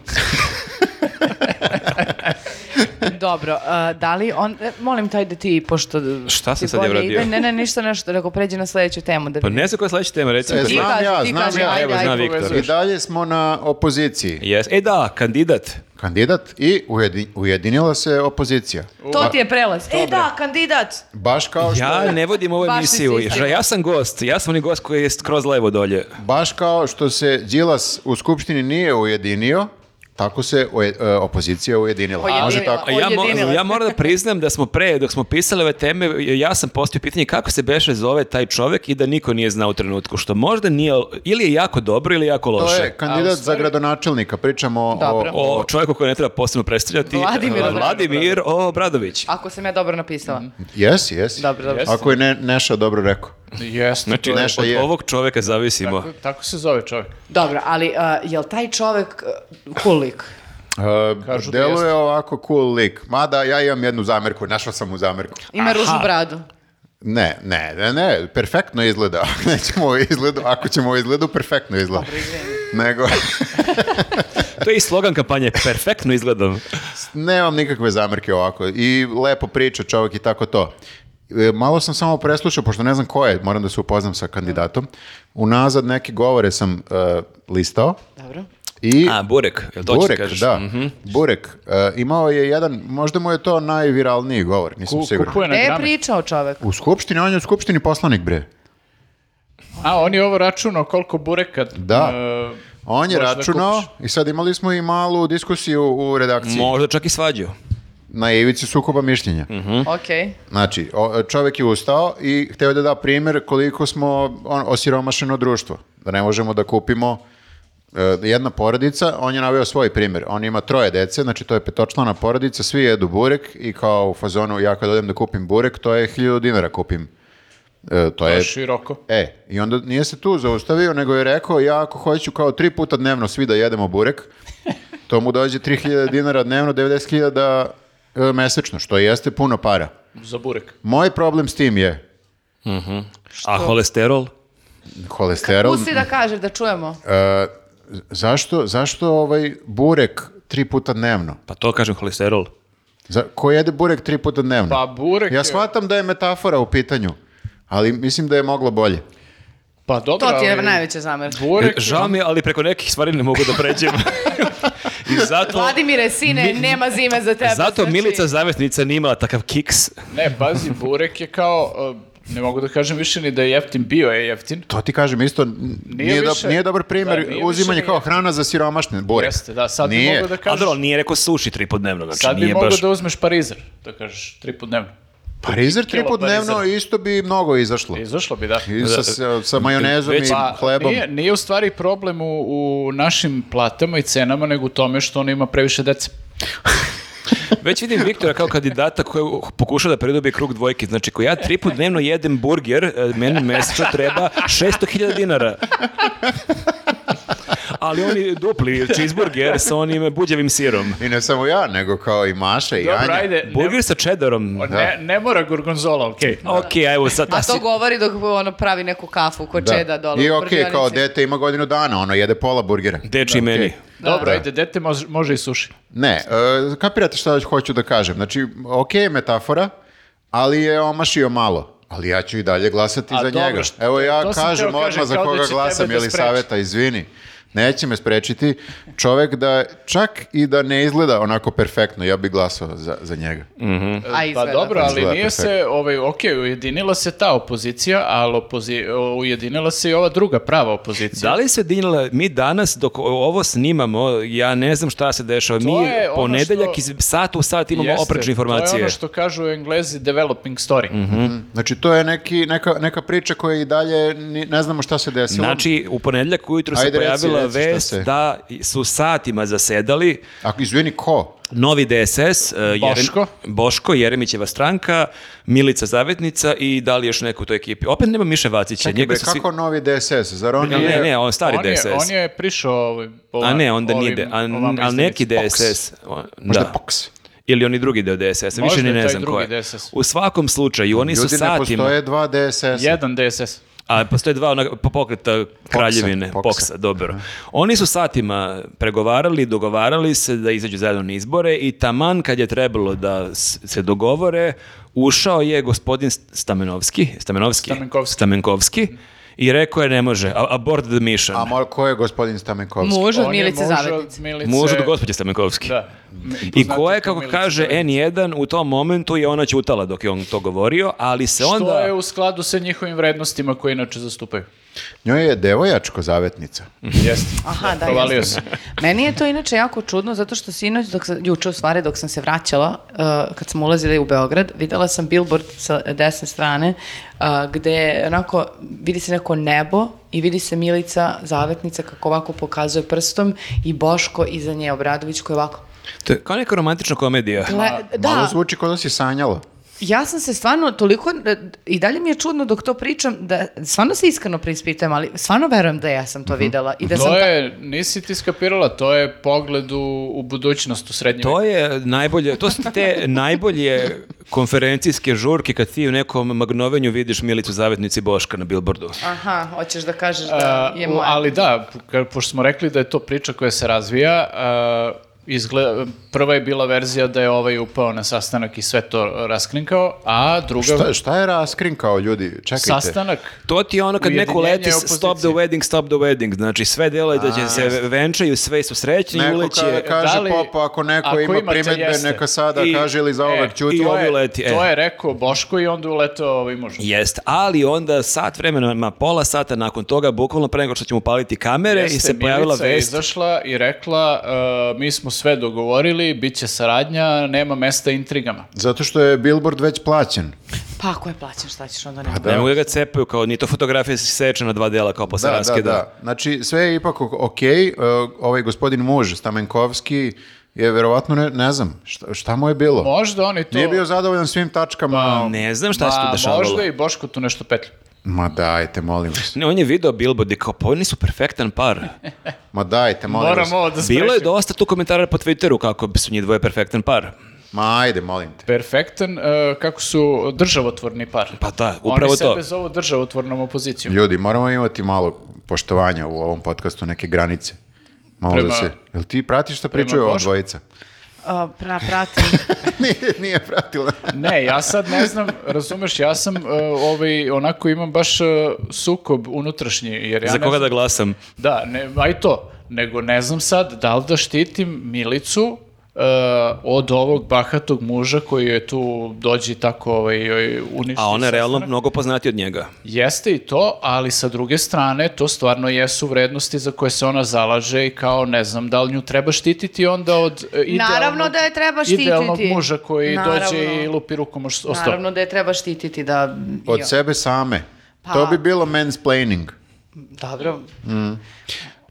S3: Dobro, a, da li on... e, molim taj da ti, pošto...
S2: Šta sam
S3: ti
S2: sad ja
S3: bolje
S2: uradio?
S3: ide. Ne, ne, ništa nešto, nego pređi na sledeću temu. Da
S2: Pa
S3: vidim.
S2: ne znam koja je sledeća tema, recimo.
S1: E,
S2: da-
S3: Ti
S1: znam
S3: kaži,
S1: ja,
S3: ti
S1: znam
S3: kaži,
S1: ja.
S3: ajde,
S2: Evo,
S3: ajde,
S2: zna
S3: povezuj.
S2: Viktor.
S1: I dalje smo na opoziciji.
S2: Yes. E da, kandidat.
S1: Kandidat i ujedi- ujedinila se opozicija.
S3: To ti je prelaz. E da, kandidat!
S1: Baš kao što,
S2: Ja
S1: je-
S2: ne vodim ovu
S3: Baš
S2: emisiju.
S3: nisi
S2: Ja sam gost. Ja sam onaj gost koji je skroz levo dolje.
S1: baš kao što se Đilas u skupštini nije ujedinio, tako se uje- e, opozicija ujedinila.
S3: Ujedinila.
S1: Može tako.
S2: A ja, mo-
S3: Ujedinila
S2: ja
S3: se.
S2: moram da priznam da smo pre, dok smo pisali ove teme, ja sam postao pitanje kako se Beše zove taj čovek i da niko nije znao u trenutku, što možda nije, ili je jako dobro ili je jako
S1: To
S2: loše.
S1: je kandidat
S4: A, u stvari-
S1: za gradonačelnika. Pričamo
S3: Dobro.
S1: o,
S2: O čovjeku koji ne treba posebno predstavljati.
S3: Vladimir Obradović.
S2: Vladimir Obradović.
S3: Ako sam ja dobro napisala.
S1: Mm. Jesi, jesi.
S3: Dobro, dobro.
S4: Jeste.
S1: Ako je ne, Neša dobro rekao.
S4: Jeste,
S2: Znači,
S4: to je.
S1: Neša
S2: od
S1: je.
S2: ovog čovjeka zavisimo.
S4: Tako, tako se zove čovjek.
S3: Dobro, ali a, jel taj čovek uh, kulik?
S1: Uh,
S4: Kažu da
S1: deluje
S4: jeste.
S1: ovako cool lik. Mada ja imam jednu zamerku, našao sam mu zamerku.
S3: Ima ružnu bradu.
S1: Ne, ne, ne, ne, perfektno izgleda. Ako Nećemo o izgledu, ako ćemo o izgledu, perfektno izgleda. Nego,
S2: To je i slogan kampanje, perfektno izgledam.
S1: nemam nikakve zamerke ovako. I lepo priča čovjek i tako to. E, Malo sam samo preslušao, pošto ne znam ko je, moram da se upoznam sa kandidatom. Unazad neke govore sam e, listao.
S3: Dobro.
S1: I
S2: A, Burek, jel to hoćeš da
S1: Burek,
S2: kažeš?
S1: da. Burek, e, imao je jedan, možda mu je to najviralniji govor, nisam
S4: Ku-
S1: siguran.
S4: kupuje na
S3: Gde je
S4: grame.
S3: E, pričao čovek?
S1: U skupštini, on je u skupštini poslanik, bre.
S4: A, on je ovo računao koliko bureka.
S1: Da.
S4: e,
S1: On je
S4: možeš da
S1: računao
S4: kupiš.
S1: i sad imali smo i malu diskusiju u redakciji
S2: Možda čak i svađu.
S1: na ivici sukoba mišljenja.
S3: Okej.
S1: Znači, o- čovjek je ustao i hteo da da primjer koliko smo on, osiromašeno društvo. Da ne možemo da kupimo e, jedna porodica, on je naveo svoj primjer. On ima troje dece, znači to je petočlana porodica, svi jedu burek i kao u fazonu ja kad odem da kupim burek, to je 1000 dinara kupim. E, to je
S4: Široko.
S1: E, i onda nije se tu zaustavio, nego je rekao, ja ako hoću kao tri puta dnevno svi da jedemo burek, to mu dođe 3000 dinara dnevno, 90.000 e, mesečno, što jeste puno para.
S4: Za burek.
S1: Moj problem s tim je
S2: A holesterol?
S1: kolesterol.
S3: Pusti da kaže, da čujemo.
S1: E, zašto, zašto ovaj burek tri puta dnevno?
S2: Pa to kažem holesterol.
S1: Za, ko jede burek tri puta dnevno?
S4: Pa burek
S1: Ja
S4: je-
S1: shvatam da je metafora u pitanju, ali mislim da je moglo bolje.
S4: Pa dobro,
S3: To ti je
S4: ali
S3: najveća zamerka.
S4: Burek,
S2: Žao mi je, ali preko nekih stvari ne mogu da pređem. I zato...
S3: Vladimire, sine,
S2: Mi-
S3: nema zime za tebe.
S2: Zato
S3: znači-
S2: Milica Zavetnica nije imala takav kiks.
S4: ne, pazi, burek je kao, uh, ne mogu da kažem više ni da je jeftin, bio je jeftin.
S1: To ti kažem isto, n- nije, do-
S4: više-
S1: nije dobar primjer
S4: da, nije
S1: uzimanje
S4: više
S1: kao
S4: ni-
S1: hrana za siromašne, burek.
S4: Jeste, da, sad bi
S1: Nije.
S4: mogu da
S2: A
S4: kažeš,
S2: dobro, ali nije rekao suši tri put dnevno, znači
S4: sad bi
S2: nije
S4: mogu
S2: baš...
S4: da uzmeš parizer, da kažeš, tri put dnevno.
S1: Parizer tri
S4: Kilo
S1: put dnevno
S4: parizera.
S1: isto bi mnogo izašlo.
S4: Izašlo bi, da.
S1: I sa, sa, sa majonezom
S2: Već-
S1: i
S4: Pa,
S1: hlebom.
S4: Nije, nije u stvari problem u, u našim platama i cenama, nego u tome što on ima previše dece.
S2: Već vidim Viktora kao kandidata koji pokuša da predobije krug dvojke. Znači, ko ja tri put dnevno jedem burger, e, meni mesečno treba 600.000 dinara. Ali oni dupli cheeseburger sa onim buđevim sirom.
S1: I ne samo ja, nego kao i Maša i
S4: Dobro,
S1: Anja.
S4: ajde, ne,
S2: Burger sa čedarom.
S4: ne, ne mora gorgonzola, okej.
S2: Ok, evo sad.
S3: A to govori dok ono pravi neku kafu ko čeda dole.
S1: I
S3: u
S1: okej,
S3: prdionici.
S1: kao dete ima godinu dana, ono jede pola burgera.
S2: Deči meni.
S4: Dobro,
S1: Da.
S4: ajde, dete može, može i suši.
S1: Ne, e, kapirate šta hoću da kažem. Znači, okej je metafora, ali je omašio malo. Ali ja ću i dalje glasati
S4: A
S1: za
S4: dobro,
S1: njega.
S4: što-
S1: Evo ja
S4: to sam
S1: kažem
S4: teo kažem,
S1: odmah za
S4: kao da
S1: koga
S4: će
S1: glasam,
S4: tebe da
S1: ili
S4: spreči.
S1: saveta, izvini. Neće me sprečiti. Čovek da, čak i da ne izgleda onako perfektno, ja bih glasao za, za njega.
S3: A izgleda.
S4: Pa dobro, ali
S1: Izgleda
S4: nije se, ovaj, ok, ujedinila se ta opozicija, ali opozi, ujedinila se i ova druga prava opozicija.
S2: Da li se dinila, mi danas dok ovo snimamo, ja ne znam šta se dešava, mi
S4: je ono
S2: ponedeljak
S4: što-
S2: iz sata u sat imamo
S4: Jeste,
S2: oprečne
S4: To je
S2: informacije. Mhm.
S4: ono što kažu englezi developing story.
S1: Znači, to je neki, neka, neka priča koja i dalje ni- ne znamo šta se desilo.
S2: Znači, u ponedeljak ujutru se
S1: Ajde, reci,
S2: pojavila
S1: reci šta
S2: vest
S1: se-
S2: da su satima zasedali
S1: Ako, izvini, ko?
S2: novi DSS, e, Jerem-
S4: Boško.
S2: Boško, Jeremićeva stranka, Milica Zavetnica i da li još neko u toj ekipi. Opet nema Miše Vacića.
S1: Bre,
S2: njega su svi-
S1: kako novi DSS? Zar on
S2: Ne,
S1: nije-
S2: ne, on stari
S4: on, je,
S2: DSS.
S4: on je prišao ovim...
S2: A ne, onda nije,
S4: ovim-
S2: de- a,
S4: ovamo
S2: ali neki
S4: izdanici. Pox.
S2: DSS. o,
S1: Možda
S2: da.
S1: poks.
S2: Ili oni drugi deo DSS-a,
S4: Možda
S2: više ni
S4: je
S2: ne
S4: taj
S2: znam ko
S4: drugi
S2: je.
S4: DSS.
S2: U svakom slučaju, oni su
S1: Ljudi ne
S2: satima,
S1: postoje dva DSS.
S4: Jedan DSS.
S2: a postoje dva ona, po- pokreta kraljevine,
S1: Poksa.
S2: poksa, dobro. Oni su satima pregovarali, dogovarali se da izađu zajedno na izbore i taman kad je trebalo da s- se dogovore, ušao je gospodin S- Stamenovski, Stamenovski,
S4: Stamenkovski.
S2: Stamenkovski i rekao je ne može, a- abort the mission.
S1: A mora, ko je gospodin Stamenkovski?
S3: Muž od
S4: On je
S3: Milice
S4: muž od
S3: Zavetnice.
S4: Milice-
S2: Muž od gospođe Stamenkovski.
S4: Da. znači
S2: I
S4: Poznatija
S2: ko je,
S4: kao
S2: kako
S4: Milica
S2: kaže
S4: Zavetnica.
S2: N1, u tom momentu je ona ćutala dok je on to govorio, ali se e, onda...
S4: Što je u skladu sa njihovim vrednostima koje inače zastupaju.
S1: Njoj je devojačko zavetnica.
S4: Jeste.
S3: Aha, da,
S4: Provalio
S3: jeste.
S4: se.
S3: Meni je to inače jako čudno, zato što sinoć, dok sam, juče u stvari, dok sam se vraćala, uh, kad sam ulazila u Beograd, videla sam billboard sa desne strane, uh, gde onako, vidi se neko nebo i vidi se Milica Zavetnica kako ovako pokazuje prstom i Boško iza nje Obradović koji ovako...
S2: To je kao neka romantična komedija.
S3: Gle, da,
S1: Malo zvuči kao da si sanjala.
S3: Ja sam se stvarno toliko, e, i dalje mi je čudno dok to pričam, da stvarno se iskreno preispitujem, ali stvarno verujem da ja sam to videla. I da sam
S4: Mhm. To
S3: ta-
S4: je, nisi ti skapirala, to je pogled u, u budućnost u srednjem.
S2: To je najbolje, to su te najbolje konferencijske žurke kad ti u nekom magnovenju vidiš Milicu Zavetnici Boška na billboardu.
S3: Aha, hoćeš da kažeš da
S4: Uh,
S3: je
S4: u-
S3: moja.
S4: ali da, po- ka- pošto smo rekli da je to priča koja se razvija, uh, izgle- prva je bila verzija da je ovaj upao na sastanak i sve to raskrinkao, a druga...
S1: Šta, šta je raskrinkao ljudi? Čekajte.
S4: Sastanak?
S2: To ti je ono kad neko
S4: Ujedinjenje
S2: leti
S4: opozicije.
S2: stop the wedding, stop the wedding. Znači sve dele da će se venčaju, sve su srećni,
S1: Neko
S2: uleće.
S1: kada kaže
S4: da li-
S1: popa, ako neko
S4: ako
S1: ima
S4: imate,
S1: primedbe,
S4: jeste.
S1: neka sada
S2: I-
S1: kaže ili za
S4: E,
S1: ovek ćuti.
S2: i
S4: to,
S2: ovi
S4: je,
S2: uleti, e.
S4: to je rekao Boško i onda uletao ovaj muž.
S2: Jest, ali onda sat vremena, ma pola sata nakon toga, bukvalno pre nego što ćemo paliti kamere i
S4: Jeste,
S2: se pojavila
S4: Milica je
S2: vest.
S4: izašla i rekla, uh, mi smo sve dogovorili, bit će saradnja, nema mesta intrigama.
S1: Zato što je billboard već plaćen.
S3: Pa ako je plaćen, šta ćeš onda
S4: Pa
S3: nema?
S2: Ne mogu da ga cepaju, kao ni to fotografija se seče na dva dela kao posle
S1: Da, da,
S2: raskida.
S1: da. Znači, sve je ipak o- okej. Uh, ovaj gospodin muž, Stamenkovski, je verovatno, ne, ne znam, šta, šta mu je bilo?
S4: Možda oni to... Pa,
S1: Nije bio zadovoljan svim tačkama.
S2: Ne znam Pa šta se tu
S4: Ma,
S2: dešavalo.
S4: Možda i Boško tu nešto petlju.
S1: Ma dajte, molim vas.
S2: Ne, on je video Billboard i kao, pa oni su perfektan par.
S1: Ma dajte, molim vas.
S4: Moramo ovo da
S2: Pa Bilo je
S4: sprečimo.
S2: dosta tu komentara po Twitteru kako su njih dvoje perfektan par.
S1: Ma ajde, molim te.
S4: Perfektan, e, kako su državotvorni par.
S2: Pa da, upravo
S4: Oni
S2: to.
S4: sebe zovu državotvornom opozicijom.
S1: Ljudi, moramo imati malo poštovanja u ovom podcastu, neke granice. Malo
S4: Prema-
S1: da se... Jel ti pratiš šta pričaju
S4: prema
S1: ova
S4: Bošku?
S1: dvojica?
S3: A, pra, pratim.
S1: nije, nije pratila.
S4: Ne, ja sad ne znam, razumeš, ja sam e, ovaj, onako imam baš e, sukob unutrašnji. Jer ja
S2: Za
S4: ne
S2: koga da
S4: znam-
S2: glasam?
S4: Da, ne, a i to. Nego ne znam sad da li da štitim Milicu e, od ovog bahatog muža koji je tu dođi i tako ovaj, joj uništi.
S2: A ona je realno
S4: sastanak.
S2: mnogo poznati od njega.
S4: Jeste i to, ali sa druge strane to stvarno jesu vrednosti za koje se ona zalaže i kao ne znam da li nju treba štititi onda od e, idealnog,
S3: Naravno da je treba
S4: idealnog
S3: štititi.
S4: muža koji dođe
S3: Naravno.
S4: i lupi rukom o s- o sto.
S3: Naravno da je treba štititi da...
S1: Od
S3: Jo.
S1: sebe same.
S3: Pa-
S1: To bi bilo mansplaining.
S3: Dobro.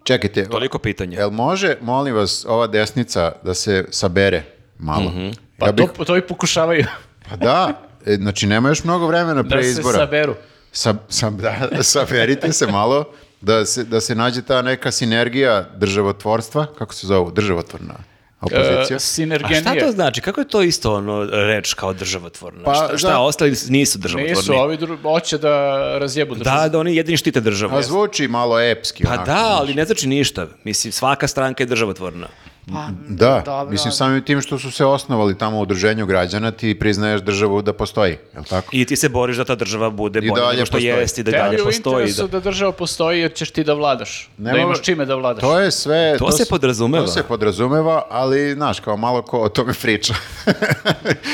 S1: Čekajte,
S2: Toliko pitanja.
S1: jel može, molim vas, ova desnica da se sabere malo?
S4: Pa
S1: ja bih,
S4: to, to i pokušavaju
S1: pa da, e, znači nema još mnogo vremena pre
S4: da se
S1: izbora.
S4: saberu.
S1: Sa, sa- da, saberite se malo da se, da se nađe ta neka sinergija državotvorstva, kako se zove, državotvorna opozicija.
S4: E,
S2: A šta to
S4: sinergenije.
S2: znači? Kako je to isto ono reč kao državotvorna?
S1: Pa,
S2: šta, šta
S1: da.
S2: ostali nisu državotvorni?
S4: Nisu, ovi dru- hoće da razjebu državu.
S2: Da, da oni jedini štite državu.
S1: A zvuči malo epski.
S2: Pa
S1: onako.
S2: da, ali ne znači ništa. Mislim, svaka stranka je državotvorna.
S3: Pa,
S1: Da,
S3: dobro.
S1: mislim samim tim što su se osnovali tamo u udruženju građana, ti priznaješ državu da postoji, je li tako?
S2: I ti se boriš da ta država bude
S1: I
S2: bolja
S1: dalje
S2: nego što
S1: postoji.
S2: jest i da i
S4: Tebi je
S2: dalje
S4: u
S2: postoji.
S4: interesu
S2: da.
S4: da. država postoji jer ćeš ti da vladaš.
S1: Nema-
S4: da imaš čime da vladaš.
S1: To je sve...
S2: To se
S1: s-
S2: podrazumeva.
S1: To se podrazumeva, ali, znaš, kao malo ko o tome priča.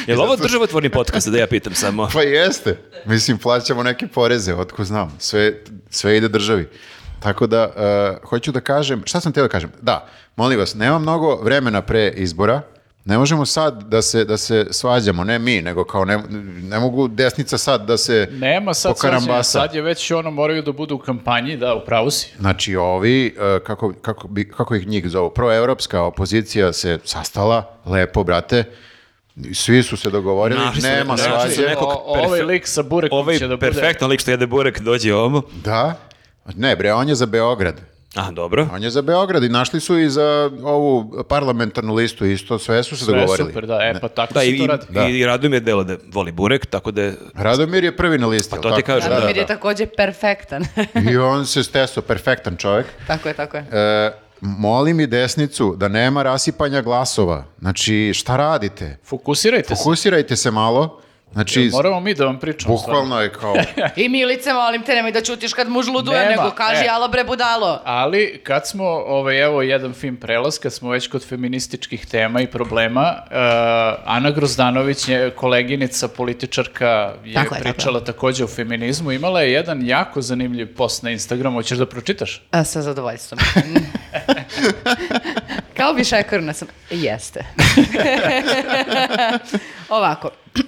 S2: Je li ovo državotvorni podcast, da ja pitam samo?
S1: pa jeste. Mislim, plaćamo neke poreze, otko znam. Sve, sve ide državi. Tako da, eh, hoću da kažem, šta sam teo da kažem? Da, molim vas, nema mnogo vremena pre izbora, Ne možemo sad da se, da se svađamo, ne mi, nego kao ne, ne mogu desnica sad da se
S4: Nema sad svađanja,
S1: pokarambasa.
S4: sad je već ono moraju da budu u kampanji, da, u pravu si.
S1: Znači, ovi, e, kako, kako, bi, kako ih njih zovu, proevropska opozicija se sastala, lepo, brate, svi su se dogovorili,
S2: Našli su
S1: nema
S2: Znači, neko- našli su
S1: svađe.
S2: nekog
S4: O- o- ovaj
S2: perfe-
S4: lik sa burekom
S2: Ovaj
S4: će da bude-
S2: perfektan lik što jede burek dođe ovom.
S1: Da, ne bre, on je za Beograd.
S2: A, dobro.
S1: On je za Beograd i našli su i za ovu parlamentarnu listu isto, sve su se
S4: To je
S1: dogovorili.
S4: super, da, e, pa tako
S2: Da,
S4: se
S2: i,
S4: to radi.
S1: Da.
S2: i, i Radomir je delo da voli burek, tako da je...
S1: Radomir je prvi na listi.
S2: Pa
S1: jel
S2: to ti
S1: tako?
S2: kažem,
S3: Radomir
S2: da.
S3: je takođe perfektan.
S1: I on se steso, perfektan čovjek.
S3: tako je, tako je.
S1: E, molim i desnicu da nema rasipanja glasova. Znači, šta radite?
S4: Fokusirajte se.
S1: Fokusirajte se malo. Znači,
S4: Moramo mi da vam pričamo. stvarno.
S1: Bukvalno je kao,
S3: I Milice, molim te, nemoj da čutiš kad muž luduje,
S4: Nema,
S3: nego kaži
S4: e.
S3: ala bre budalo.
S4: Ali kad smo, ovaj, evo jedan film prelaz, kad smo već kod feminističkih tema i problema, eh, Ana Grozdanović, nje- koleginica, političarka, je
S3: Tako je, tako
S4: pričala takođe o feminizmu, imala je jedan jako zanimljiv post na Instagramu, hoćeš da pročitaš?
S3: A, sa zadovoljstvom. Kao bi šekarna sam. Jeste. Ovako.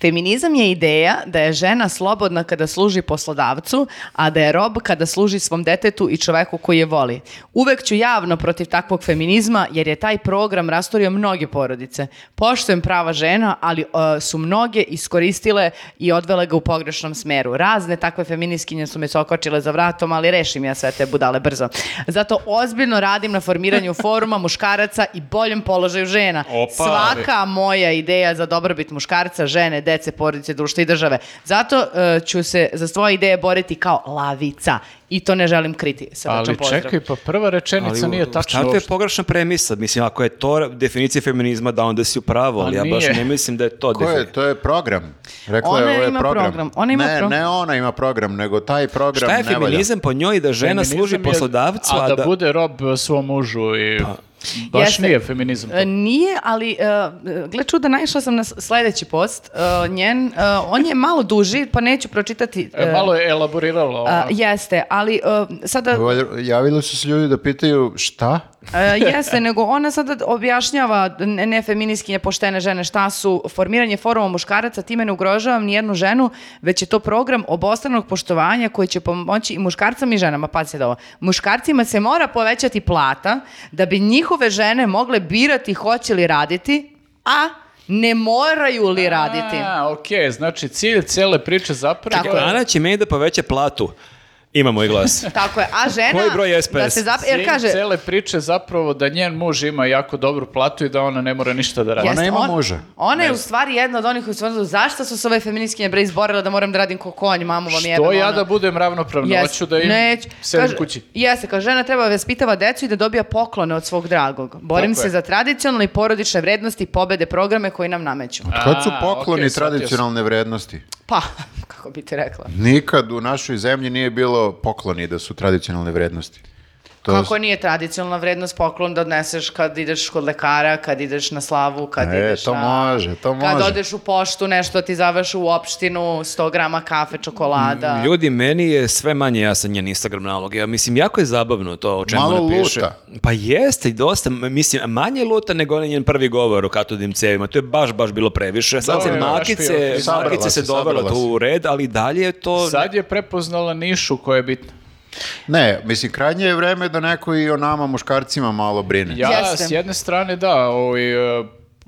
S3: Feminizam je ideja da je žena slobodna kada služi poslodavcu, a da je rob kada služi svom detetu i čoveku koji je voli. Uvek ću javno protiv takvog feminizma jer je taj program rastorio mnoge porodice. Poštujem prava žena, ali e, su mnoge iskoristile i odvele ga u pogrešnom smeru. Razne takve feminiskinje su me sokočile za vratom, ali rešim ja sve te budale brzo. Zato ozbiljno radim na formiranju foruma muškaraca i boljem položaju žena.
S2: Opa.
S3: Svaka svaka moja ideja za dobrobit muškarca, žene, dece, porodice, društva i države. Zato e, ću se za svoje ideje boriti kao lavica i to ne želim kriti. Srdačan
S4: Ali
S3: pozdrav.
S4: čekaj, pa prva rečenica nije tačna
S2: Šta je
S4: uopšte.
S2: pogrešna premisa? Mislim, ako je to definicija feminizma, da onda si u pravu, ali
S4: Pa
S2: ja baš
S4: nije.
S2: ne mislim da je to
S1: ko je,
S2: definicija.
S1: to je program. Rekla
S3: Ona
S1: je, ovo je
S3: ima
S1: program.
S3: program, ona ima
S1: ne,
S3: program.
S1: ne ona ima program, nego taj program
S2: Šta je
S1: ne valja.
S2: feminizam po njoj da žena
S4: Feminizam
S2: služi
S4: je-
S2: poslodavcu, a, da... Pa,
S4: bude rob svom mužu i baš
S3: Jeste.
S4: nije feminizam. to.
S3: E, Nije, ali uh, gle čuda, naišla sam na s- sledeći post e, njen. e, on je malo duži, pa neću pročitati.
S4: E,
S3: e,
S4: Malo je elaboriralo.
S3: a,
S4: ono.
S3: jeste, ali e, sada
S1: Valjda- Javili su se ljudi da pitaju šta?
S3: E, jeste, nego ona sada objašnjava ne, ne feminiskinje, poštene žene, šta su formiranje foruma muškaraca, time ne ugrožavam ni jednu ženu, već je to program obostranog poštovanja koji će pomoći i muškarcama i ženama. Pazi sad ovo. Muškarcima se mora povećati plata da bi njihove žene mogle birati hoće li raditi, a ne moraju li raditi.
S4: A, okej, znači cilj cele priče zapravo
S3: Tako je.
S4: je...
S2: Ana će meni da poveća platu. Imamo i glas.
S3: Tako je. A žena...
S2: Koji broj SPS?
S3: Da se zap... Jer
S4: Cilj
S3: kaže,
S4: cele priče zapravo da njen muž ima jako dobru platu i da ona ne mora ništa da radi.
S1: Jeste. Ona ima
S3: on-
S1: muža.
S3: Ona je u stvari jedna od onih koji su ono, zašto su se ove feministkinje bre izborile da moram da radim ko konj, mamu vam jebem.
S4: Što ja
S3: ono."
S4: da budem ravnopravna,
S3: Jeste,
S4: hoću da im
S3: neću.
S4: sedim
S3: Kaže-
S4: kući.
S3: Jeste, kao žena treba da vaspitava decu i da dobija poklone od svog dragog. Borim
S4: Tako
S3: se
S4: je.
S3: za tradicionalne i porodične vrednosti i pobede programe koji nam nameću.
S1: Kad su
S4: A,
S1: pokloni
S4: okej, shvatio sam.
S1: tradicionalne vrednosti?
S3: Pa, kako bi ti rekla.
S1: Nikad u našoj zemlji nije bilo pokloni da su tradicionalne vrednosti. To
S3: Kako nije tradicionalna vrednost poklon da odneseš kad ideš kod lekara, kad ideš na slavu, kad
S1: E,
S3: ideš
S1: to
S3: na...
S1: može, to
S3: Kad
S1: može.
S3: odeš u poštu, nešto ti zaveš u opštinu, 100 grama kafe, čokolada.
S4: Mm,
S2: Ljudi, meni je sve manje jasan njen Instagram nalog. Ja mislim, jako je zabavno to o čemu
S1: Malo
S2: ona piše.
S1: luta.
S2: Pa jeste i dosta. M- Mislim, manje je luta nego onaj njen prvi govor o katodim cevima. To je baš, baš bilo previše. Sad se
S4: Dobro, našpio.
S2: makice,
S1: Sabrala
S2: makice se
S1: se,
S2: dovela
S1: sabrala
S2: tu
S1: se.
S2: u red, ali dalje je to...
S4: Sad je prepoznala nišu koja je bitna.
S1: Ne, mislim, krajnje je vreme da neko i o nama muškarcima malo brine.
S4: Ja,
S3: Jeste.
S4: s jedne strane, da, ovaj, e,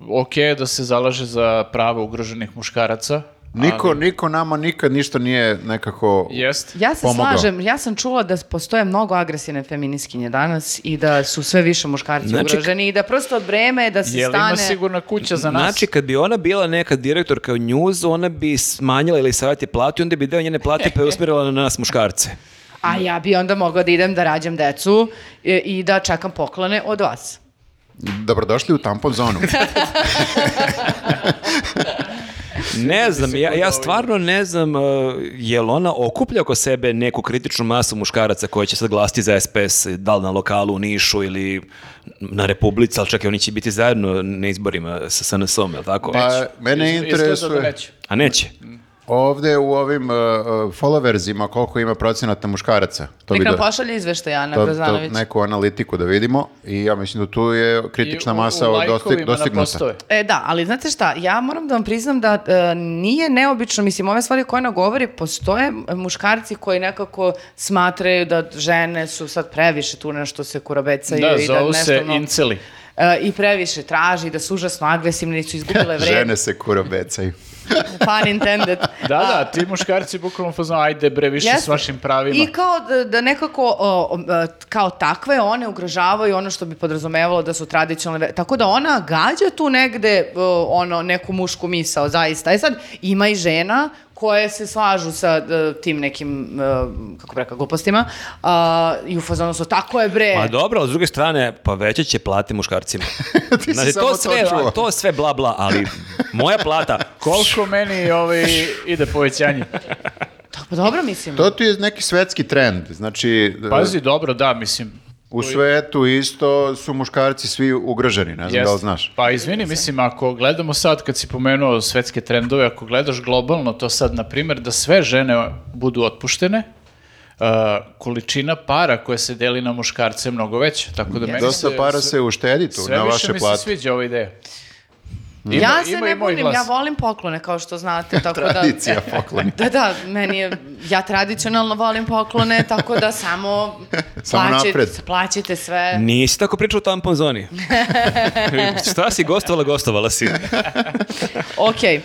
S4: ok je da se zalaže za prava ugroženih muškaraca.
S1: Niko, niko nama nikad ništa nije nekako...
S4: Jest.
S3: Ja se
S1: Pomogao.
S3: slažem, ja sam čula da postoje mnogo agresivne feminiskinje danas i da su sve više muškarci
S2: Znači,
S3: ugroženi i da prosto breme da se
S4: Jel ima
S3: stane...
S4: sigurna kuća za nas?
S2: Znači, kad bi ona bila neka direktorka u njuzu, ona bi smanjila ili savjeti platu i onda bi deo njene plate preusmjerila na nas muškarce.
S3: A ja bi onda mogla da idem da rađam decu e, i da čekam poklone od vas.
S1: Dobrodošli u tampon zonu.
S2: Ne znam, ja, ja stvarno ne znam uh, je li ona okuplja oko sebe neku kritičnu masu muškaraca koja će sad glasiti za SPS, da li na lokalu u Nišu ili na Republici, ali čekaj, oni će biti zajedno na izborima sa SNS-om, je li tako?
S1: Pa, mene
S4: Iz- izgleda da
S1: interesuje
S4: neće.
S2: A neće.
S1: ovde u ovim uh, uh, followersima koliko ima procenata muškaraca. To
S3: Nek
S1: bi
S3: nam
S1: da,
S3: pošalje izveštaj, Ana
S1: to, to
S3: Brozanović.
S1: neku analitiku da vidimo i ja mislim da tu je kritična
S4: I u-
S1: masa
S4: u
S1: dosti-
S4: lajkovima na
S1: dostignuta.
S4: postoje.
S3: E da, ali znate šta, ja moram da vam priznam da e, nije neobično, mislim, ove stvari koje ona govori, postoje muškarci koji nekako smatraju da žene su sad previše tu nešto se kurabecaju
S4: Da,
S3: i da
S4: zovu
S3: nešto...
S4: se
S3: ono-
S4: inceli.
S3: E, i previše traži, da su užasno agresivne i su izgubile vreme.
S1: Žene se kuro becaju.
S3: Pun intended.
S4: Da, da, ti muškarci bukvalno fazno, ajde bre, više s
S3: Jeste.
S4: vašim pravima.
S3: I kao da, da nekako, o, o, e, kao takve, one ugrožavaju ono što bi podrazumevalo da su tradicionalne. vre- Tako da ona gađa tu negde o, ono, neku mušku misao, zaista. E sad, ima i žena koje se slažu sa e, tim nekim, e, kako bi rekao, glupostima. a, I u fazonu su, tako je
S1: e.
S3: bre.
S2: Pa dobro, ali s druge strane, povećat će plate muškarcima.
S1: si
S2: Znači,
S1: samo
S2: to
S1: to
S2: sve,
S1: čuo.
S2: to sve bla bla, ali moja plata,
S4: Koliko meni ovaj, ide povećanje?
S3: Tako, pa dobro, mislim.
S1: To tu je neki svetski trend. Znači,
S4: Pazi, dobro, da, mislim.
S1: u svetu isto su muškarci svi ugroženi, ne znam da
S4: jeste.
S1: li znaš.
S4: Pa izvini, mislim, ako gledamo sad, kad si pomenuo svetske trendove, ako gledaš globalno to sad, na primjer, da sve žene budu otpuštene, uh, količina para koja se deli na muškarce je mnogo veća, tako da meni
S1: Dosta
S4: se-
S1: para se uštedi tu
S4: sve
S1: na
S4: više
S1: vaše
S4: mi se
S1: plate. Mm.
S4: sviđa ova ideja. Ima-
S3: ja se
S4: ima i
S3: ne
S4: moj
S3: bunim,
S4: glas.
S3: ja volim poklone, kao što znate. Tako da,
S1: Tradicija pokloni.
S3: Da, da, meni je, ja tradicionalno volim poklone, tako da samo,
S1: Samo
S3: plaćajte,
S1: napred.
S3: plaćajte sve.
S2: nisi tako pričao u tampon zoni. Šta si gostovala, gostovala si.
S3: Ok, uh, e,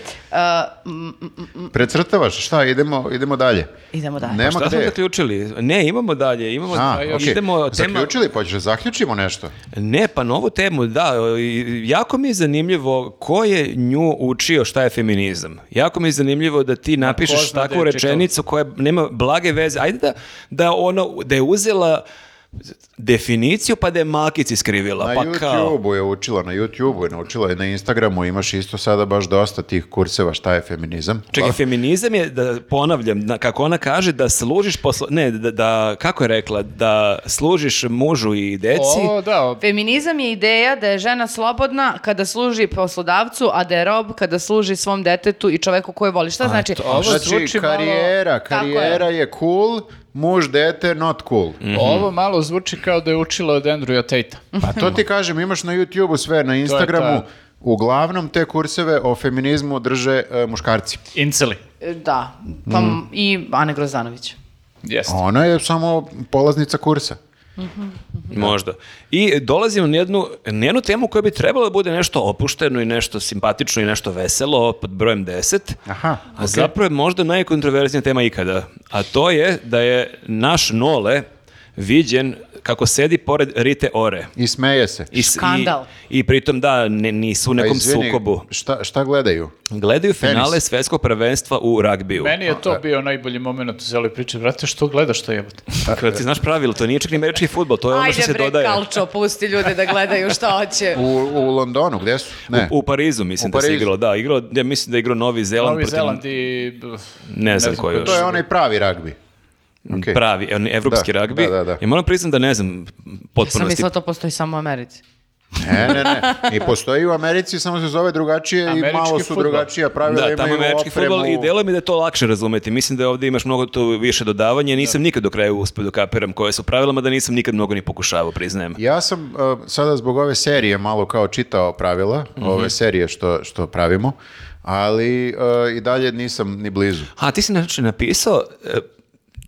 S3: m, m, m,
S1: Precrtavaš, šta, idemo, idemo dalje.
S3: idemo dalje.
S1: Nema
S2: Pa Šta smo
S1: gde.
S2: zaključili? Ne, imamo dalje, imamo
S1: A,
S2: dalje.
S1: okej.
S2: Idemo tema...
S1: Zaključili, pa ćeš da zaključimo nešto.
S2: Ne, pa novu temu, da, i- jako mi je zanimljivo ko je nju učio šta je feminizam. Jako mi je zanimljivo da ti
S4: ko
S2: napišeš
S4: zna
S2: takvu
S4: da je
S2: rečenicu koja nema blage veze. Ajde da, da ono, da je uzela definiciju pa da je makici skrivila.
S1: Na
S2: pa kao,
S1: YouTube-u je učila, na YouTube-u je naučila, i na Instagramu imaš isto sada baš dosta tih kurseva šta je feminizam.
S2: Čekaj, feminizam je, da ponavljam, da, kako ona kaže, da služiš posla... Ne, da, da- kako je rekla, da služiš mužu i deci.
S4: O, da, o-
S3: Feminizam je ideja da je žena slobodna kada služi poslodavcu, a da je rob kada služi svom detetu i čoveku koju voli. Šta znači?
S2: to-
S4: ovo
S1: Znači,
S4: zvuči malo-
S1: karijera,
S3: Tako je.
S1: karijera je. cool, muž, dete, not cool.
S2: Mm.
S4: Ovo malo zvuči kao da je učila od Andrewa Tate-a.
S1: Pa to ti kažem, imaš na YouTube-u sve, na Instagramu,
S4: to.
S1: uglavnom te kurseve o feminizmu drže e, muškarci.
S4: Inceli.
S3: E, Da,
S1: Mm.
S3: pa m- i Ana Grozanović.
S4: Jeste.
S1: Ona je samo ono polaznica kursa.
S2: Možda. I dolazimo na jednu, na jednu temu koja bi trebala da bude nešto opušteno i nešto simpatično i nešto veselo pod brojem 10.
S1: Aha,
S2: A zapravo je možda najkontroverznija tema ikada. A to je da je naš Nole viđen kako sedi pored Rite Ore.
S1: I smeje se.
S2: I, s- i-
S3: Skandal.
S2: I pritom da, ne, nisu u
S1: Pa
S2: nekom
S1: izvini,
S2: sukobu.
S1: Šta, šta gledaju?
S2: Gledaju finale
S1: Tenis.
S2: svetskog prvenstva u ragbiju.
S4: Meni
S1: Pa
S4: je to bio najbolji moment u cijeloj priči. Vrate, što gledaš to jebote?
S2: Kada ti znaš pravilo, to nije čak ni američki futbol, to je ono što
S3: Ajde
S2: se
S3: bre,
S2: dodaje.
S3: kalčo, pusti ljude da gledaju šta hoće.
S1: U, u Londonu, gde su? Ne.
S2: U Parizu mislim
S1: U
S2: da se
S1: Parizu.
S2: igralo, da, igralo, ja mislim da je igrao Novi Zeland
S4: Novi
S2: protiv
S4: Zeland i...
S2: ne znam ko još. Mm.
S1: To je onaj pravi ragbi. Okay.
S2: pravi, on evropski
S1: Da,
S2: ragbi.
S1: da, da, da.
S2: I moram priznati da ne znam
S3: Sam
S2: potpunosti.
S3: mislila to postoji samo u Americi.
S1: Ne, ne, ne. I postoji u Americi, samo se zove drugačije i
S4: Američki
S1: malo su
S4: fudbal.
S1: drugačija pravila.
S2: Da, tamo
S1: imaju
S2: je američki
S1: opremu.
S2: futbol i delo mi da je to lakše razumeti. Mislim da ovdje imaš mnogo tu više dodavanja. Nisam nikad do kraja uspio da kapiram koje su pravila, mada nisam nikad mnogo ni pokušavao, priznajem.
S1: Ja sam uh, sada zbog ove serije malo kao čitao pravila, ove serije što, što pravimo, ali uh, i dalje nisam ni blizu.
S2: A ti si znači napisao e,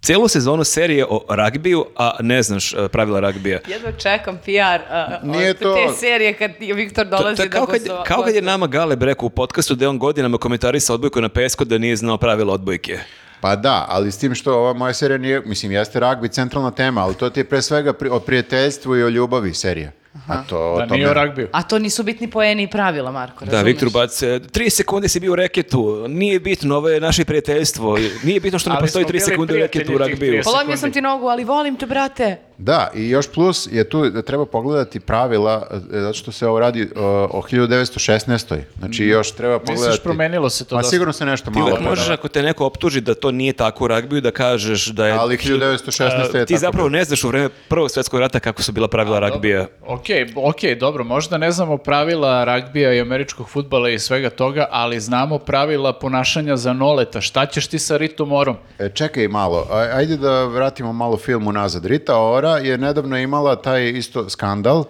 S2: celu sezonu serije o ragbiju, a ne znaš e, pravila ragbija.
S3: Jedva čekam PR uh,
S1: Nije
S3: od
S1: to-
S3: te serije kad Viktor
S2: To-
S3: dolazi
S2: to je kao,
S3: da
S2: kad,
S3: gosto-
S2: kao kad je
S3: gostuje.
S2: nama Gale rekao u podcastu da je on godinama komentarisao odbojku na pesku da nije znao pravila odbojke.
S1: Pa da, ali s tim što ova moja serija nije, mislim, jeste ragbi centralna tema, ali to ti je pre svega pri- o prijateljstvu i o ljubavi serija. A to, o
S4: Da
S1: tome-
S4: nije o ragbiju.
S3: A to nisu bitni poeni i pravila, Marko,
S2: Da,
S3: razumeš?
S2: Viktor Bace, tri sekunde si bio u reketu, nije bitno, ovo je naše prijateljstvo, nije bitno što ne
S4: Ali
S2: postoji
S4: smo
S2: tri
S4: bili
S2: sekunde u reketu u
S4: prijatelji tih
S2: ragbiju.
S4: 30.
S3: Polomio sam ti nogu, ali volim te, brate.
S1: Da, i još plus je tu da treba pogledati pravila, e, zato što se ovo radi o, o 1916. Znači još treba pogledati...
S4: Mhm. promenilo se to
S1: Ma
S4: dosta.
S1: sigurno se nešto
S2: Ti
S1: malo...
S2: uvek možeš, ako te neko optuži da to nije tako u ragbiju, da kažeš da je...
S4: e,
S2: E,
S1: Ali 1916 je
S2: Ti
S1: tako
S2: zapravo ne znaš u vreme Prvog svjetskog rata kako su bila pravila ragbija.
S4: Ok, ok, dobro, možda ne znamo pravila ragbija i američkog futbala i svega toga, ali znamo pravila ponašanja za noleta. Šta ćeš ti sa Ritomorom?
S1: E, čekaj malo, a- ajde da vratimo malo film unazad. Rita Ora je nedavno imala taj isto skandal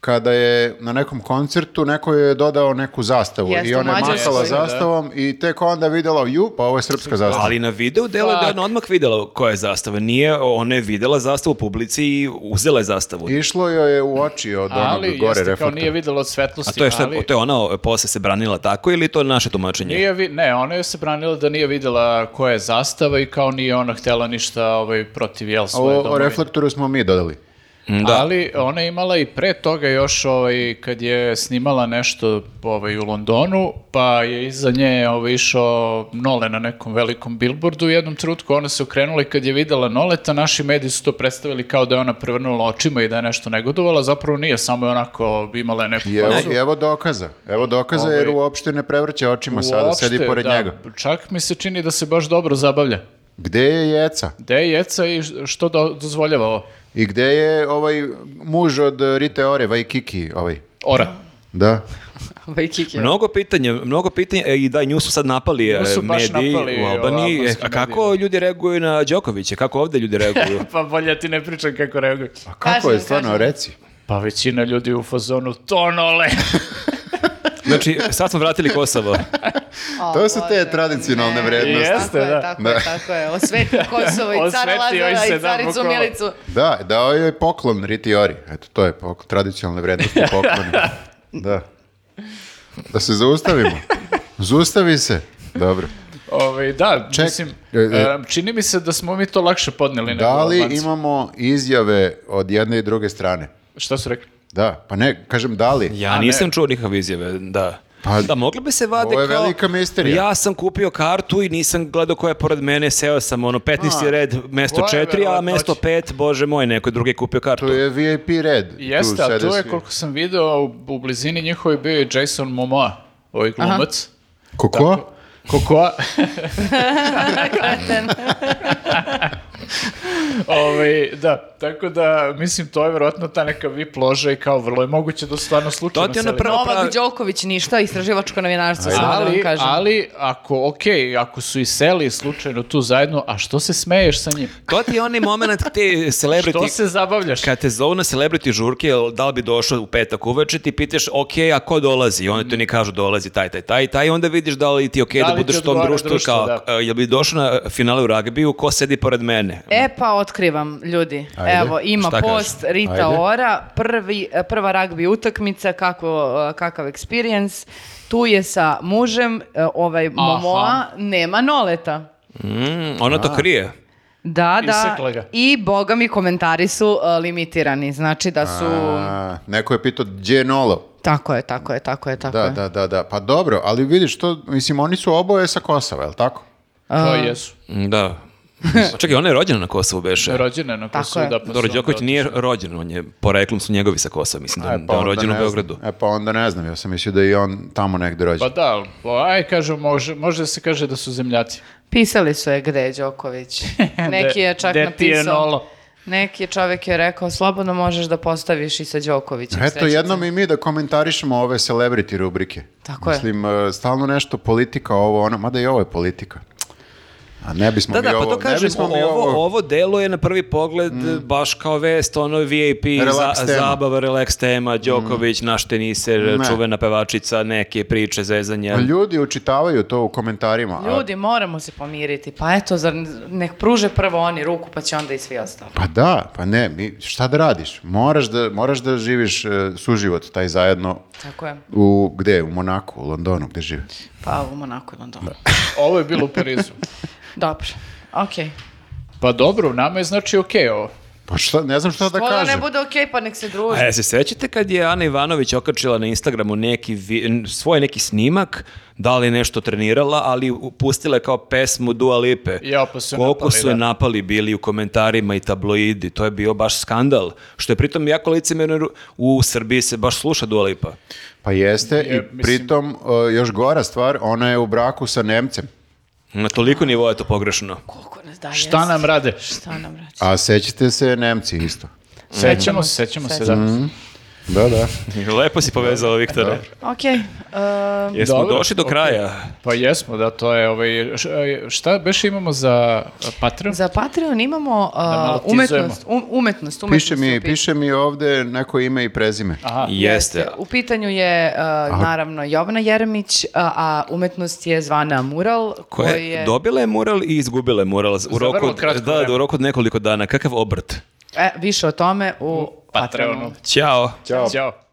S1: kada je na nekom koncertu neko joj je dodao neku zastavu
S3: Jeste,
S1: i ona je
S3: Mađarskoj.
S1: mahala
S4: Jeste, da.
S1: zastavom i tek onda videla, ju, pa ovo je srpska zastava.
S2: Ali na videu delo je da je ona odmah videla koja je zastava. Nije, ona je videla zastavu u publici i uzela je zastavu.
S1: Išlo joj je u oči od onog
S4: Ali
S1: ono gore
S4: jeste kao
S1: reflektora.
S4: nije videlo od svetlosti,
S2: A to je šta,
S4: ali...
S2: to je ona o, posle se branila tako ili to je naše tumačenje?
S4: Nije vi, ne, ona je se branila da nije videla koja je zastava i kao nije ona htela ništa ovaj, protiv jel
S1: O,
S4: svoje
S1: o
S4: domovine.
S1: reflektoru smo mi dodali.
S2: Da.
S4: Ali ona je imala i pre toga još ovaj, kad je snimala nešto ovaj, u Londonu, pa je iza nje ovaj, išao Nole na nekom velikom billboardu u jednom trenutku. Ona se okrenula i kad je videla Noleta, naši mediji su to predstavili kao da je ona prevrnula očima i da je nešto negodovala. Zapravo nije, samo je onako imala je neku
S1: I evo,
S4: fazu.
S1: i evo dokaza. Evo dokaza
S4: Pa Ovaj-
S1: jer uopšte ne prevrće očima sada, sedi
S4: Uopšte,
S1: pored
S4: da,
S1: njega.
S4: Čak mi se čini da se baš dobro zabavlja.
S1: Gde je Jeca?
S4: Gde je jeca i što do, dozvoljava ovo?
S1: I gde je ovaj muž od e, Rite Ore, Vajkiki, ovaj?
S4: Ora.
S1: Da.
S3: Ovaj kike.
S2: Mnogo pitanja, mnogo pitanja e, i da nju su sad napali e,
S4: Nju su baš
S2: mediji
S4: napali,
S2: u Albaniji.
S4: o,
S2: E,
S4: albanski
S2: A kako
S4: mediji.
S2: ljudi reaguju na Đokovića? Kako ovdje ljudi reaguju?
S4: Pa bolje ti ne pričam kako reaguju.
S1: A Pa kako
S3: Kaži
S1: je
S3: nam,
S1: stvarno,
S3: kaži nam.
S1: reci?
S4: Pa većina ljudi u fazonu tonole.
S2: znači, sad smo vratili Kosovo.
S3: O,
S1: To su te
S3: Bože,
S1: tradicionalne
S3: ne.
S1: vrednosti.
S3: Tako
S4: Jeste,
S3: je,
S4: da.
S3: tako
S1: Da.
S3: je, tako je. Osveti Kosovo i cara
S4: Osvetio i
S3: Lazara i
S4: se, da,
S3: caricu
S4: bukvalno.
S3: Milicu.
S1: Da, dao je poklon Riti Ori. Eto, to je pok- tradicionalne vrednosti poklona. Da. Da se zaustavimo. Zaustavi se. Dobro.
S4: Ove, Ovaj, da,
S1: Ček-
S4: mislim,
S1: e, e.
S4: em, čini mi se da smo mi to lakše podneli. nego
S1: Da li
S4: Albanci.
S1: imamo izjave od jedne i druge strane?
S4: Šta su rekli?
S1: Da, pa ne, kažem da li.
S2: Ja
S4: A,
S2: nisam čuo nikakve izjave, da.
S1: Pa,
S2: da, mogli bi se vade
S1: ovo je
S2: kao...
S1: velika misterija.
S2: Ja sam kupio kartu i nisam gledao koja je pored mene, seo sam ono 15. red, mesto
S4: koja je
S2: 4, a mesto 5,
S4: verovatnoća?
S2: bože moj, neko drugi je kupio kartu.
S1: To je VIP red.
S4: Jeste, a
S1: sede
S4: tu je
S1: svi.
S4: koliko sam video u, u blizini njihovi bio je Jason Momoa, ovaj glumac.
S1: Koko?
S4: Kokoa. Ovaj, da, tako da, mislim, to je vjerojatno ta neka vip loža i kao vrlo je moguće da su stvarno slučajno
S2: To ti je ono
S4: seli.
S2: pravo pravi-
S3: Novak Đoković ništa, istraživačko novinarstvo, samo Pa da vam
S4: ali,
S3: kažem.
S4: ali ako, okej, ako su i seli slučajno tu zajedno, a što se smeješ sa njim?
S2: To ti je onaj moment te celebrity...
S4: Što se zabavljaš?
S2: E, Kad te zovu na celebrity žurke, jel da li bi došao u petak uveče, ti pitaš, ok, a ko dolazi? I Oni to ni kažu, dolazi taj, taj, taj, taj, i onda vidiš da li ti je ok da,
S4: Da li ti
S2: budeš u tom
S4: odgovara
S2: društvu,
S4: društvo,
S2: kao, eh,
S4: da.
S2: e, jel bi došao na finale u ragbiju, ko sedi pored mene? mene.
S3: E pa otkrivam ljudi.
S1: Ajde.
S3: Evo ima
S2: Šta
S3: post Rita
S1: Ajde.
S3: Ora, prvi, prva ragbi utakmica, kako, kakav experience. Tu je sa mužem, e, ovaj Momoa, nema noleta.
S2: Mm, ona to krije.
S3: Da, da.
S4: Isekla ga.
S3: I boga mi komentari su e, limitirani, znači da su...
S1: A, neko je pitao gdje je Nolo?
S3: Tako je, tako je, tako je, tako
S1: Da,
S3: je.
S1: da, da, da. Pa dobro, ali vidiš to, mislim, oni su oboje sa Kosova, je li tako?
S4: To jesu.
S2: Da. Čekaj, ona je rođena na Kosovu, beše.
S4: Rođene na
S3: Tako
S4: Kosovu,
S3: je.
S4: da pa su
S2: Dobro,
S4: onda
S2: Đoković nije rođen, on je, poreklom su njegovi sa Kosova, mislim, da, da je on
S1: pa onda
S2: rođen pa u
S1: ne znam.
S2: Beogradu.
S1: E pa onda ne znam, ja sam mislio da je i on tamo negde
S4: Pa
S1: rođen.
S4: da, ali, pa, aj kažem, može, može da se kaže da su zemljaci.
S3: Pisali su je gde je Đoković. Neki je čak
S4: De- de ti je
S3: napisao.
S4: Nolo.
S3: Neki je čovjek je rekao, slobodno možeš da postaviš i sa
S2: Pa,
S3: Đokovićem.
S1: Eto,
S3: srećice."
S1: jednom i mi da komentarišemo ove celebrity rubrike.
S3: Tako je.
S1: Mislim, e, stalno nešto politika, ovo, ono, mada i ovo je politika. A ne bismo
S2: Da,
S1: mi
S2: da,
S1: ovo,
S2: pa to
S1: ne
S2: kažem,
S1: bismo mi
S2: ovo, ovo delo je na prvi pogled baš kao vest, ono VIP,
S1: Relax
S2: za,
S1: tema. Mm.
S2: zabava, relax tema, Đoković, naš teniser,
S1: Ne.
S2: čuvena pevačica, neke priče, zezanje.
S1: Ljudi učitavaju to u komentarima. a-
S3: Ljudi, moramo se pomiriti. Pa eto, zar nek pruže prvo oni ruku, pa će onda i svi ostali.
S1: Pa da, pa ne, mi, šta da radiš? Moraš da, moraš da živiš e, suživot, taj zajedno,
S3: Tako je.
S1: u, gde? U Monaku, u Londonu, gde žive?
S3: Pa u Monaku i Londonu.
S4: Ovo je bilo u Parizu.
S3: Dobro. Okej.
S4: Pa dobro, nama je znači okej ovo.
S1: Pa šta, ne znam šta da
S3: Voda ne
S1: kažem.
S3: bude okej, pa nek se druži.
S2: A jel se sećate kad je Ana Ivanović okačila na Instagramu neki vi- n- svoj neki snimak, da li je nešto trenirala, ali u- pustila je kao pesmu Dua Lipe.
S4: Jao, pa su je
S2: Koliko
S4: napali,
S2: su je
S4: da.
S2: napali bili u komentarima i tabloidi, to je bio baš skandal. Što je pritom jako licemjerno, jer u Srbiji se baš sluša Dua Lipa.
S1: Pa jeste, i
S4: Je, mislim-
S1: pritom e, još gora stvar, ona je u braku sa Nemcem.
S2: Na toliko nivoa je to pogrešno.
S3: Koliko nas daje?
S4: Šta nam rade?
S3: Šta nam radi?
S1: A sećate se Nemci isto.
S4: Sećamo se, sećamo se, da.
S1: Da, da.
S2: Lepo si povezao, Viktore.
S3: Okej. em,
S2: Jesmo
S4: Dobro,
S2: došli do
S4: okej.
S2: kraja.
S4: Pa jesmo, da, to je ovaj, š- šta beš imamo za eh, Patreon?
S3: za Patreon imamo eh,
S4: malo tizujemo.
S3: umetnost, um- umetnost, umetnost.
S1: Piše
S3: je
S1: mi,
S3: u pitanju.
S1: piše mi ovde neko ime i prezime.
S4: Aha,
S2: Jeste.
S3: U pitanju je, eh, naravno, Jovana Jeremić, a, a umetnost je zvana Mural,
S2: Koja
S3: koji je...
S2: Dobila je mural i izgubila je mural u roku,
S4: vrlo
S2: od,
S4: kratko
S2: da,
S4: vreme.
S2: u roku od nekoliko dana. Kakav obrt.
S3: E, više o tome u Patreonu.
S4: Patreonu.
S2: Ćao.
S1: Ćao.
S4: Ćao.